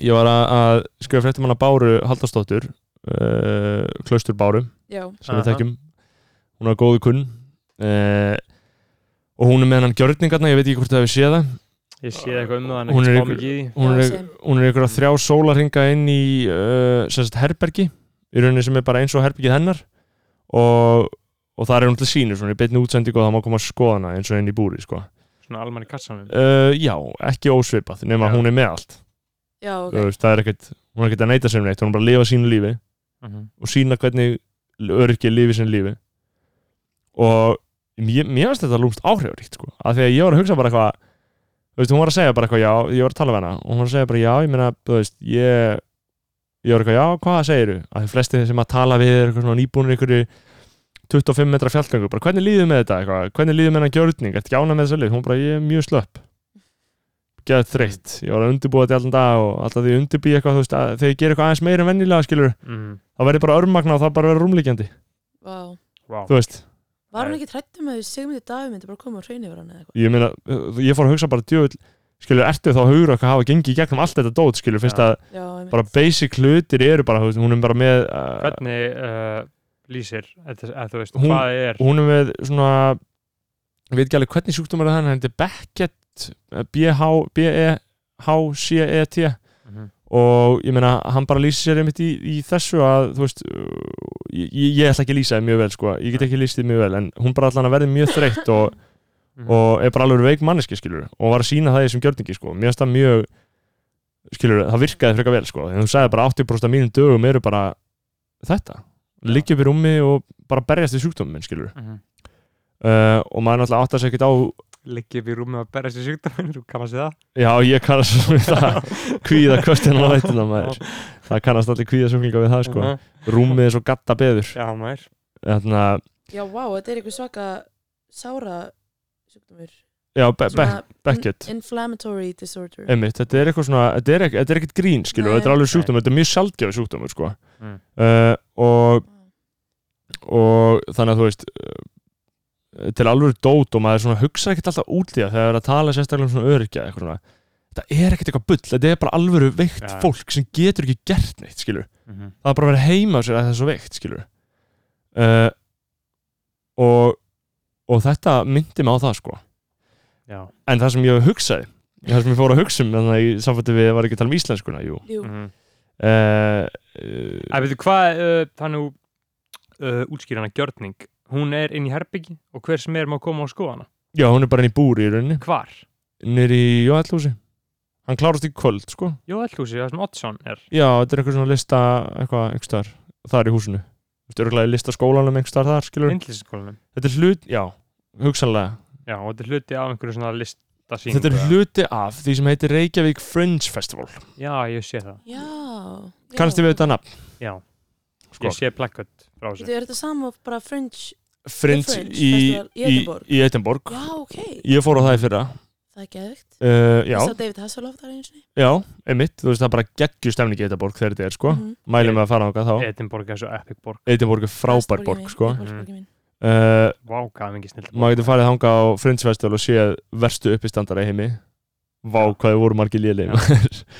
S1: ég var að, að skrifa fréttum hana Báru Haldarsdóttur uh, Klaustur Báru
S9: já,
S1: sem við
S3: Aha.
S1: þekkjum hún er góðu kunn uh, og hún er með hann gjörningarna, ég veit ekki hvort það hefur séð það
S3: ég sé eitthvað um það en
S1: Hún
S3: ekki
S1: er
S3: spá
S1: ykkur-
S3: mikið í því.
S1: hún
S9: Já,
S1: er,
S9: same.
S1: hún er ykkur að þrjá sólarhinga inn í uh, sem sagt herbergi í rauninni sem er bara eins og herbergið hennar og, og það er hún til sínu svona í beinni útsendingu og það má koma að skoða hana eins og inn í búri sko.
S3: Svona almann í kassanum.
S1: uh, já, ekki ósvipað nema
S3: Já.
S1: hún er með allt
S9: já, ok
S1: okay. það er ekkert, hún er ekkert að neyta sem neitt hún er bara að lifa sínu lífi og sína hvernig öryggi lifi sem lífi og mér mér finnst þetta lúmst áhrifaríkt sko. af því að ég var að hugsa bara eitthvað þú veist, hún var að segja bara eitthvað já, ég var að tala við hana og hún var að segja bara já, ég meina, þú veist ég, ég var eitthvað já, hvað segiru að því flesti sem að tala við er eitthvað svona nýbúnir einhverju 25 metra fjallgangu, bara hvernig líðum með þetta eitthvað, hvernig líðum með hennar gjörning, eftir gjána með þessa lið hún bara, ég er mjög slöpp geða þreytt, ég var að undirbúa þetta í allan dag og alltaf því undirbúi eitthvað, þú veist, að, þegar ég ger eitthvað aðeins meira en vennilega skilur
S3: Mhm.
S1: það verður bara örmagna og það bara verður rúmlíkjandi
S9: Vá.
S3: Vá.
S1: þú veist,
S9: var
S3: Nei.
S9: hann ekki trættum að Sigmundi Davi myndi bara koma og hrein yfir hann eða eitthvað
S1: ég meina uh, ég fór að hugsa bara djöfull skilur, ertu þá hugur okkar að hafa gengið í gegnum allt þetta dót skilur, finnst
S3: Já.
S1: að
S9: já, einmitt.
S1: bara basic hlutir eru bara, þú veist, hún er bara með uh,
S3: hvernig uh, lýsir að, að þú veist,
S1: Hún-
S3: hvað er
S1: hún er með svona ég veit ekki alveg hvernig sjúkdómar er það en þetta er Beckett eh, B-H B-E-H-C-E-T
S3: Mhm.
S1: E og ég meina, hann bara lýsir sér einmitt í, í þessu að, þú veist uh, ég, ég- ég ætla ekki að lýsa þið mjög vel, sko ég get ekki lýst þið mjög vel, en hún bara allan að verði mjög þreytt og
S9: mhm.
S3: og
S1: og er bara alveg veik manneski skilur og var að sína það í þessum gjörningi sko mér finnst það mjög skilur það virkaði frekar vel sko en þú sagði bara 80% af mínum dögum eru bara þetta liggja upp í rúmi og bara berjast við sjúkdómum minn skilur
S9: Mhm.
S1: uh, og maður náttúrulega áttar sig ekkert á
S3: liggi upp í rúmi og berja sér sjúkdómin þú kannast við það
S1: já ég kannast við það kvíða kvöstin á nættina maður það kannast allir kvíða sjúklinga við það sko
S3: Mhm.
S1: rúmið er svo gatta beður
S3: já maður
S1: þannig að
S9: já, vá, þetta er eitthvað svaka sára sjúkdómur
S1: já, be be
S9: Svona
S1: Beckett
S9: in- Inflammatory disorder
S1: Einmitt, þetta er eitthvað svona, þetta er, ekk- þetta er ekkert grín skilur,
S9: Nei.
S1: þetta er alveg sjúkdómur, þetta er mjög sjaldgefið sjúkdómur sko.
S9: Mhm,
S3: Mm.
S1: uh, og og þannig að þú veist uh, til alveg dót og maður svona hugsa ekkert alltaf út í það þegar það er að tala sérstaklega um svona öryrkja eitthvað svona þetta er ekkert eitthvað bull, þetta er bara alvöru veikt
S3: Já.
S1: fólk sem getur ekki gert neitt skilur,
S9: mhm.
S1: það er bara að vera heima á sér að það er svo veikt skilur uh, og og þetta myndi mig á það sko
S3: Já.
S1: en það sem ég hugsaði það sem ég fór að hugsa um þannig að ég samfætti við var ekki að tala um íslenskuna jú.
S9: Jú,
S3: Mhm.
S1: Uh, uh,
S3: Æ, veitu hvað, uh, þannig uh, útskýrana gjörning, hún er inn í herbyggi og hver sem er má koma og skoða hana.
S1: já, hún er bara inn í búri í rauninni
S3: Hvar?
S1: nýri í Jóhallhúsi hann klárast í kvöld sko
S3: Jó, ætlúsi, það sem Oddsson er.
S1: já, þetta er eitthvað svona lista eitthvað einhverstaðar þar í húsinu þetta er eitthvað lista skólanum einhverstaðar þar skilur
S3: Myndlistaskólanum.
S1: þetta er hlut, já, hugsanlega
S3: Já, og þetta er hluti af einhverju svona listasýningu.
S1: þetta er
S3: eða-
S1: hluti af því sem heitir Reykjavík Fringe Festival
S3: Já, ég sé það.
S9: já
S1: kannski við þetta nafn
S3: Já,
S1: sko.
S3: ég sé plakkut frá þessu.
S9: Þetta er þetta sama og bara Fringe
S1: Fringe,
S9: The Fringe
S1: í,
S9: Festival í
S1: í,
S9: Edinborg.
S1: í Edinborg
S9: Já, ok,
S1: ég fór á það í fyrra
S9: það er geðvikt
S1: uh, já,
S9: Ég sá David Hasselhoff þar einu sinni
S1: já, einmitt þú veist það er bara geggjur stemning í Edinborg þegar þetta er sko
S9: Mhm.
S1: mælum við að fara þangað þá
S3: Edinborg er svo epic borg.
S1: Edinborg er frábær
S9: Vestborgin
S1: borg
S9: mín,
S1: sko
S9: Vestborgin mín.
S1: uh,
S3: Vá, hvað er mikið snill.
S1: maður getur farið þangað á Fringe Festival og séð verstu uppistandara í heimi vá hvað þau voru margir léleg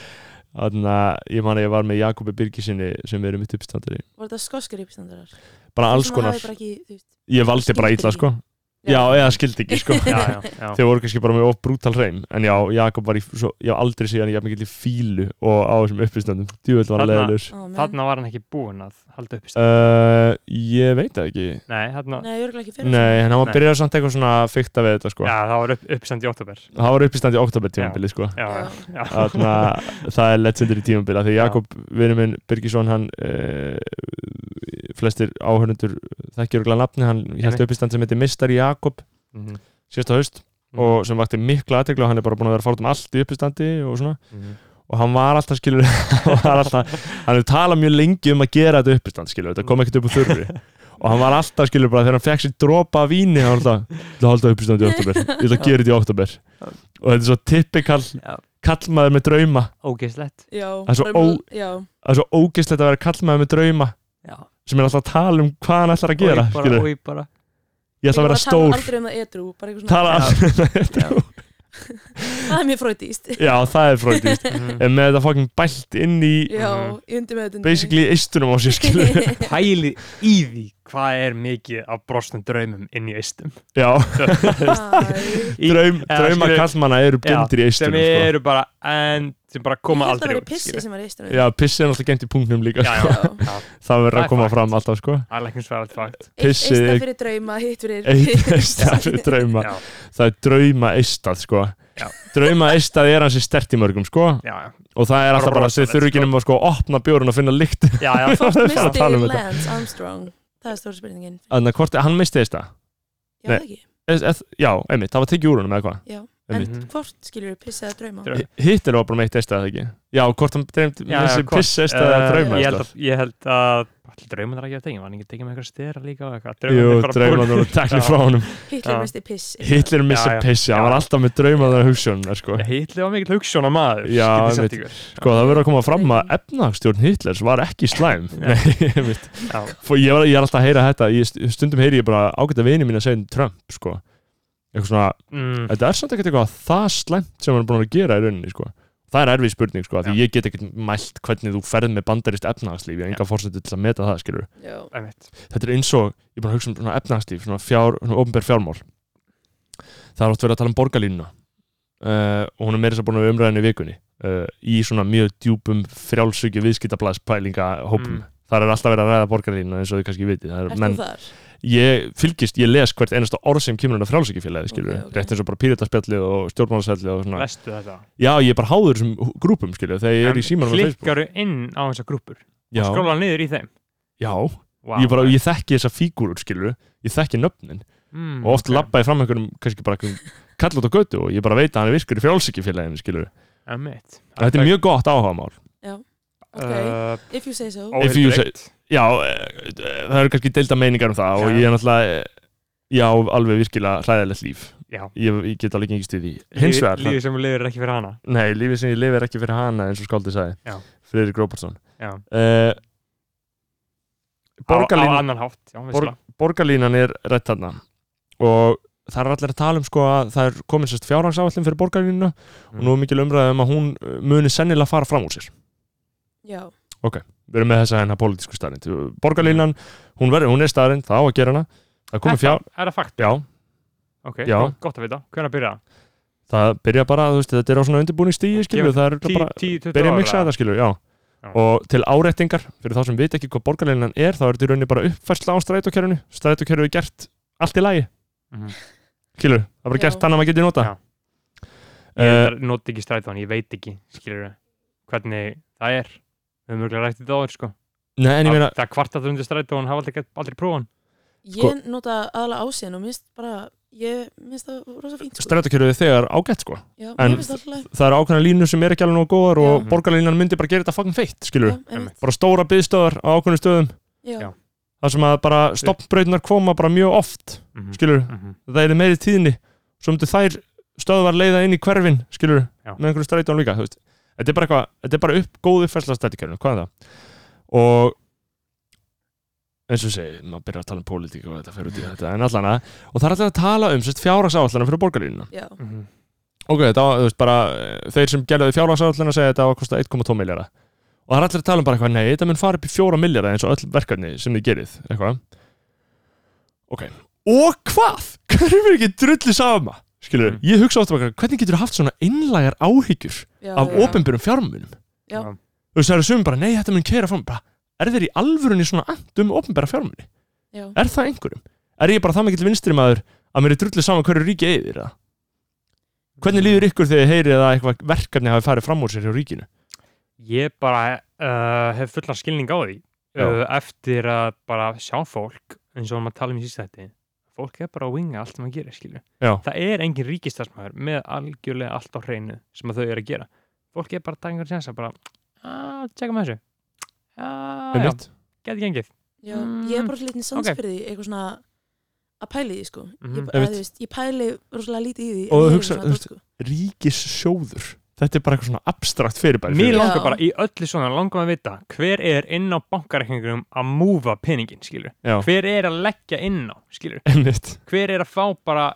S1: þannig að ég man að ég var með Jakobi Birgisinni sem eru mitt uppistandari
S9: Voru þetta skoskir uppstandarar?
S1: bara alls konar,
S9: Ég
S1: ég valdi bara
S9: skildi
S1: ítla
S9: ekki.
S1: sko já, eða skildi ekki sko
S3: Já, já, já.
S1: þau voru kannski bara með of brútal hreim en já, Jakob var í, svo, ég hef aldrei séð hann jafn mikið í fílu og á þessum uppistandum djúvel var hann
S3: Þarna-
S1: leðilur
S9: Þarna
S3: Þarna var hann ekki búinn að halda upp í stað.
S1: uh, ég veit það ekki
S3: Nei, þarna...
S9: Nei, örgulega ekki fyrir
S1: nei, en hann var
S3: Nei.
S1: byrjað samt eitthvað svona að fykta við þetta sko
S3: Já, það var upp, uppstand í oktober.
S1: það var uppistand í oktober tímabili sko
S3: Já, já, já.
S1: Þarna, það er legendary tímabil af því Jakob, vinur minn, Birgisson hann, uh, flestir áhörnundur þekkir okkur nafni hann held
S3: Einmitt.
S1: uppistand sem heitir Mistari Jakob
S3: Mhm,
S1: síðasta haust
S3: Mhm.
S1: og sem vakti mikla aðtekla og hann er bara búin að vera fárt um allt í uppistandi og svona
S3: mhm.
S1: og hann var alltaf skilur hann var alltaf, hann hefur talað mjög lengi um að gera þetta uppistand skilur, þetta kom ekkert upp úr þurfi og hann var alltaf skilur bara þegar hann fekk sér dropa af víni, hann var alltaf, ég ætla að halda uppistand í oktober, ég ætla að gera þetta í oktober og þetta er svo typikal
S3: Já.
S1: kallmaður með drauma
S3: Ógeðslegt.
S9: Já,
S1: Það er svo
S9: bara-
S1: ó-
S9: Já,
S1: það er svo ógeðslegt að vera kallmaður með drauma
S3: Já.
S1: sem er alltaf að tala um hvað hann ætlar að gera
S3: Oj, bara,
S1: skilur.
S3: oj, bara.
S1: ég ætla að vera
S9: Ég var að tala
S1: stór
S9: aldrei um það edru, bara eitthvað svona
S1: tala um
S3: Já.
S1: alltaf
S9: Það er mér fröydist
S1: já það er fröndist
S3: Mhm.
S1: en með þetta fucking bælt inn í
S9: Já, í undir með þetta
S1: basically eistunum á sér skilur
S3: Pælið í því hvað er mikið af brostnum draumum inn í eistum.
S1: já,
S9: Æ,
S3: Í-
S1: draum,
S3: eða
S1: drauma
S3: skilur-
S1: kallmanna eru bundir í
S3: sem
S1: eistunum sko.
S3: eru bara en sem bara koma
S9: Ég held að
S3: aldrei
S9: vera
S3: út
S9: pissi
S3: skilur.
S9: sem var í eistunum
S1: já, pissið er náttúrulega gent í punktnum líka
S3: já,
S1: já,
S3: já,
S9: Já.
S3: já,
S1: það verður
S3: Það er
S1: að koma
S3: fact.
S1: fram alltaf sko
S3: það er læknisverðalt fakt
S9: Eitt
S1: pissið
S9: eista
S1: er-
S9: fyrir drauma, hitt fyrir
S1: eitt eistað fyrir drauma
S3: já,
S1: það er drauma eistað sko
S3: Já.
S1: drauma eistað er hans í stert í mörgum sko
S3: já,
S1: og það er alltaf bara
S3: rosalegt,
S1: þau þurfi ekki
S3: sko.
S1: nema sko að opna bjórun og finna lykt
S3: já, já, já,
S1: Það er bara að
S9: Misti
S1: tala um þetta.
S9: Lance Armstrong Það er stóra spurningin
S1: Þannig að hvort hann misti þetta
S9: Já, það
S1: Nei.
S9: ekki
S1: Eð- eð- Já, einmitt, það var tekið úr honum eða hvað
S9: Já, en
S3: Mhm.
S1: Einmitt.
S9: hvort skilur pissið að drauma?
S3: Drauma.
S1: Hi- Hitt er það bara meitt eistað ekki Já, hvort hann dreymd
S3: já,
S1: missi
S3: hvort.
S1: piss eistað eða
S3: Eh,
S1: drauma
S3: ég held
S1: eistað
S3: að, ég held að allir draumar er ekki að tegja, var hann ekki að tegja með eitthvað stera líka og eitthvað,
S1: Jú,
S3: draumarnir bara
S1: drauma
S3: búin-
S1: það var tekli
S3: Já.
S1: frá honum
S9: Hitler
S3: Já.
S9: misti piss
S1: Hitler missi
S3: Já, já.
S1: pissi, hann
S3: Já.
S1: var alltaf með drauma það hugsun sko.
S3: Já, Hitler var mikill hugssjóna maður
S1: Já,
S3: get ég sagt
S1: einmitt.
S3: ykkur.
S1: sko, það verður að koma fram að efnagsstjórn Hitlers var ekki slæm
S3: Já.
S1: Nei, einmitt
S3: Já.
S1: Fó- ég, var, ég er alltaf að heyra þetta ég, st- Stundum heyri ég bara ágæta vini mín að segja um Trump sko. Eitthvað svona,
S3: Mm,
S1: þetta er samt ekkert eitthvað það slæmt sem hann er búin að gera í rauninni sko. það er erfið spurning sko, af því
S3: Já.
S1: ég get ekkert mælt hvernig þú ferð með bandarist efnahagslíf ég er enga fórsetu til að meta það skilur
S9: Já,
S3: einmitt.
S1: þetta er eins og, ég er búin að hugsa um svona efnahagslíf svona, fjár, svona ofnbær fjármál það er oft verið að tala um borgarlínuna uh, og hún er meira þess að búin að umræðinu í vikunni uh, í svona mjög djúpum frjálsugju viðskiptablaðspælinga hópum
S3: Mm.
S1: þar er alltaf verið að ræða borgarlínuna eins og þið kannski vitið Það er-
S9: ert
S1: menn-
S9: þú þar?
S1: ég fylgist, ég les hvert einasta orð sem kemur hann að frjálsökjufélagi, skilur
S9: Ok, ok.
S1: rétt eins og bara pírataspjallið og stjórnmálaspjallið og svona,
S3: Lestu þetta
S1: já ég er bara háður þessum hú- grúpum, skilur, þegar ég er í símanum á Facebook
S3: Klikkaru inn á þessar grúpur
S1: já,
S3: Skróla niður í þeim
S1: já,
S3: wow.
S1: ég bara, ég þekki þessa fígúrur, skilur ég þekki nöfnin
S3: mm,
S1: og oft
S3: ok.
S1: okay. labba ég fram einhverjum, kannski bara einhverjum kall út á götu og ég bara veit að hann er virkur í frjálsökjufélaginu, skilur
S3: Einmitt.
S1: þetta er mjög gott áhagamál
S9: Ok, if you say so
S3: uh,
S1: If you
S3: óhildreikt.
S1: já, eh, eh, það eru kannski deilda meiningar um það og
S3: Já.
S1: ég er náttúrulega eh, já, alveg virkilega hræðilegt líf
S3: já,
S1: ég, ég get alveg gengist í því hins vegar,
S3: lífið lífi sem hún lifir er ekki fyrir hana
S1: það- nei, lífið sem ég lifi er ekki fyrir hana eins og skáldið sagði
S3: Já.
S1: Friðrik Róbertsson
S3: já.
S1: uh,
S3: á, á
S1: borgarlínan,
S3: annan hátt já,
S1: Borg-
S3: Borg...
S1: borgarlínan er rætt þarna og það er allir að tala um sko að það er komin sérst fjárhagsáallin fyrir borgarlínuna og
S3: Mm.
S1: nú er mikil umræðið um að hún uh, muni sennilega fara fram úr sér
S9: Já,
S1: við erum með þessa hennar pólitísku starrend borgarlínan, hún, verður, hún er starrend, það á að gera hana það komið fjár,
S3: er það fakt,
S1: já,
S3: ok,
S1: Já.
S3: gott, gott að vita hvernig byrja það,
S1: það byrja bara, þú veist, þetta er á svona undirbúning stíi, skilju, það er
S3: Tí-
S1: bara
S3: 10-20
S1: byrja
S3: ára?
S1: að miksa þetta, skilju, já
S3: Já.
S1: og til árettingar, fyrir þá sem veit ekki hvað borgarleinan er, þá er þetta í rauninni bara uppfærsla á strætókerfinu, strætókerfið er gert allt í lagi,
S3: Mhm.
S1: skilju það er bara
S9: Já.
S1: gert þannig að maður geti nota
S3: Já. ég
S1: uh,
S3: reyndar noti ekki strætóan, ég veit ekki skilur hvernig það er við höfum mjöglega rætt í þetta áður sko
S1: Nei, en ég meina,
S3: Að- það kvartat undir strætóan, hafa aldrei, gert- aldrei prófan
S9: ég
S1: Sko-
S9: nota aðla ásinn og minnst bara, ég minnst það rosa fínt sko.
S1: strætókerfið þegar ágætt, sko
S9: Já,
S1: en-
S9: mér finnst það alltaf
S1: það er ákveðna línu sem er ekki alveg nóg góðar og
S9: Já.
S1: borgarleinan myndi bara gera þetta fucking feitt, skilju
S9: Já, einmitt.
S1: bara stóra byðstöðar á ákveðnum stöðum
S9: Já.
S3: Já.
S1: þar sem að bara stoppbrautunar koma bara mjög oft, skilur
S3: Mhm.
S1: það er meiri tíðni svo myndu þær stöðvar leiða inn í hverfin skilur,
S3: Já.
S1: með einhverju strætón líka þú veist. þetta er bara, eitthvað, þetta er bara upp, góð uppfærsla stættikærinu, hvað er það og eins og ég segi, maður byrjar að tala um pólitík og þetta fer út í þetta, en allana og það er alltaf að tala um fjárhagsáallana fyrir borgarlínuna
S9: Já,
S3: Mhm.
S1: ok, þetta var, þú veist, bara eh, þeir sem gerðu fjárhagsáallana segja að þetta var að kosta 1,2 miljara og það er allir að tala um bara eitthvað, nei, þetta mun fara upp í 4 miljara eins og öll verkefni sem þið gerið, eitthvað ok, og hvað? hverjum er ekki drullu sama? skilur,
S3: Mm.
S1: ég hugsa ofta bara, hvernig getur þú haft svona einlægar áhyggjur
S9: já,
S1: af
S9: já.
S1: opinbjörnum fjármunum?
S9: Já.
S3: Já.
S1: þú veist, það eru sumum bara, nei, þetta mun keira fram bara, er þeir í alvörunni svona and um opinbjörna fjármuni?
S9: Já.
S1: er það einhverjum? er ég bara það mikill vinstri maður að mér er drullu sama hverju ríki eigðir það? hvernig líður ykkur þegar þið heyrið að eitthvað verkefni hafi farið fram úr sér hjá ríkinu?
S3: ég bara uh, hef fullan skilning á því
S1: Já.
S3: uh, eftir að bara sjá fólk eins og maður tala um í sísta þetta fólk er bara að winga allt sem að gera skilur
S1: Já.
S3: það er engin ríkistarsmaður með algjörlega allt á hreinu sem að þau eru að gera fólk er bara að taka einhvern séns að bara að tjekka með þessu að já,
S1: Einmitt.
S3: geti gengið
S9: Já, ég er bara svo lítið sans
S3: Ok.
S9: fyrir því eitthvað svona að pæli því sko
S3: Mhm.
S9: ég, að,
S1: Einmitt.
S9: þú veist, ég pæli rosalega lítið í því
S1: Og
S9: en ég er
S1: hugsa-
S9: svona
S1: þú
S9: dót,
S1: veist-
S9: sko.
S1: ríkissjóður þetta er bara eitthvað svona abstrakt fyrirbæri
S3: Mér
S1: fyrir
S9: lang-
S3: langar
S9: Já.
S3: bara í öllu svona langar maður að vita hver er inn á bankareikningum að múfa peningin skilur
S1: Já.
S3: hver er að leggja inn á skilur
S1: einmitt,
S3: hver er að fá bara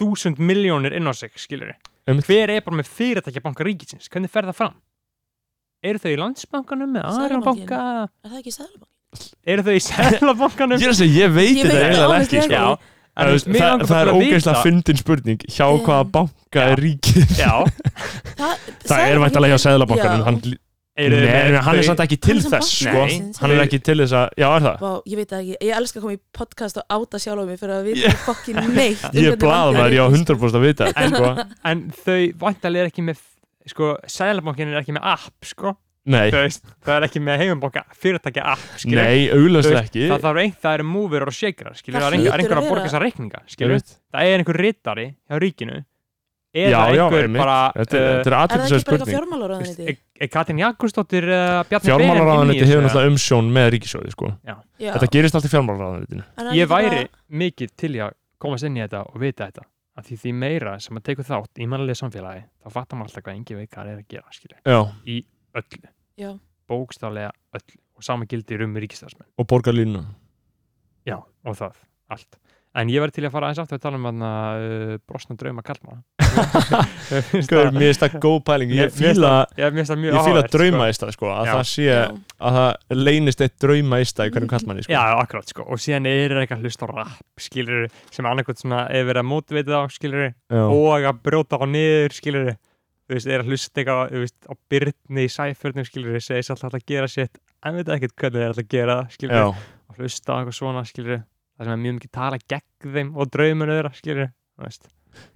S3: þúsund miljónir inn á sig, skilur
S1: Einmitt.
S3: hver er bara með fyrirtækja banka ríkisins, hvernig fer það fram eru þau í landsbankanum með aðra
S9: Seðlabankanum.
S3: banka,
S9: Er það ekki sæðalbank?
S3: eru þau í
S1: ég
S3: sellabankanum
S1: er að segja, ég veit
S9: Ég
S1: þetta
S9: veit það
S1: eiginlega
S9: alveg
S1: ekki sko.
S9: ekki.
S3: já,
S1: En þú veist, það, það er ógeðslega fyndin spurning hjá
S9: Já.
S1: hvaða banka er ríkið
S3: já,
S9: Það,
S1: það er væntalega hjá
S9: Já.
S1: Seðlabankanum hann,
S3: eru þau
S1: Nei,
S3: með
S1: hann er
S3: þau-
S1: samt ekki til
S9: Hann er samt
S1: þess
S9: banki
S1: sko.
S3: Nei.
S1: hann er ekki til þess að, já er það
S9: Vá, ég veit það ekki, ég elska að koma í podcast og áta sjálf á mig fyrir að við
S1: Já.
S9: erum fokkin neitt um
S1: ég
S9: hvernig
S1: blaða maður,
S9: bankar
S1: ég á
S9: eru.
S1: 100% að vita þetta, sko.
S3: en þau vantarlega er ekki með sko, sellabankin er ekki með app sko,
S1: nei,
S3: Þú veist, það er ekki með heimabanka fyrirtækja app, skilur
S1: nei,
S3: Þú
S1: auðvitað
S3: veist,
S1: ekki
S3: það, það, er ein, það eru múfur og shakerar skilur,
S9: Það
S3: það er einhver- það er
S9: hlýtur
S3: einhver
S9: að
S3: að borga
S9: vera-
S3: þessar reikninga
S1: Ég
S3: skilur,
S1: veit.
S3: það er einhver rittari hjá ríkinu
S1: já,
S3: eða
S1: já,
S3: einhver
S1: einmitt.
S3: bara uh,
S1: þetta er- þetta er
S9: Er það
S1: aðtilsæð
S9: ekki bara eitthvað
S1: spurning
S9: fjármálaráðaniti?
S3: er, er Katrin Jakobsdóttir eða Bjarni Ben
S1: fjármálaráðaniti hefur náttúrulega umsjón með ríkisjóði sko.
S9: Já,
S1: þetta gerist allt í fjármálaráðanitinu
S9: er það
S3: ég
S9: ekki bara-
S3: væri mikið til í að komast inn í þetta og vita þetta af því því meira sem að tekur þátt í mannlega samfélagi þá fattar maður alltaf hvað engi veit hvað er að gera skilur,
S1: já,
S3: öllu,
S9: Já,
S3: bókstaflega öllu og sama gildir um ríkistafsmenn
S1: og borgar línu
S3: já, og það, allt en ég verði til í að fara aðeins aftur að tala um uh, brosna drauma kallmann
S1: mér finnst það góð pæling ég
S3: Mér- mér finnst
S1: fíla,
S3: Ég finnst það mjög
S1: ég fíla
S3: áhugavert,
S1: drauma
S3: sko.
S1: í stað sko, að
S3: Já.
S1: það sé
S9: já,
S1: að það leynist eitt drauma í stað í hverjum kallmanni
S3: Já,
S1: sko.
S3: akkurat sko, og síðan er eitthvað hlust á rap, skilur, sem annarkvæmt svona er verið að mótveita á, skilur,
S1: Já.
S3: og að brjóta á niður, skilur, þú veist, er að hlusta eitthvað, þú veist, á byrni í sæfjörnum, skilur, segist alltaf að gera sitt, en veit ekkert hvernig er alltaf að gera það, skilur,
S1: Já.
S3: og hlusta á eitthvað svona, skilur, það sem er mjög mikið tala gegn þeim og draumun öðra, skilur, þú veist,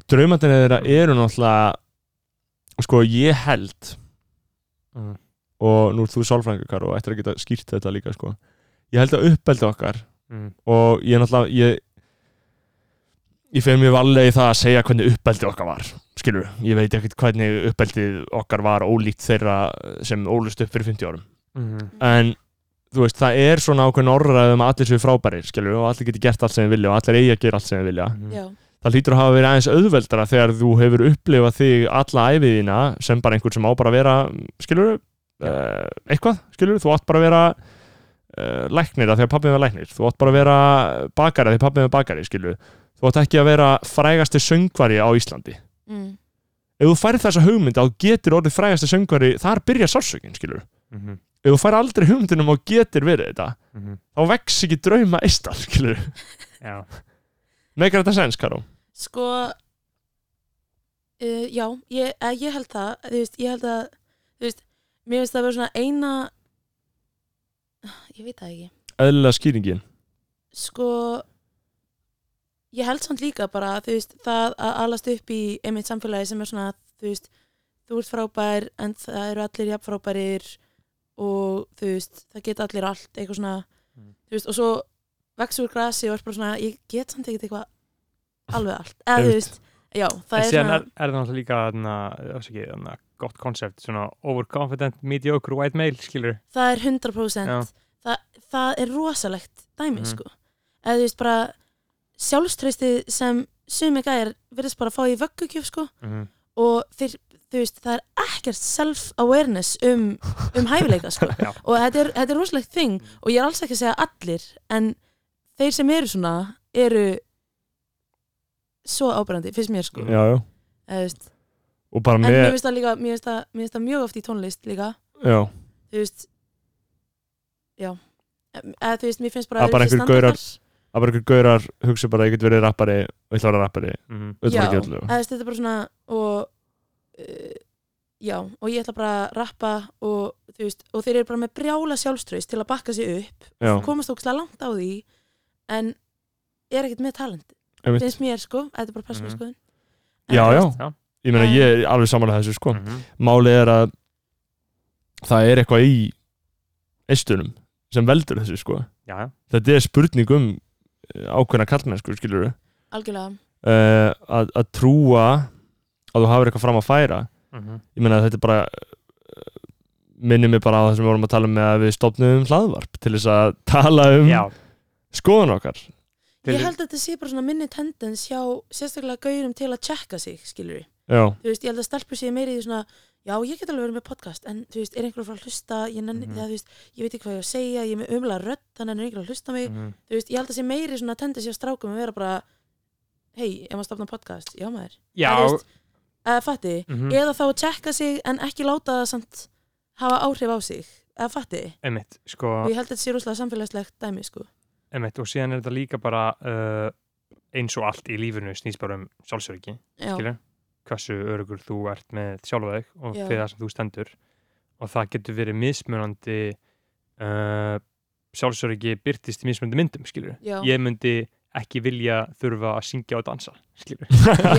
S1: draumatinn þeirra eru náttúrulega sko ég held
S3: Mhm.
S1: og nú er þú sálfræðingar og ættir að geta skýrt þetta líka sko. ég held að uppeldi okkar
S3: mm,
S1: og ég náttúrulega ég, ég fyrir mjög varlega í það að segja hvernig uppeldi okkar var skilur, ég veit ekkert hvernig uppeldi okkar var ólíkt þeirra sem ólust upp fyrir 50 árum
S3: mm,
S1: en þú veist, það er um svona ákveðin orðræðum að allir séu frábærir skilur, og allir geti gert allt sem þeir vilja og allir eigi að gera allt sem þeir vilja
S3: mm,
S9: já,
S1: það hlýtur að hafa verið aðeins auðveldara þegar þú hefur upplifað þig alla æfiðina sem bara einhvern sem á bara að vera skilur, uh, eitthvað skilur, þú átt bara að vera uh, læknir að því að pappið var læknir þú átt bara að vera bakari að því að pappið var bakari skilur, þú átt ekki að vera frægasti söngvari á Íslandi
S9: mm.
S1: ef þú færir þessa hugmynd að þú getur orðið frægasti söngvari, þar byrja sársökin skilur,
S3: Mhm,
S1: ef þú færir aldrei hugmyndinum og getur verið þetta,
S3: mhm.
S1: þá vex ekki drauma eistar, skilur,
S3: Já.
S1: megar þetta sens, Karó
S9: Sko uh, Já, ég, eh, ég held það Þú veist, ég held að Þú veist, mér finnst það bara svona eina Ég veit það ekki
S1: eðlilega skýringin
S9: Sko Ég held samt líka bara Þú veist, það að alast upp í einmitt samfélagi sem er svona Þú veist, þú ert frábær En það eru allir jafn frábærir Og þú veist, það geta allir allt Eitthvað svona
S3: Mm.
S9: Þú veist, og svo vexur grasi og er bara svona Ég get samt ekkert eitthvað Alveg allt, eða þú veist Já,
S3: En
S9: það er
S3: síðan
S9: svona
S3: er, er það náttúrulega líka þarna, afsakið, þarna, gott koncept, svona overconfident, mediocre, white male, skilur.
S9: það er 100%
S3: Já.
S9: það, það er rosalegt dæmi
S3: Mhm.
S9: sko eða þú veist bara sjálfströystið sem sumi gæjar verðist bara að fá í vöggugjöf sko
S3: Mhm.
S9: og þeir, þú veist, það er ekkert self-awareness um, um hæfileika sko
S3: Já.
S9: og þetta er, þetta er rosalegt þing
S1: Mm.
S9: og ég er alls ekki að segja allir en þeir sem eru svona eru svo ábærandi, finnst mér sko
S1: já, já.
S9: eða þú veist,
S1: og bara
S9: en mér
S1: með
S9: finnst það líka mér finnst það, mér finnst það mjög oft í tónlist líka
S1: já,
S9: þú veist já eða þú veist, mér finnst bara
S1: Það er bara
S9: öðruvísi
S1: einhver gaurar-
S9: standardar.
S1: að bara einhver gaurar hugsa bara að ég get verið rappari og ég ætla að vera rappari
S3: Mhm.
S1: auðvitað
S9: já,
S1: ekki öllu
S9: eða þú veist, þetta er bara svona og uh, já, og ég ætla bara að rappa og þú veist, og þeir eru bara með brjála sjálfströys til að bakka sig upp
S1: já,
S9: komast ókslega langt á því en er ekkert með talent
S1: einmitt.
S9: finnst mér sko, þetta er bara persónu
S3: Mhm.
S9: skoðun
S1: já, já,
S3: Já.
S1: ég meina ég er alveg samanlega þessu sko
S3: Mhm.
S1: málið er að það er eitthvað í eistunum sem veldur þessu sko
S3: Já, já.
S1: þetta er spurning um eh, ákveðna kallmenn sko, skilur
S9: algjörlega,
S1: að, að trúa að þú hafir eitthvað fram að færa
S3: Mhm.
S1: ég meina þetta er bara eh, minnir mig bara á það sem við vorum að tala um með að við stopnum hlaðvarp til þess að tala um
S3: Já.
S1: skoðan okkar
S3: Til-
S9: ég held að þetta sé bara svona minni tendens hjá sérstaklega gaurum til að tjekka sig, skilur
S1: já,
S9: þú veist, ég held að stelpur sé meiri í því svona já, ég get alveg verið með podcast, en þú veist, er einhver að fara að hlusta, ég nenni, mm
S3: Mhm.
S9: þú veist ég veit ekki hvað ég á að segja, ég er með umlega rödd þannig að einhver að hlusta mig,
S3: Mhm.
S9: þú veist, ég held að sé meiri svona tendið sér strákum að vera bara hei, ef maður stopna podcast, já maður
S3: Já.
S9: Eða, þú veist, eða fatti,
S3: Mhm.
S9: eða þá að tjekka sig en ekki láta það samt hafa áhrif á sig, eða fatti
S3: Einmitt, sko.
S9: og ég held að þetta sé rúslega samfélagslegt dæmi, sko
S3: Einmitt, og síðan er þetta líka bara uh, eins og allt í lífinu snýst bara um sjálfsöryggi,
S9: já,
S3: skilur hversu örugur þú ert með sjálfa þig og
S9: Já.
S3: fyrir það sem þú stendur og það getur verið mismunandi uh, sjálfsöryggi byrtist í mismunandi myndum, skilur
S9: Já.
S3: ég myndi ekki vilja þurfa að syngja og dansa, skilur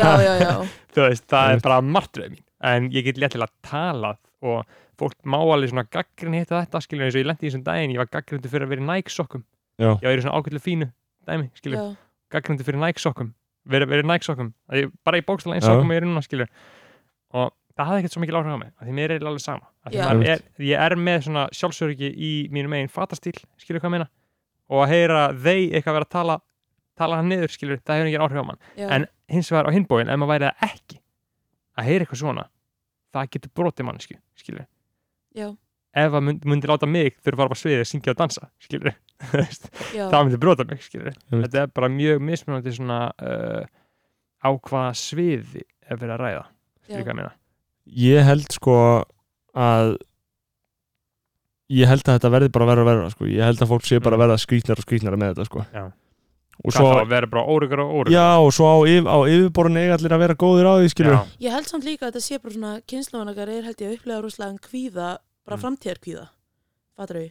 S9: já, já, já,
S3: þú veist, það er
S1: Einmitt.
S3: bara martröð mín en ég get léttilega talað og fólk má alveg svona gaggrinni hitta þetta skilur eins og ég lendi í þessum daginn, ég var gaggrindu fyrir að vera í Nike sokkum,
S1: Já.
S3: ég var í svona ákveðlega fínu dæmi, skilur,
S9: já,
S3: gaggrindu fyrir Nike sokkum verið veri Nike sokkum, Að ég- bara í bókstala eins
S1: Já.
S3: sokkum og ég er núna, skilur og það hafði ekkert svo mikil áhrif á mig, af því mér er eiginlega alveg sama Af því
S9: Já.
S3: maður er, ég er með svona sjálfsöryggi í mínum eigin fatastíl, skilur hvað ég meina og að heyra þeir eitthvað vera að tala tala hann niður, skilur, það hefur ekki áhrif á mann
S9: já,
S3: en hins vegar á hinbóin ef maður væri það ekki að heyra eitthvað svona það getur brotið mannesku skilur
S9: Já.
S3: ef að mynd, myndi láta mig þurfa að fara á sviðið að syngja og dansa skilur það
S9: já,
S3: myndi brota mig skilur
S1: Einmitt.
S3: þetta er bara mjög mismunandi svona uh, á hvaða sviði ef verið að ræða skilur
S9: já,
S3: hvað ég meina
S1: ég held sko að ég held að þetta verði bara verra og verra sko. ég held að fólk sé bara að verða skrýtnara og skrýtnara með þetta sko.
S3: Já.
S1: og
S3: hvað
S1: svo,
S3: þá að vera bara órugur og órugur
S1: já, og svo á, yf, á yfirborun eiga allir að vera góðir á því skilur
S9: ég held samt líka að þetta sé bara svona kynnslóðanakar er held ég að upplega rúslega en kvíða,
S3: Mm.
S9: bara mm. framtíðarkvíða fattur við,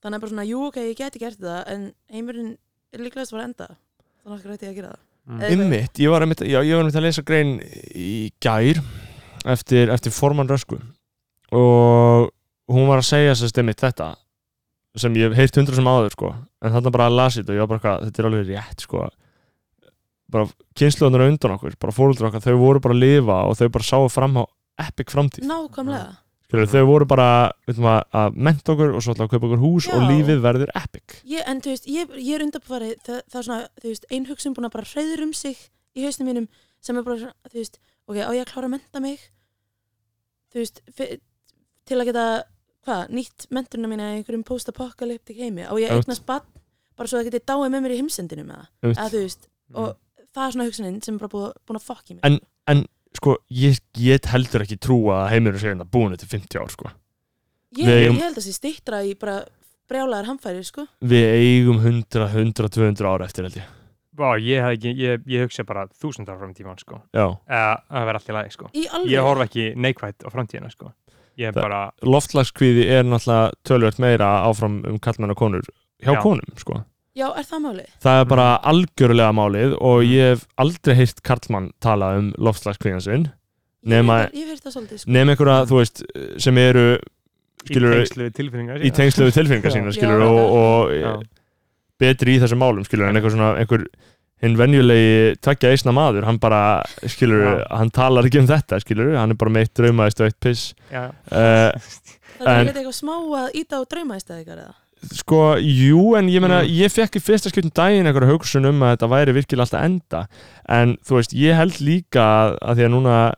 S9: þannig að bara svona jú ok, ég geti gert þetta, en heimurinn er líklegast að fara að enda þannig að hverju ætti ég að gera
S3: Mm.
S9: það Eða eitthvað.
S1: Einmitt, ég var einmitt, já, ég var einmitt að lesa grein í gær eftir, eftir formann rösku og hún var að segja sér stemmið þetta sem ég hef heyrt hundra sem áður sko en þarna bara að lasi þetta og ég var bara eitthvað, þetta er alveg rétt sko bara kynsluðunar undan okkur, bara fóruldur okkar þau voru bara að lifa og þau bara sáu fram á epic
S9: Mm.
S1: framtíð,
S9: nákvæmlega,
S1: Skilur, þau voru bara við ætlum að, að menta okkur og svo ætlum við að kaupa okkur hús
S9: Já.
S1: og lífið verður epic
S9: ég, en þú veist ég, ég er undanbúfarið, það, það er svona þú veist, einhugsun búin að bara hreyður um sig í í hausnum mínum sem er bara, svona, þú veist, ok, á ég að klára að menta mig þú veist, fe- til að geta hvað, nýtt menturina mína í einhverjum post-apokalyptik heimi, á ég að
S1: Einmitt.
S9: eignast bann bara svo það geti dáið með mér í heimsendinu með það eða þú veist, og það er svona hugsunin sem er bara búið- búin að fokk í mig
S1: Mm. En- sko, ég get heldur ekki trúa að heimurinn sé hérna búin til 50 ár, sko
S9: ég,
S1: við
S9: ég
S1: eigum-
S9: held að sé stýttra í bara brjálaðar hamfæri, sko
S1: Við eigum 100, 100, 200 ára eftir, held ég
S3: Vá, ég, hef ekki, ég, ég hugsa bara þúsundar fram í tímann sko.
S1: Já,
S3: Eða að vera allt í lagi sko.
S9: í alveg,
S3: Ég horf ekki neikvætt á framtíðina sko. Ég er
S1: Það-
S3: bara,
S1: loftlagskvíði er náttúrulega tölvöld meira áfram um kallmenn og konur hjá
S3: Já. Mm.
S1: konum, sko
S9: já, er það máli?
S1: Það er bara algjörlega málið og ég hef aldrei heyrt karlmann tala um loftslagskvíðan sinn
S9: Ég
S1: Nema-
S9: hef- ég hef heyrt það svolítið, sko
S1: nefn einhverja,
S3: Mm.
S1: þú veist, sem eru skilur,
S3: í tengslu við tilfinningar
S1: í tengslu við tilfinningar
S3: Já.
S1: sína,
S9: Já,
S1: skilur,
S9: já,
S1: og, og
S3: Já.
S1: betri í þessum málum, skilur, en einhver svona, einhver hinn venjulegi tveggja eisna maður, hann bara, skilur,
S3: Já.
S1: hann talar ekki um þetta, skilur, hann er bara meitt draumaðist og eitt piss.
S3: Já,
S1: Uh,
S9: Það er
S1: En-
S9: ekki eitthvað smá að íta og drauma í staði ykkar eða?
S1: sko, jú, en ég meina,
S3: Mm.
S1: ég fekk í fyrsta skiptum daginn einhverja hugsun um að þetta væri virkilega alltaf enda, en þú veist, ég held líka að, að því að núna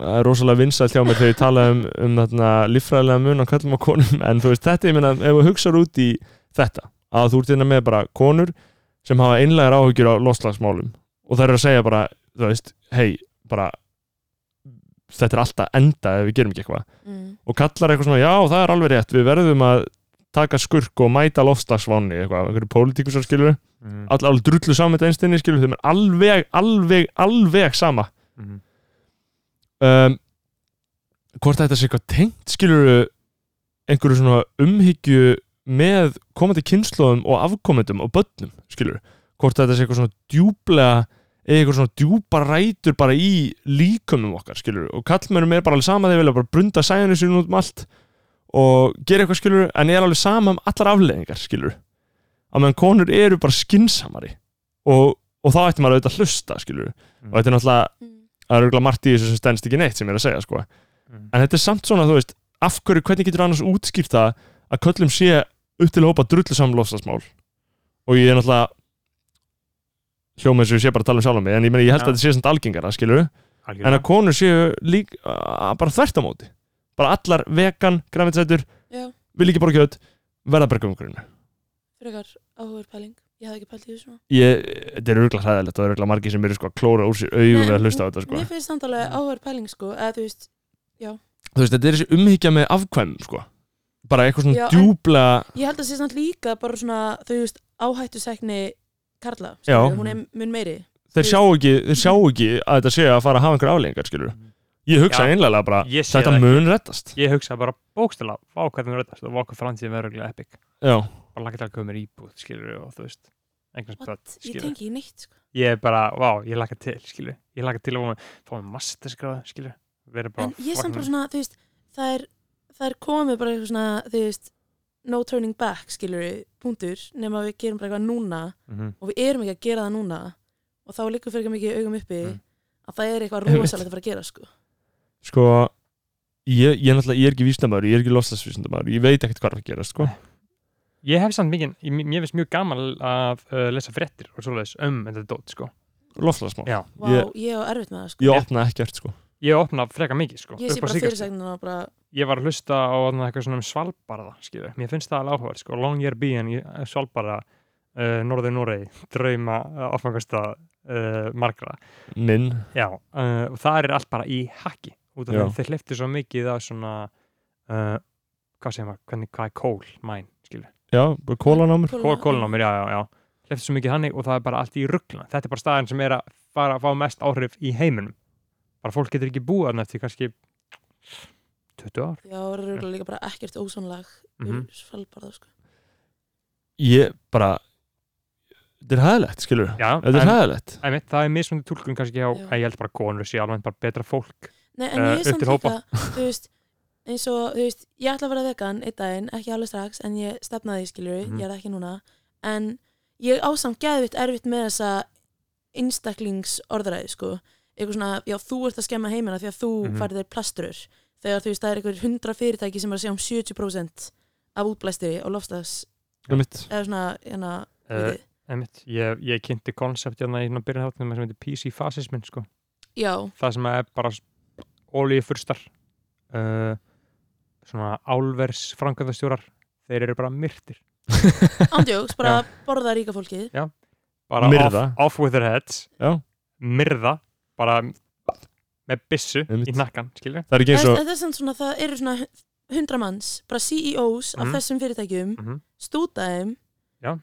S1: það er rosalega vinsælt hjá mér þegar ég tala um, um þarna líffræðilega mun á kallum og konum en þú veist, þetta, ég meina, ef þú hugsar út í þetta, að þú ert hérna með bara konur sem hafa einlegar áhugjur á loslagsmálum og þær eru að segja bara þú veist, hei, bara þetta er alltaf enda ef við gerum ekki eitthvað
S9: Mm.
S1: og kallar eitthvað svona, já það er alveg rétt við verðum að taka skurk og mæta lofstagsvanni, eitthvað, einhverju pólitíkusar skilur,
S3: mm,
S1: all, alveg drullu saman þetta einstinni skilur, þeim er alveg, alveg, alveg sama
S3: mm.
S1: um, hvort þetta sé eitthvað tengt skilur einhverju svona umhyggju með komandi kynnslóðum og afkomendum og börnum skilur, hvort þetta sé eitthvað svona djúplega eða eitthvað svona djúpar rætur bara í líkumum okkar skilur og kallmönnum er bara alveg sama þeir vilja bara brunda sæðinu sínum út um allt og gera eitthvað skilur en er alveg sama um allar afleðingar skilur að meðan konur eru bara skinsamari og, og þá ætti maður auðvitað að hlusta skilur og þetta er náttúrulega
S9: Mm.
S1: það er auðvitað margt í þessu sem stendst ekki neitt sem ég er að segja sko.
S3: Mm.
S1: en þetta er samt svona, þú veist af hverju, hvernig getur annars útskýrt það að köllum sé upp til hópa drullusam lofstafsmál og ég er náttúrulega hljóma eins og ég sé bara að tala um sjálf mig en ég, meni, ég held
S3: Já.
S1: að þetta sé samt algengara, skilur en
S3: algjörlega
S1: að konur séu lík, að, bara þvert á móti bara allar vegan, græmiðsætur
S9: Já,
S1: vil ekki bara kjöt, verða bara gömgrunni
S9: frekar áhugur pæling Ég hafði ekki pælt í þessu svona.
S1: ég, þetta er auðvitað hræðilegt og það er auðvitað margir sem eru sko að klóra úr sér augum
S9: Nei,
S1: við að hlusta á þetta sko.
S9: Mér finnst samt alveg áhugur pæling sko eða þú veist,
S1: þú veist, þetta er þessi umhyggja með afkvæm sko. bara eitthvað svona
S9: Já, en-
S1: djúbla
S9: Ég held að sé samt líka bara svona þú veist, áhættusekni Karla,
S1: Já.
S9: skilur, hún er mun meiri
S1: þeir sjá, ekki, þeir sjá ekki að þetta sé að fara að hafa einhver afleggingar skilur ég hugsa
S3: Já.
S1: einlega bara
S3: Mm. Ég sé
S1: þetta
S3: það ekki.
S1: mun rettast
S3: Ég hugsa bara bókstala, vá hvað það verður og vá hvað framtíðin verður örugglega epic
S1: já,
S3: Bara lakka til að koma mér í íbúð, skilur og þú veist Englands
S9: What?
S3: börn,
S9: Ég
S3: skilur
S9: tengi í neitt sko
S3: Ég er bara, vá, ég lakka til, skilur Ég lakka til að fá mér- fá mér masterskráða, skilur Verður bara
S9: En ég samt
S3: fucking-
S9: bara svona, þú veist, það er það er komið bara eitthvað svona, þú veist no turning back, skilur punktur, nema við gerum bara eitthvað núna
S3: Mhm.
S9: og við erum ekki að gera það núna og þá liggur fyrir ekki mikið augum uppi
S3: Mm.
S9: að það er eitthvað
S1: Einmitt.
S9: rosalegt að fara að gera sko
S1: sko ég, ég, náttúrulega- ég er ekki vísnamaður, ég er ekki lofstafsvísnamaður ég veit ekkert hvað er að gera sko.
S3: Ég hef samt mikið, ég- mér finnst mjög gaman að uh, lesa fréttir og svoleiðis um þetta dót, sko.
S1: lofstafsmál,
S3: Já.
S9: Vá,
S1: Ég-
S9: ég á erfitt með það sko
S1: ég opna ekkert sko.
S3: Ég opna freka mikið, sko.
S9: Ég
S3: upp
S9: sé
S3: á
S9: bara
S3: síðkastið.
S9: fyrirsagnina og bara
S3: Ég var að hlusta á þarna, eitthvað svona um Svalbarða, skilur. Mér finnst það alveg áhugað, sko. Long Year Bean, Svalbarða, uh, Norður Noregi, drauma uh, áfangastað uh, margra.
S1: minn,
S3: Já, uh, og það er allt bara í haki. Út af
S1: Já.
S3: því að þeir hleyftu svo mikið að svona, uh, hvað segir maður, hvernig, hvað er kól, mæn, skilur.
S1: já, bara kólanámur
S9: Mm.
S3: Kól, kólnámir, já, já, já. Hleyftu svo mikið hannig og það er bara allt í ruggla. Þetta er bara staðan sem er að fara að fá mest áhrif í heiminum. Bara fólk getur ekki búið þarna eftir kannski 20 ár.
S9: Já, það eru örugglega líka bara ekkert ósónlag
S3: Mhm.
S9: úr Svalbarða sko.
S1: ég bara þetta er hæðilegt, skilur
S3: Já,
S1: þetta er hæðilegt
S3: Æmitt, það er mismunandi tólkun kannski hjá,
S9: Já.
S3: að ég held bara konur sé alveg bara betra fólk.
S9: Nei, en
S3: Eh,
S9: ég
S3: upp
S9: er samt
S3: til hópa.
S9: líka þú veist, eins og, þú veist, ég ætla að vera vegan einn daginn, ekki alveg strax, en ég stefnaði skilur,
S3: Mhm.
S9: ég er það ekki núna en ég ásamt geðvitt erfitt með þessa einstaklings orðræði, sko eitthvað svona, já, þú ert að skemma heimina því að þú mm
S3: Mhm.
S9: farið þér plasturur þegar, þú veist, það er einhver hundra fyrirtæki sem er að segja um 70% af útblæstri og lofstags,
S1: Einmitt.
S9: eða svona, hérna,
S3: Uh,
S9: uh,
S3: Einmitt. Ég, ég kynnti konsept hérna í byrjun þáttunum sem heitir PC-fasismin sko.
S9: já,
S3: það sem er bara olíufurstar uh, svona álvers framkvæmdastjórar, þeir eru bara myrtir
S9: ándjóks, bara borða ríka fólkið
S3: bara
S1: Myrða.
S3: Off, off with their heads
S1: Já.
S3: myrða, bara með byssu
S1: Einmitt.
S3: í nakkan, skilur
S1: Það er ekki eins
S9: það,
S1: og
S9: það, er samt svona, það eru svona hundra manns, bara CEOs af
S3: Mhm.
S9: þessum fyrirtækjum,
S3: Mhm.
S9: stúta þeim
S3: Já.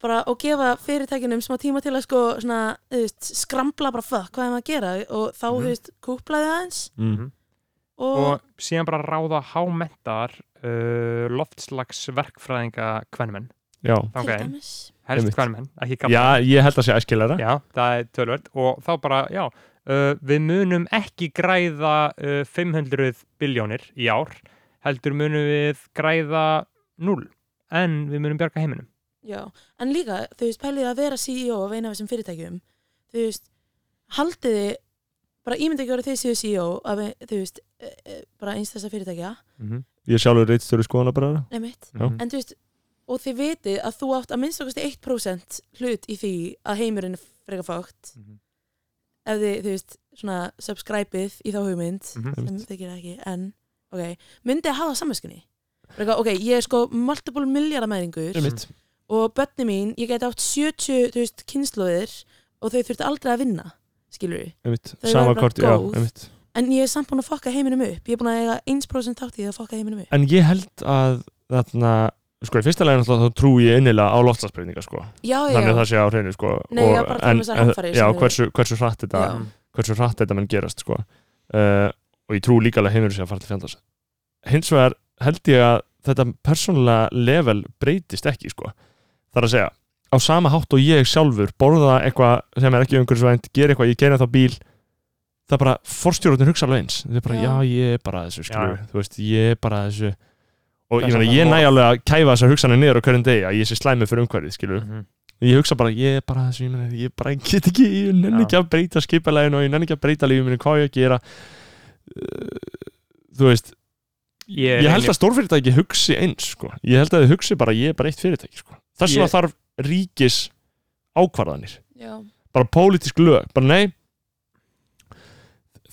S9: bara og gefa fyrirtækjunum smá tíma til að sko svona, þú veist, skrambla bara fuck hvað er maður að gera og þá,
S3: Mhm.
S9: þú veist, kúplaði aðeins
S1: Mhm.
S9: og,
S3: og síðan bara ráða hámentaðar uh, loftslagsverkfræðinga kvenmenn
S1: Já,
S9: til
S3: þangað inn,
S9: dæmis
S3: helst
S1: Einmitt.
S3: kvenmenn, ekki
S1: já
S3: kalla
S1: ég held að sé æskilæra
S3: já, það er tölvöld og þá bara, já, uh, við munum ekki græða uh, 500 biljónir í ár heldur munum við græða 0, en við munum bjarga heiminum
S9: Já, en líka, þú veist, pælið að vera CEO af eina af þessum fyrirtækjum þú veist, haldið þið bara ímynd ekki að þið séu CEO af, ein- þú veist, e, e, bara eins þessa fyrirtækja
S1: Ég er sjálfur reitstjóri skoðana bara
S9: nefnitt,
S1: Já.
S9: en þú veist og þið vitið að þú átt að minnstakosti 1% hlut í því að heimurinn er frekar fátt
S3: Mhm.
S9: ef þið, þú veist, svona subscribeið í þá hugmynd
S3: Mhm.
S9: sem þið gera ekki, en, ok myndið að hafa samvæskunni ok, ég er sko multiple miljardamæðingur
S1: Einmitt.
S9: og börni mín, ég gæti átt 70 þú veist, kynnslóðir og þau þurfti aldrei að vinna skilur við,
S1: Einmitt.
S9: Þau
S1: Sama
S9: verða
S1: kort, já,
S9: góð.
S1: einmitt
S9: en ég er samt búin að fokka heiminum upp ég er búin að eiga 1% þátt í því að fokka heiminum upp
S1: En ég held að þarna sko, í fyrsta lega náttúrulega þá trúi ég innilega á lofslagsbreyninga sko.
S9: já, já,
S1: þannig að
S9: já,
S1: það sé á hreinu sko.
S9: Nei,
S1: Og-
S9: ég var bara að tala um
S1: en-
S9: þessar
S1: en-
S9: hamfarir
S1: Já,
S9: sem eru-
S1: hversu, hversu hratt þetta
S9: já.
S1: hversu hratt þetta menn gerast sko. uh, og ég trú líka alveg heimur sér að fara til fjandars hins vegar held ég að þetta persónulega level breytist ekki sko. þar að segja, á sama hátt og ég sjálfur borða eitthvað sem er ekki umhverfisvænt gera eitthvað, ég geina þá bíl það er bara, forstjórutin hugsa alveg eins þau bara,
S9: Já.
S1: já. ég er bara að þessu, skilur
S3: Já.
S1: þú veist, ég er bara að þessu og
S3: Þess
S1: ég, meina,
S3: vegna
S1: ég
S3: má-
S1: næ alveg að kæfa þessar hugsanir niður á hverjum degi að ég sé slæmi fyrir umhverfið, skilur ég hugsa bara, ég er bara þessu, ég, meina, ég bara get ekki, ég nenni
S3: Já.
S1: ekki að breyta skipalæginu og ég nenni ekki að breyta lífið minni, hvað á ég að gera Uh, þú veist
S3: Ég,
S1: ég held að stórfyrirtæki hugsi eins sko. ég held að þið hugsi bara, ég er bara eitt fyrirtæki sko. þess vegna
S3: Ég-
S1: þarf ríkis ákvarðanir,
S9: já,
S1: bara pólitísk lög bara nei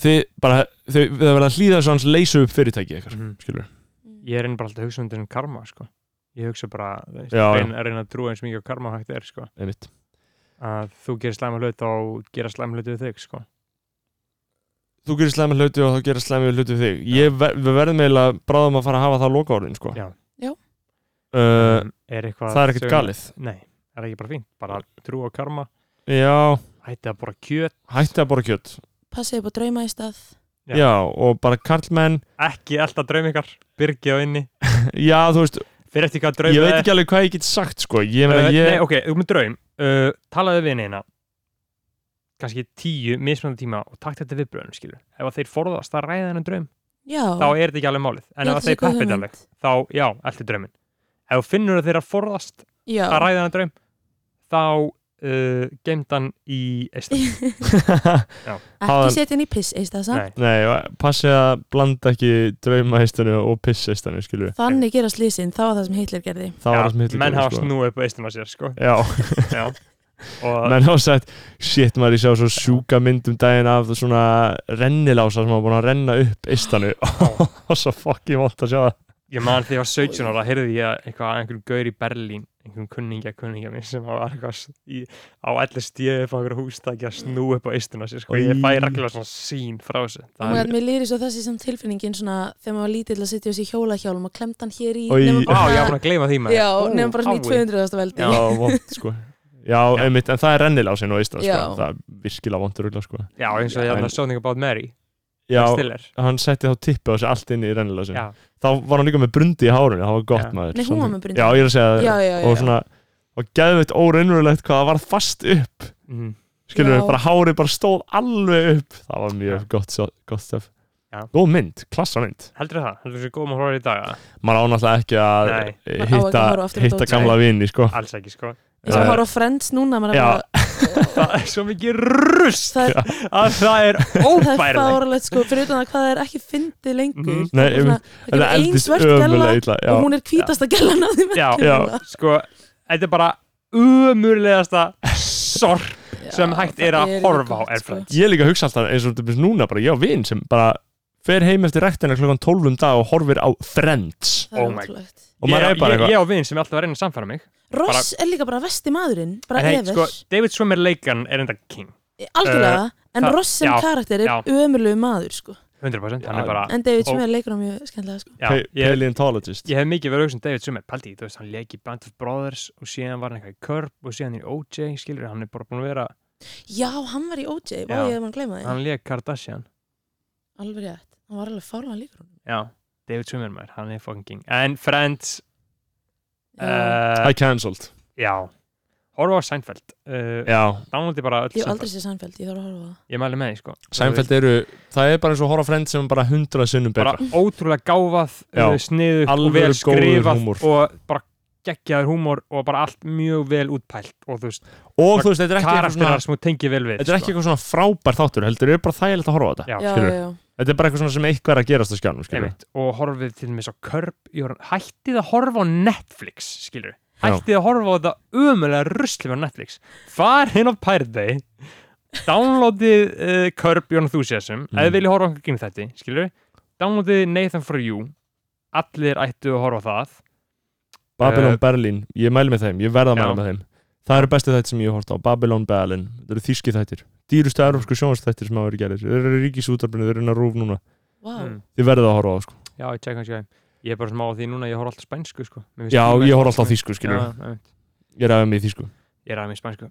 S1: þið bara, þau þau verða að hlýða svo hans leysu upp fyrirtæki eitthvað,
S3: Mhm.
S1: skilur
S3: ég er einn bara alltaf að hugsa um þessum karma sko. ég hugsa bara þú veist,
S1: Já, já.
S3: reyna, reyna að trúa eins mikið á karma og hægt er sko.
S1: einmitt,
S3: að þú gerir slæma hlut og gera slæma hlut við þig sko.
S1: þú gerir slæmi hluti og þá gerir slæmi hluti við þig, ég ver, við verðum eiginlega bráðum að fara að hafa það loka sko.
S3: Já.
S9: Já.
S1: Uh,
S3: Um, er eitthvað
S1: það er ekkert
S3: sem-
S1: galið
S3: nei, það er ekki bara fínt, bara trú á karma
S1: Já,
S3: hætti að bora kjöt
S1: hætti að borra kjött
S9: passið upp á drauma í stað
S1: Já,
S3: Já.
S1: og bara karlmenn
S3: ekki alltaf draum ykkar, byrgi á inni
S1: Já, þú veist,
S3: fyrir eftir hvað draum
S1: ég veit
S3: það er.
S1: ekki alveg hvað ég get sagt sko. Ég meina,
S3: Uh,
S1: ég
S3: Nei, ok, þú með draum uh, talaðu við neina kannski tíu mismunandi tíma og takt þetta viðbröðun, skilur ef að þeir forðast að ræða hennan draum
S9: já,
S3: þá er þetta ekki alveg málið en
S9: Já,
S3: ef að
S9: þetta er
S3: þeir
S9: góð
S3: peppið
S9: hugmynd.
S3: alveg þá, já, allt er drauminn ef þú finnur að þeir að forðast
S9: já,
S3: að ræða hennan draum þá uh, geimt hann í eistan
S9: ekki
S1: Haðan-
S9: setja inn í piss í stað samt.
S3: Nei.
S1: Nei, passi að blanda ekki draumaheistanu og pisseistanu skilur.
S9: þannig gera slísin, það var það sem Hitler gerði
S1: Það var það sem
S3: Já,
S1: hitlir
S3: menn hafa
S1: sko.
S3: snúið upp á eistan á sér, sko
S1: Já,
S3: já. og
S1: menn hafa sagt Shit maður, ég sjá svo sjúka myndum daginn af svona rennilása sem hafa búin að renna upp eistanu og svo fokki vant að sjá það
S3: ég man þegar ég var 17 ára heyrði ég eitthvað að einhverjum gaur í Berlín einhverjum kunningja kunningja minn sem var eitthvað s- í, á allir stíði upp á einhverju hústæki að snú upp á eistuna sér sko. ég fæ
S1: Í.
S3: reglulega svona sín frá þessu
S9: og
S3: það
S9: mér lýri svo þessi sem tilfinningin svona þegar maður var lítill að setja þessi hjólahjálm og klemd hann hér í
S1: Oj.
S9: nema
S3: Vá, ég var
S9: bara,
S3: búin að gleyma því maður
S9: já,
S3: Ó,
S9: nefnum bara svona í
S3: ái.
S9: 200. veldi
S1: Já, vont sko Já, einmitt, en það er rennilásin og eistan sko.
S9: Já.
S1: Það er virkilega vontur rugla sko.
S3: já, eins og ég
S1: En-
S3: hann að Sonic About Mary
S1: Já,
S3: stiller
S1: hann setti þá tippu á sig allt inn í rennilásin
S3: já,
S1: þá var hann líka með brundi í hárunni, það var gott
S3: Já.
S1: maður
S9: Nei, hún var
S1: Samt-
S9: með brundi.
S1: Já, ég er að segja það
S9: Já, já, já.
S1: og svona, og geðveitt óraunverulegt hvað það var fast upp,
S3: mm,
S1: skilur
S9: Já.
S1: við, bara hárið bara stóð alveg upp, það var mjög
S3: Já.
S1: gott, svo- gott stöf
S3: Já.
S1: Góð mynd, klassa mynd
S3: heldur það, heldur þessu góðum að horfa í dag eða?
S1: maður ánáttúrulega ekki að
S3: Nei.
S1: eh,
S9: Maður á ekki að
S1: hitta,
S9: horfa aftur á
S1: hitta
S9: dót.
S1: gamla vini, sko
S3: alls ekki sko
S9: eins og horfa á Friends núna maður er
S1: Já.
S9: bara-
S3: það er svo mikið rust
S9: það er
S3: að það er
S9: það er
S3: óbærilegt
S9: fáralegt sko, fyrir utan að hvað það er ekki fyndið lengur
S3: Mhm.
S1: Nei,
S9: það er bara
S1: einmitt.
S9: svona, það er ein svört gæla
S1: ömurlega illa,
S9: og
S1: já,
S9: hún er hvítasta gælan á því
S3: Já.
S9: verkefni.
S1: Já.
S3: sko, þetta er bara umurlegasta sorp sem hægt er að
S9: það er
S3: horfa á
S9: gott,
S3: er
S9: sko.
S3: frænt.
S1: ég líka hugsa alltaf eins og til dæmis núna bara ég á vin sem bara fer heim eftir rektina klokkan 12 um dag og horfir á Friends
S9: það er
S3: Oh my-
S9: ótrúlegt.
S1: og maður er bara
S3: Ég,
S1: eitthvað
S3: ég á vin sem er alltaf að reyna að samfæra mig.
S9: Ross er líka bara vesti maðurinn bara
S3: En hei,
S9: ever,
S3: sko, David Swimmer leikan er enda king.
S9: algjörlega en
S3: það-
S9: Ross sem
S3: já,
S9: karakter er
S3: já.
S9: ömurlegu maður sko.
S3: 100%. Hann
S1: Já.
S3: er bara,
S9: en David
S3: Og-
S9: sem er leikur á mjög skemmtilega sko.
S3: já,
S1: Pe-
S3: ég,
S1: paleontologist
S3: ég hef mikið verið að hugsa um David Swimmer. Paldi, þú veist, hann leik í Band of Brothers og síðan var hann eitthvað í Curb og síðan í OJ, skilur, hann er bara búin að vera,
S9: já, hann var í OJ, vá
S3: Já.
S9: ég hef mann gleyma því
S3: hann leik Kardashian.
S9: alveg rétt, hann var alveg fálan líkur honum.
S3: Já, David Swimmer maður, hann er fucking king. En Friends,
S9: Já.
S3: uh,
S1: I cancelled
S3: já, horfa á Seinfeld. Uh,
S1: já
S3: Downloadi bara öll
S9: ég hef aldrei
S3: Seinfeld.
S9: sér Seinfeld, ég þarf að horfa á það
S3: Ég mæli með því, sko.
S1: Seinfeld eru það er bara eins og að horfa á Friends sem er bara 100 sinnum betra
S3: bara ótrúlega gáfað,
S1: Já.
S3: uh, sniðugt og
S1: Alvöru
S3: vel
S1: góður
S3: skrifað
S1: húmor.
S3: og bara geggjaður húmor og bara allt mjög vel útpælt og þú veist,
S1: og þú veist þetta er ekki eitthvað svona
S3: karakterar sem þú tengir vel við sko.
S1: þetta er ekki eitthvað svona frábær þáttur heldur er bara þægilegt að horfa á þetta
S3: Já,
S9: já,
S1: skilur.
S9: já, já.
S1: þetta er bara eitthvað svona sem eitthvað er að gerast á skjánum skilur.
S3: Einmitt, og horfið til mér svo körp í orðan- hættið að horfa á Netflix skilur, hættið að horfa á þetta umulega ruslið á Netflix farin á Pirate Bay downloadið uh, Curb Your Enthusiasm mm. eða viljið horfa okkur gynni þetta skilur, downloadið Nathan For You allir ættu að horfa á það
S1: Babylon
S3: Eh,
S1: Berlin, ég mæli með þeim, ég verða að
S3: Já.
S1: mæla með þeim það eru bestu þættir sem ég horfst á, Babylon Berlin þetta eru þýski þættir, dýrustu európsku sjónastættir sem hafa verið gerir, þeir eru ríkisútarfinu þeir eru inn að rúf núna,
S9: Vá.
S3: Mm.
S1: þið verðið að horfa á það, sko.
S3: Já, ég tjekka hans ég Ég er bara smá á því núna, ég horf alltaf spænsku sko Mér finnst
S1: já, ég
S3: það best.
S1: horf alltaf á þýsku skilur,
S3: Já, einmitt.
S1: ég er aðeins með þýsku
S3: Ég er aðeins í spænsku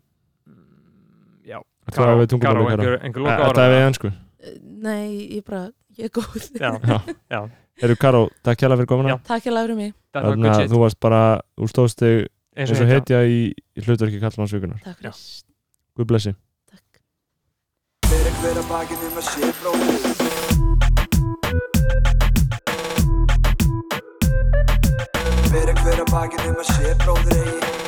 S3: Mm, Já,
S1: Þú er að við
S3: Karó,
S1: tungumáli
S3: einhver, einhver loka
S1: þetta er við ennsku,
S9: Eh, nei, ég bara, ég er góð
S3: Já,
S1: eru Karó, takk hjá fyrir komuna
S3: Já,
S9: takk ég læfri mig,
S3: þetta var
S1: þannig
S3: good
S1: að
S3: shit
S1: þú varst bara, þú stóðst þig
S3: Eins
S1: eins
S3: og
S1: og
S3: heit,
S1: hetja í, í hlutverki kallmannsvíkunar,
S9: takk
S3: Já.
S9: fyrir
S1: Guð blessi
S9: takk
S2: Fyrir hver að bakinu með sér bróðir Fyrir hver að bakinu með sér bróðir eigi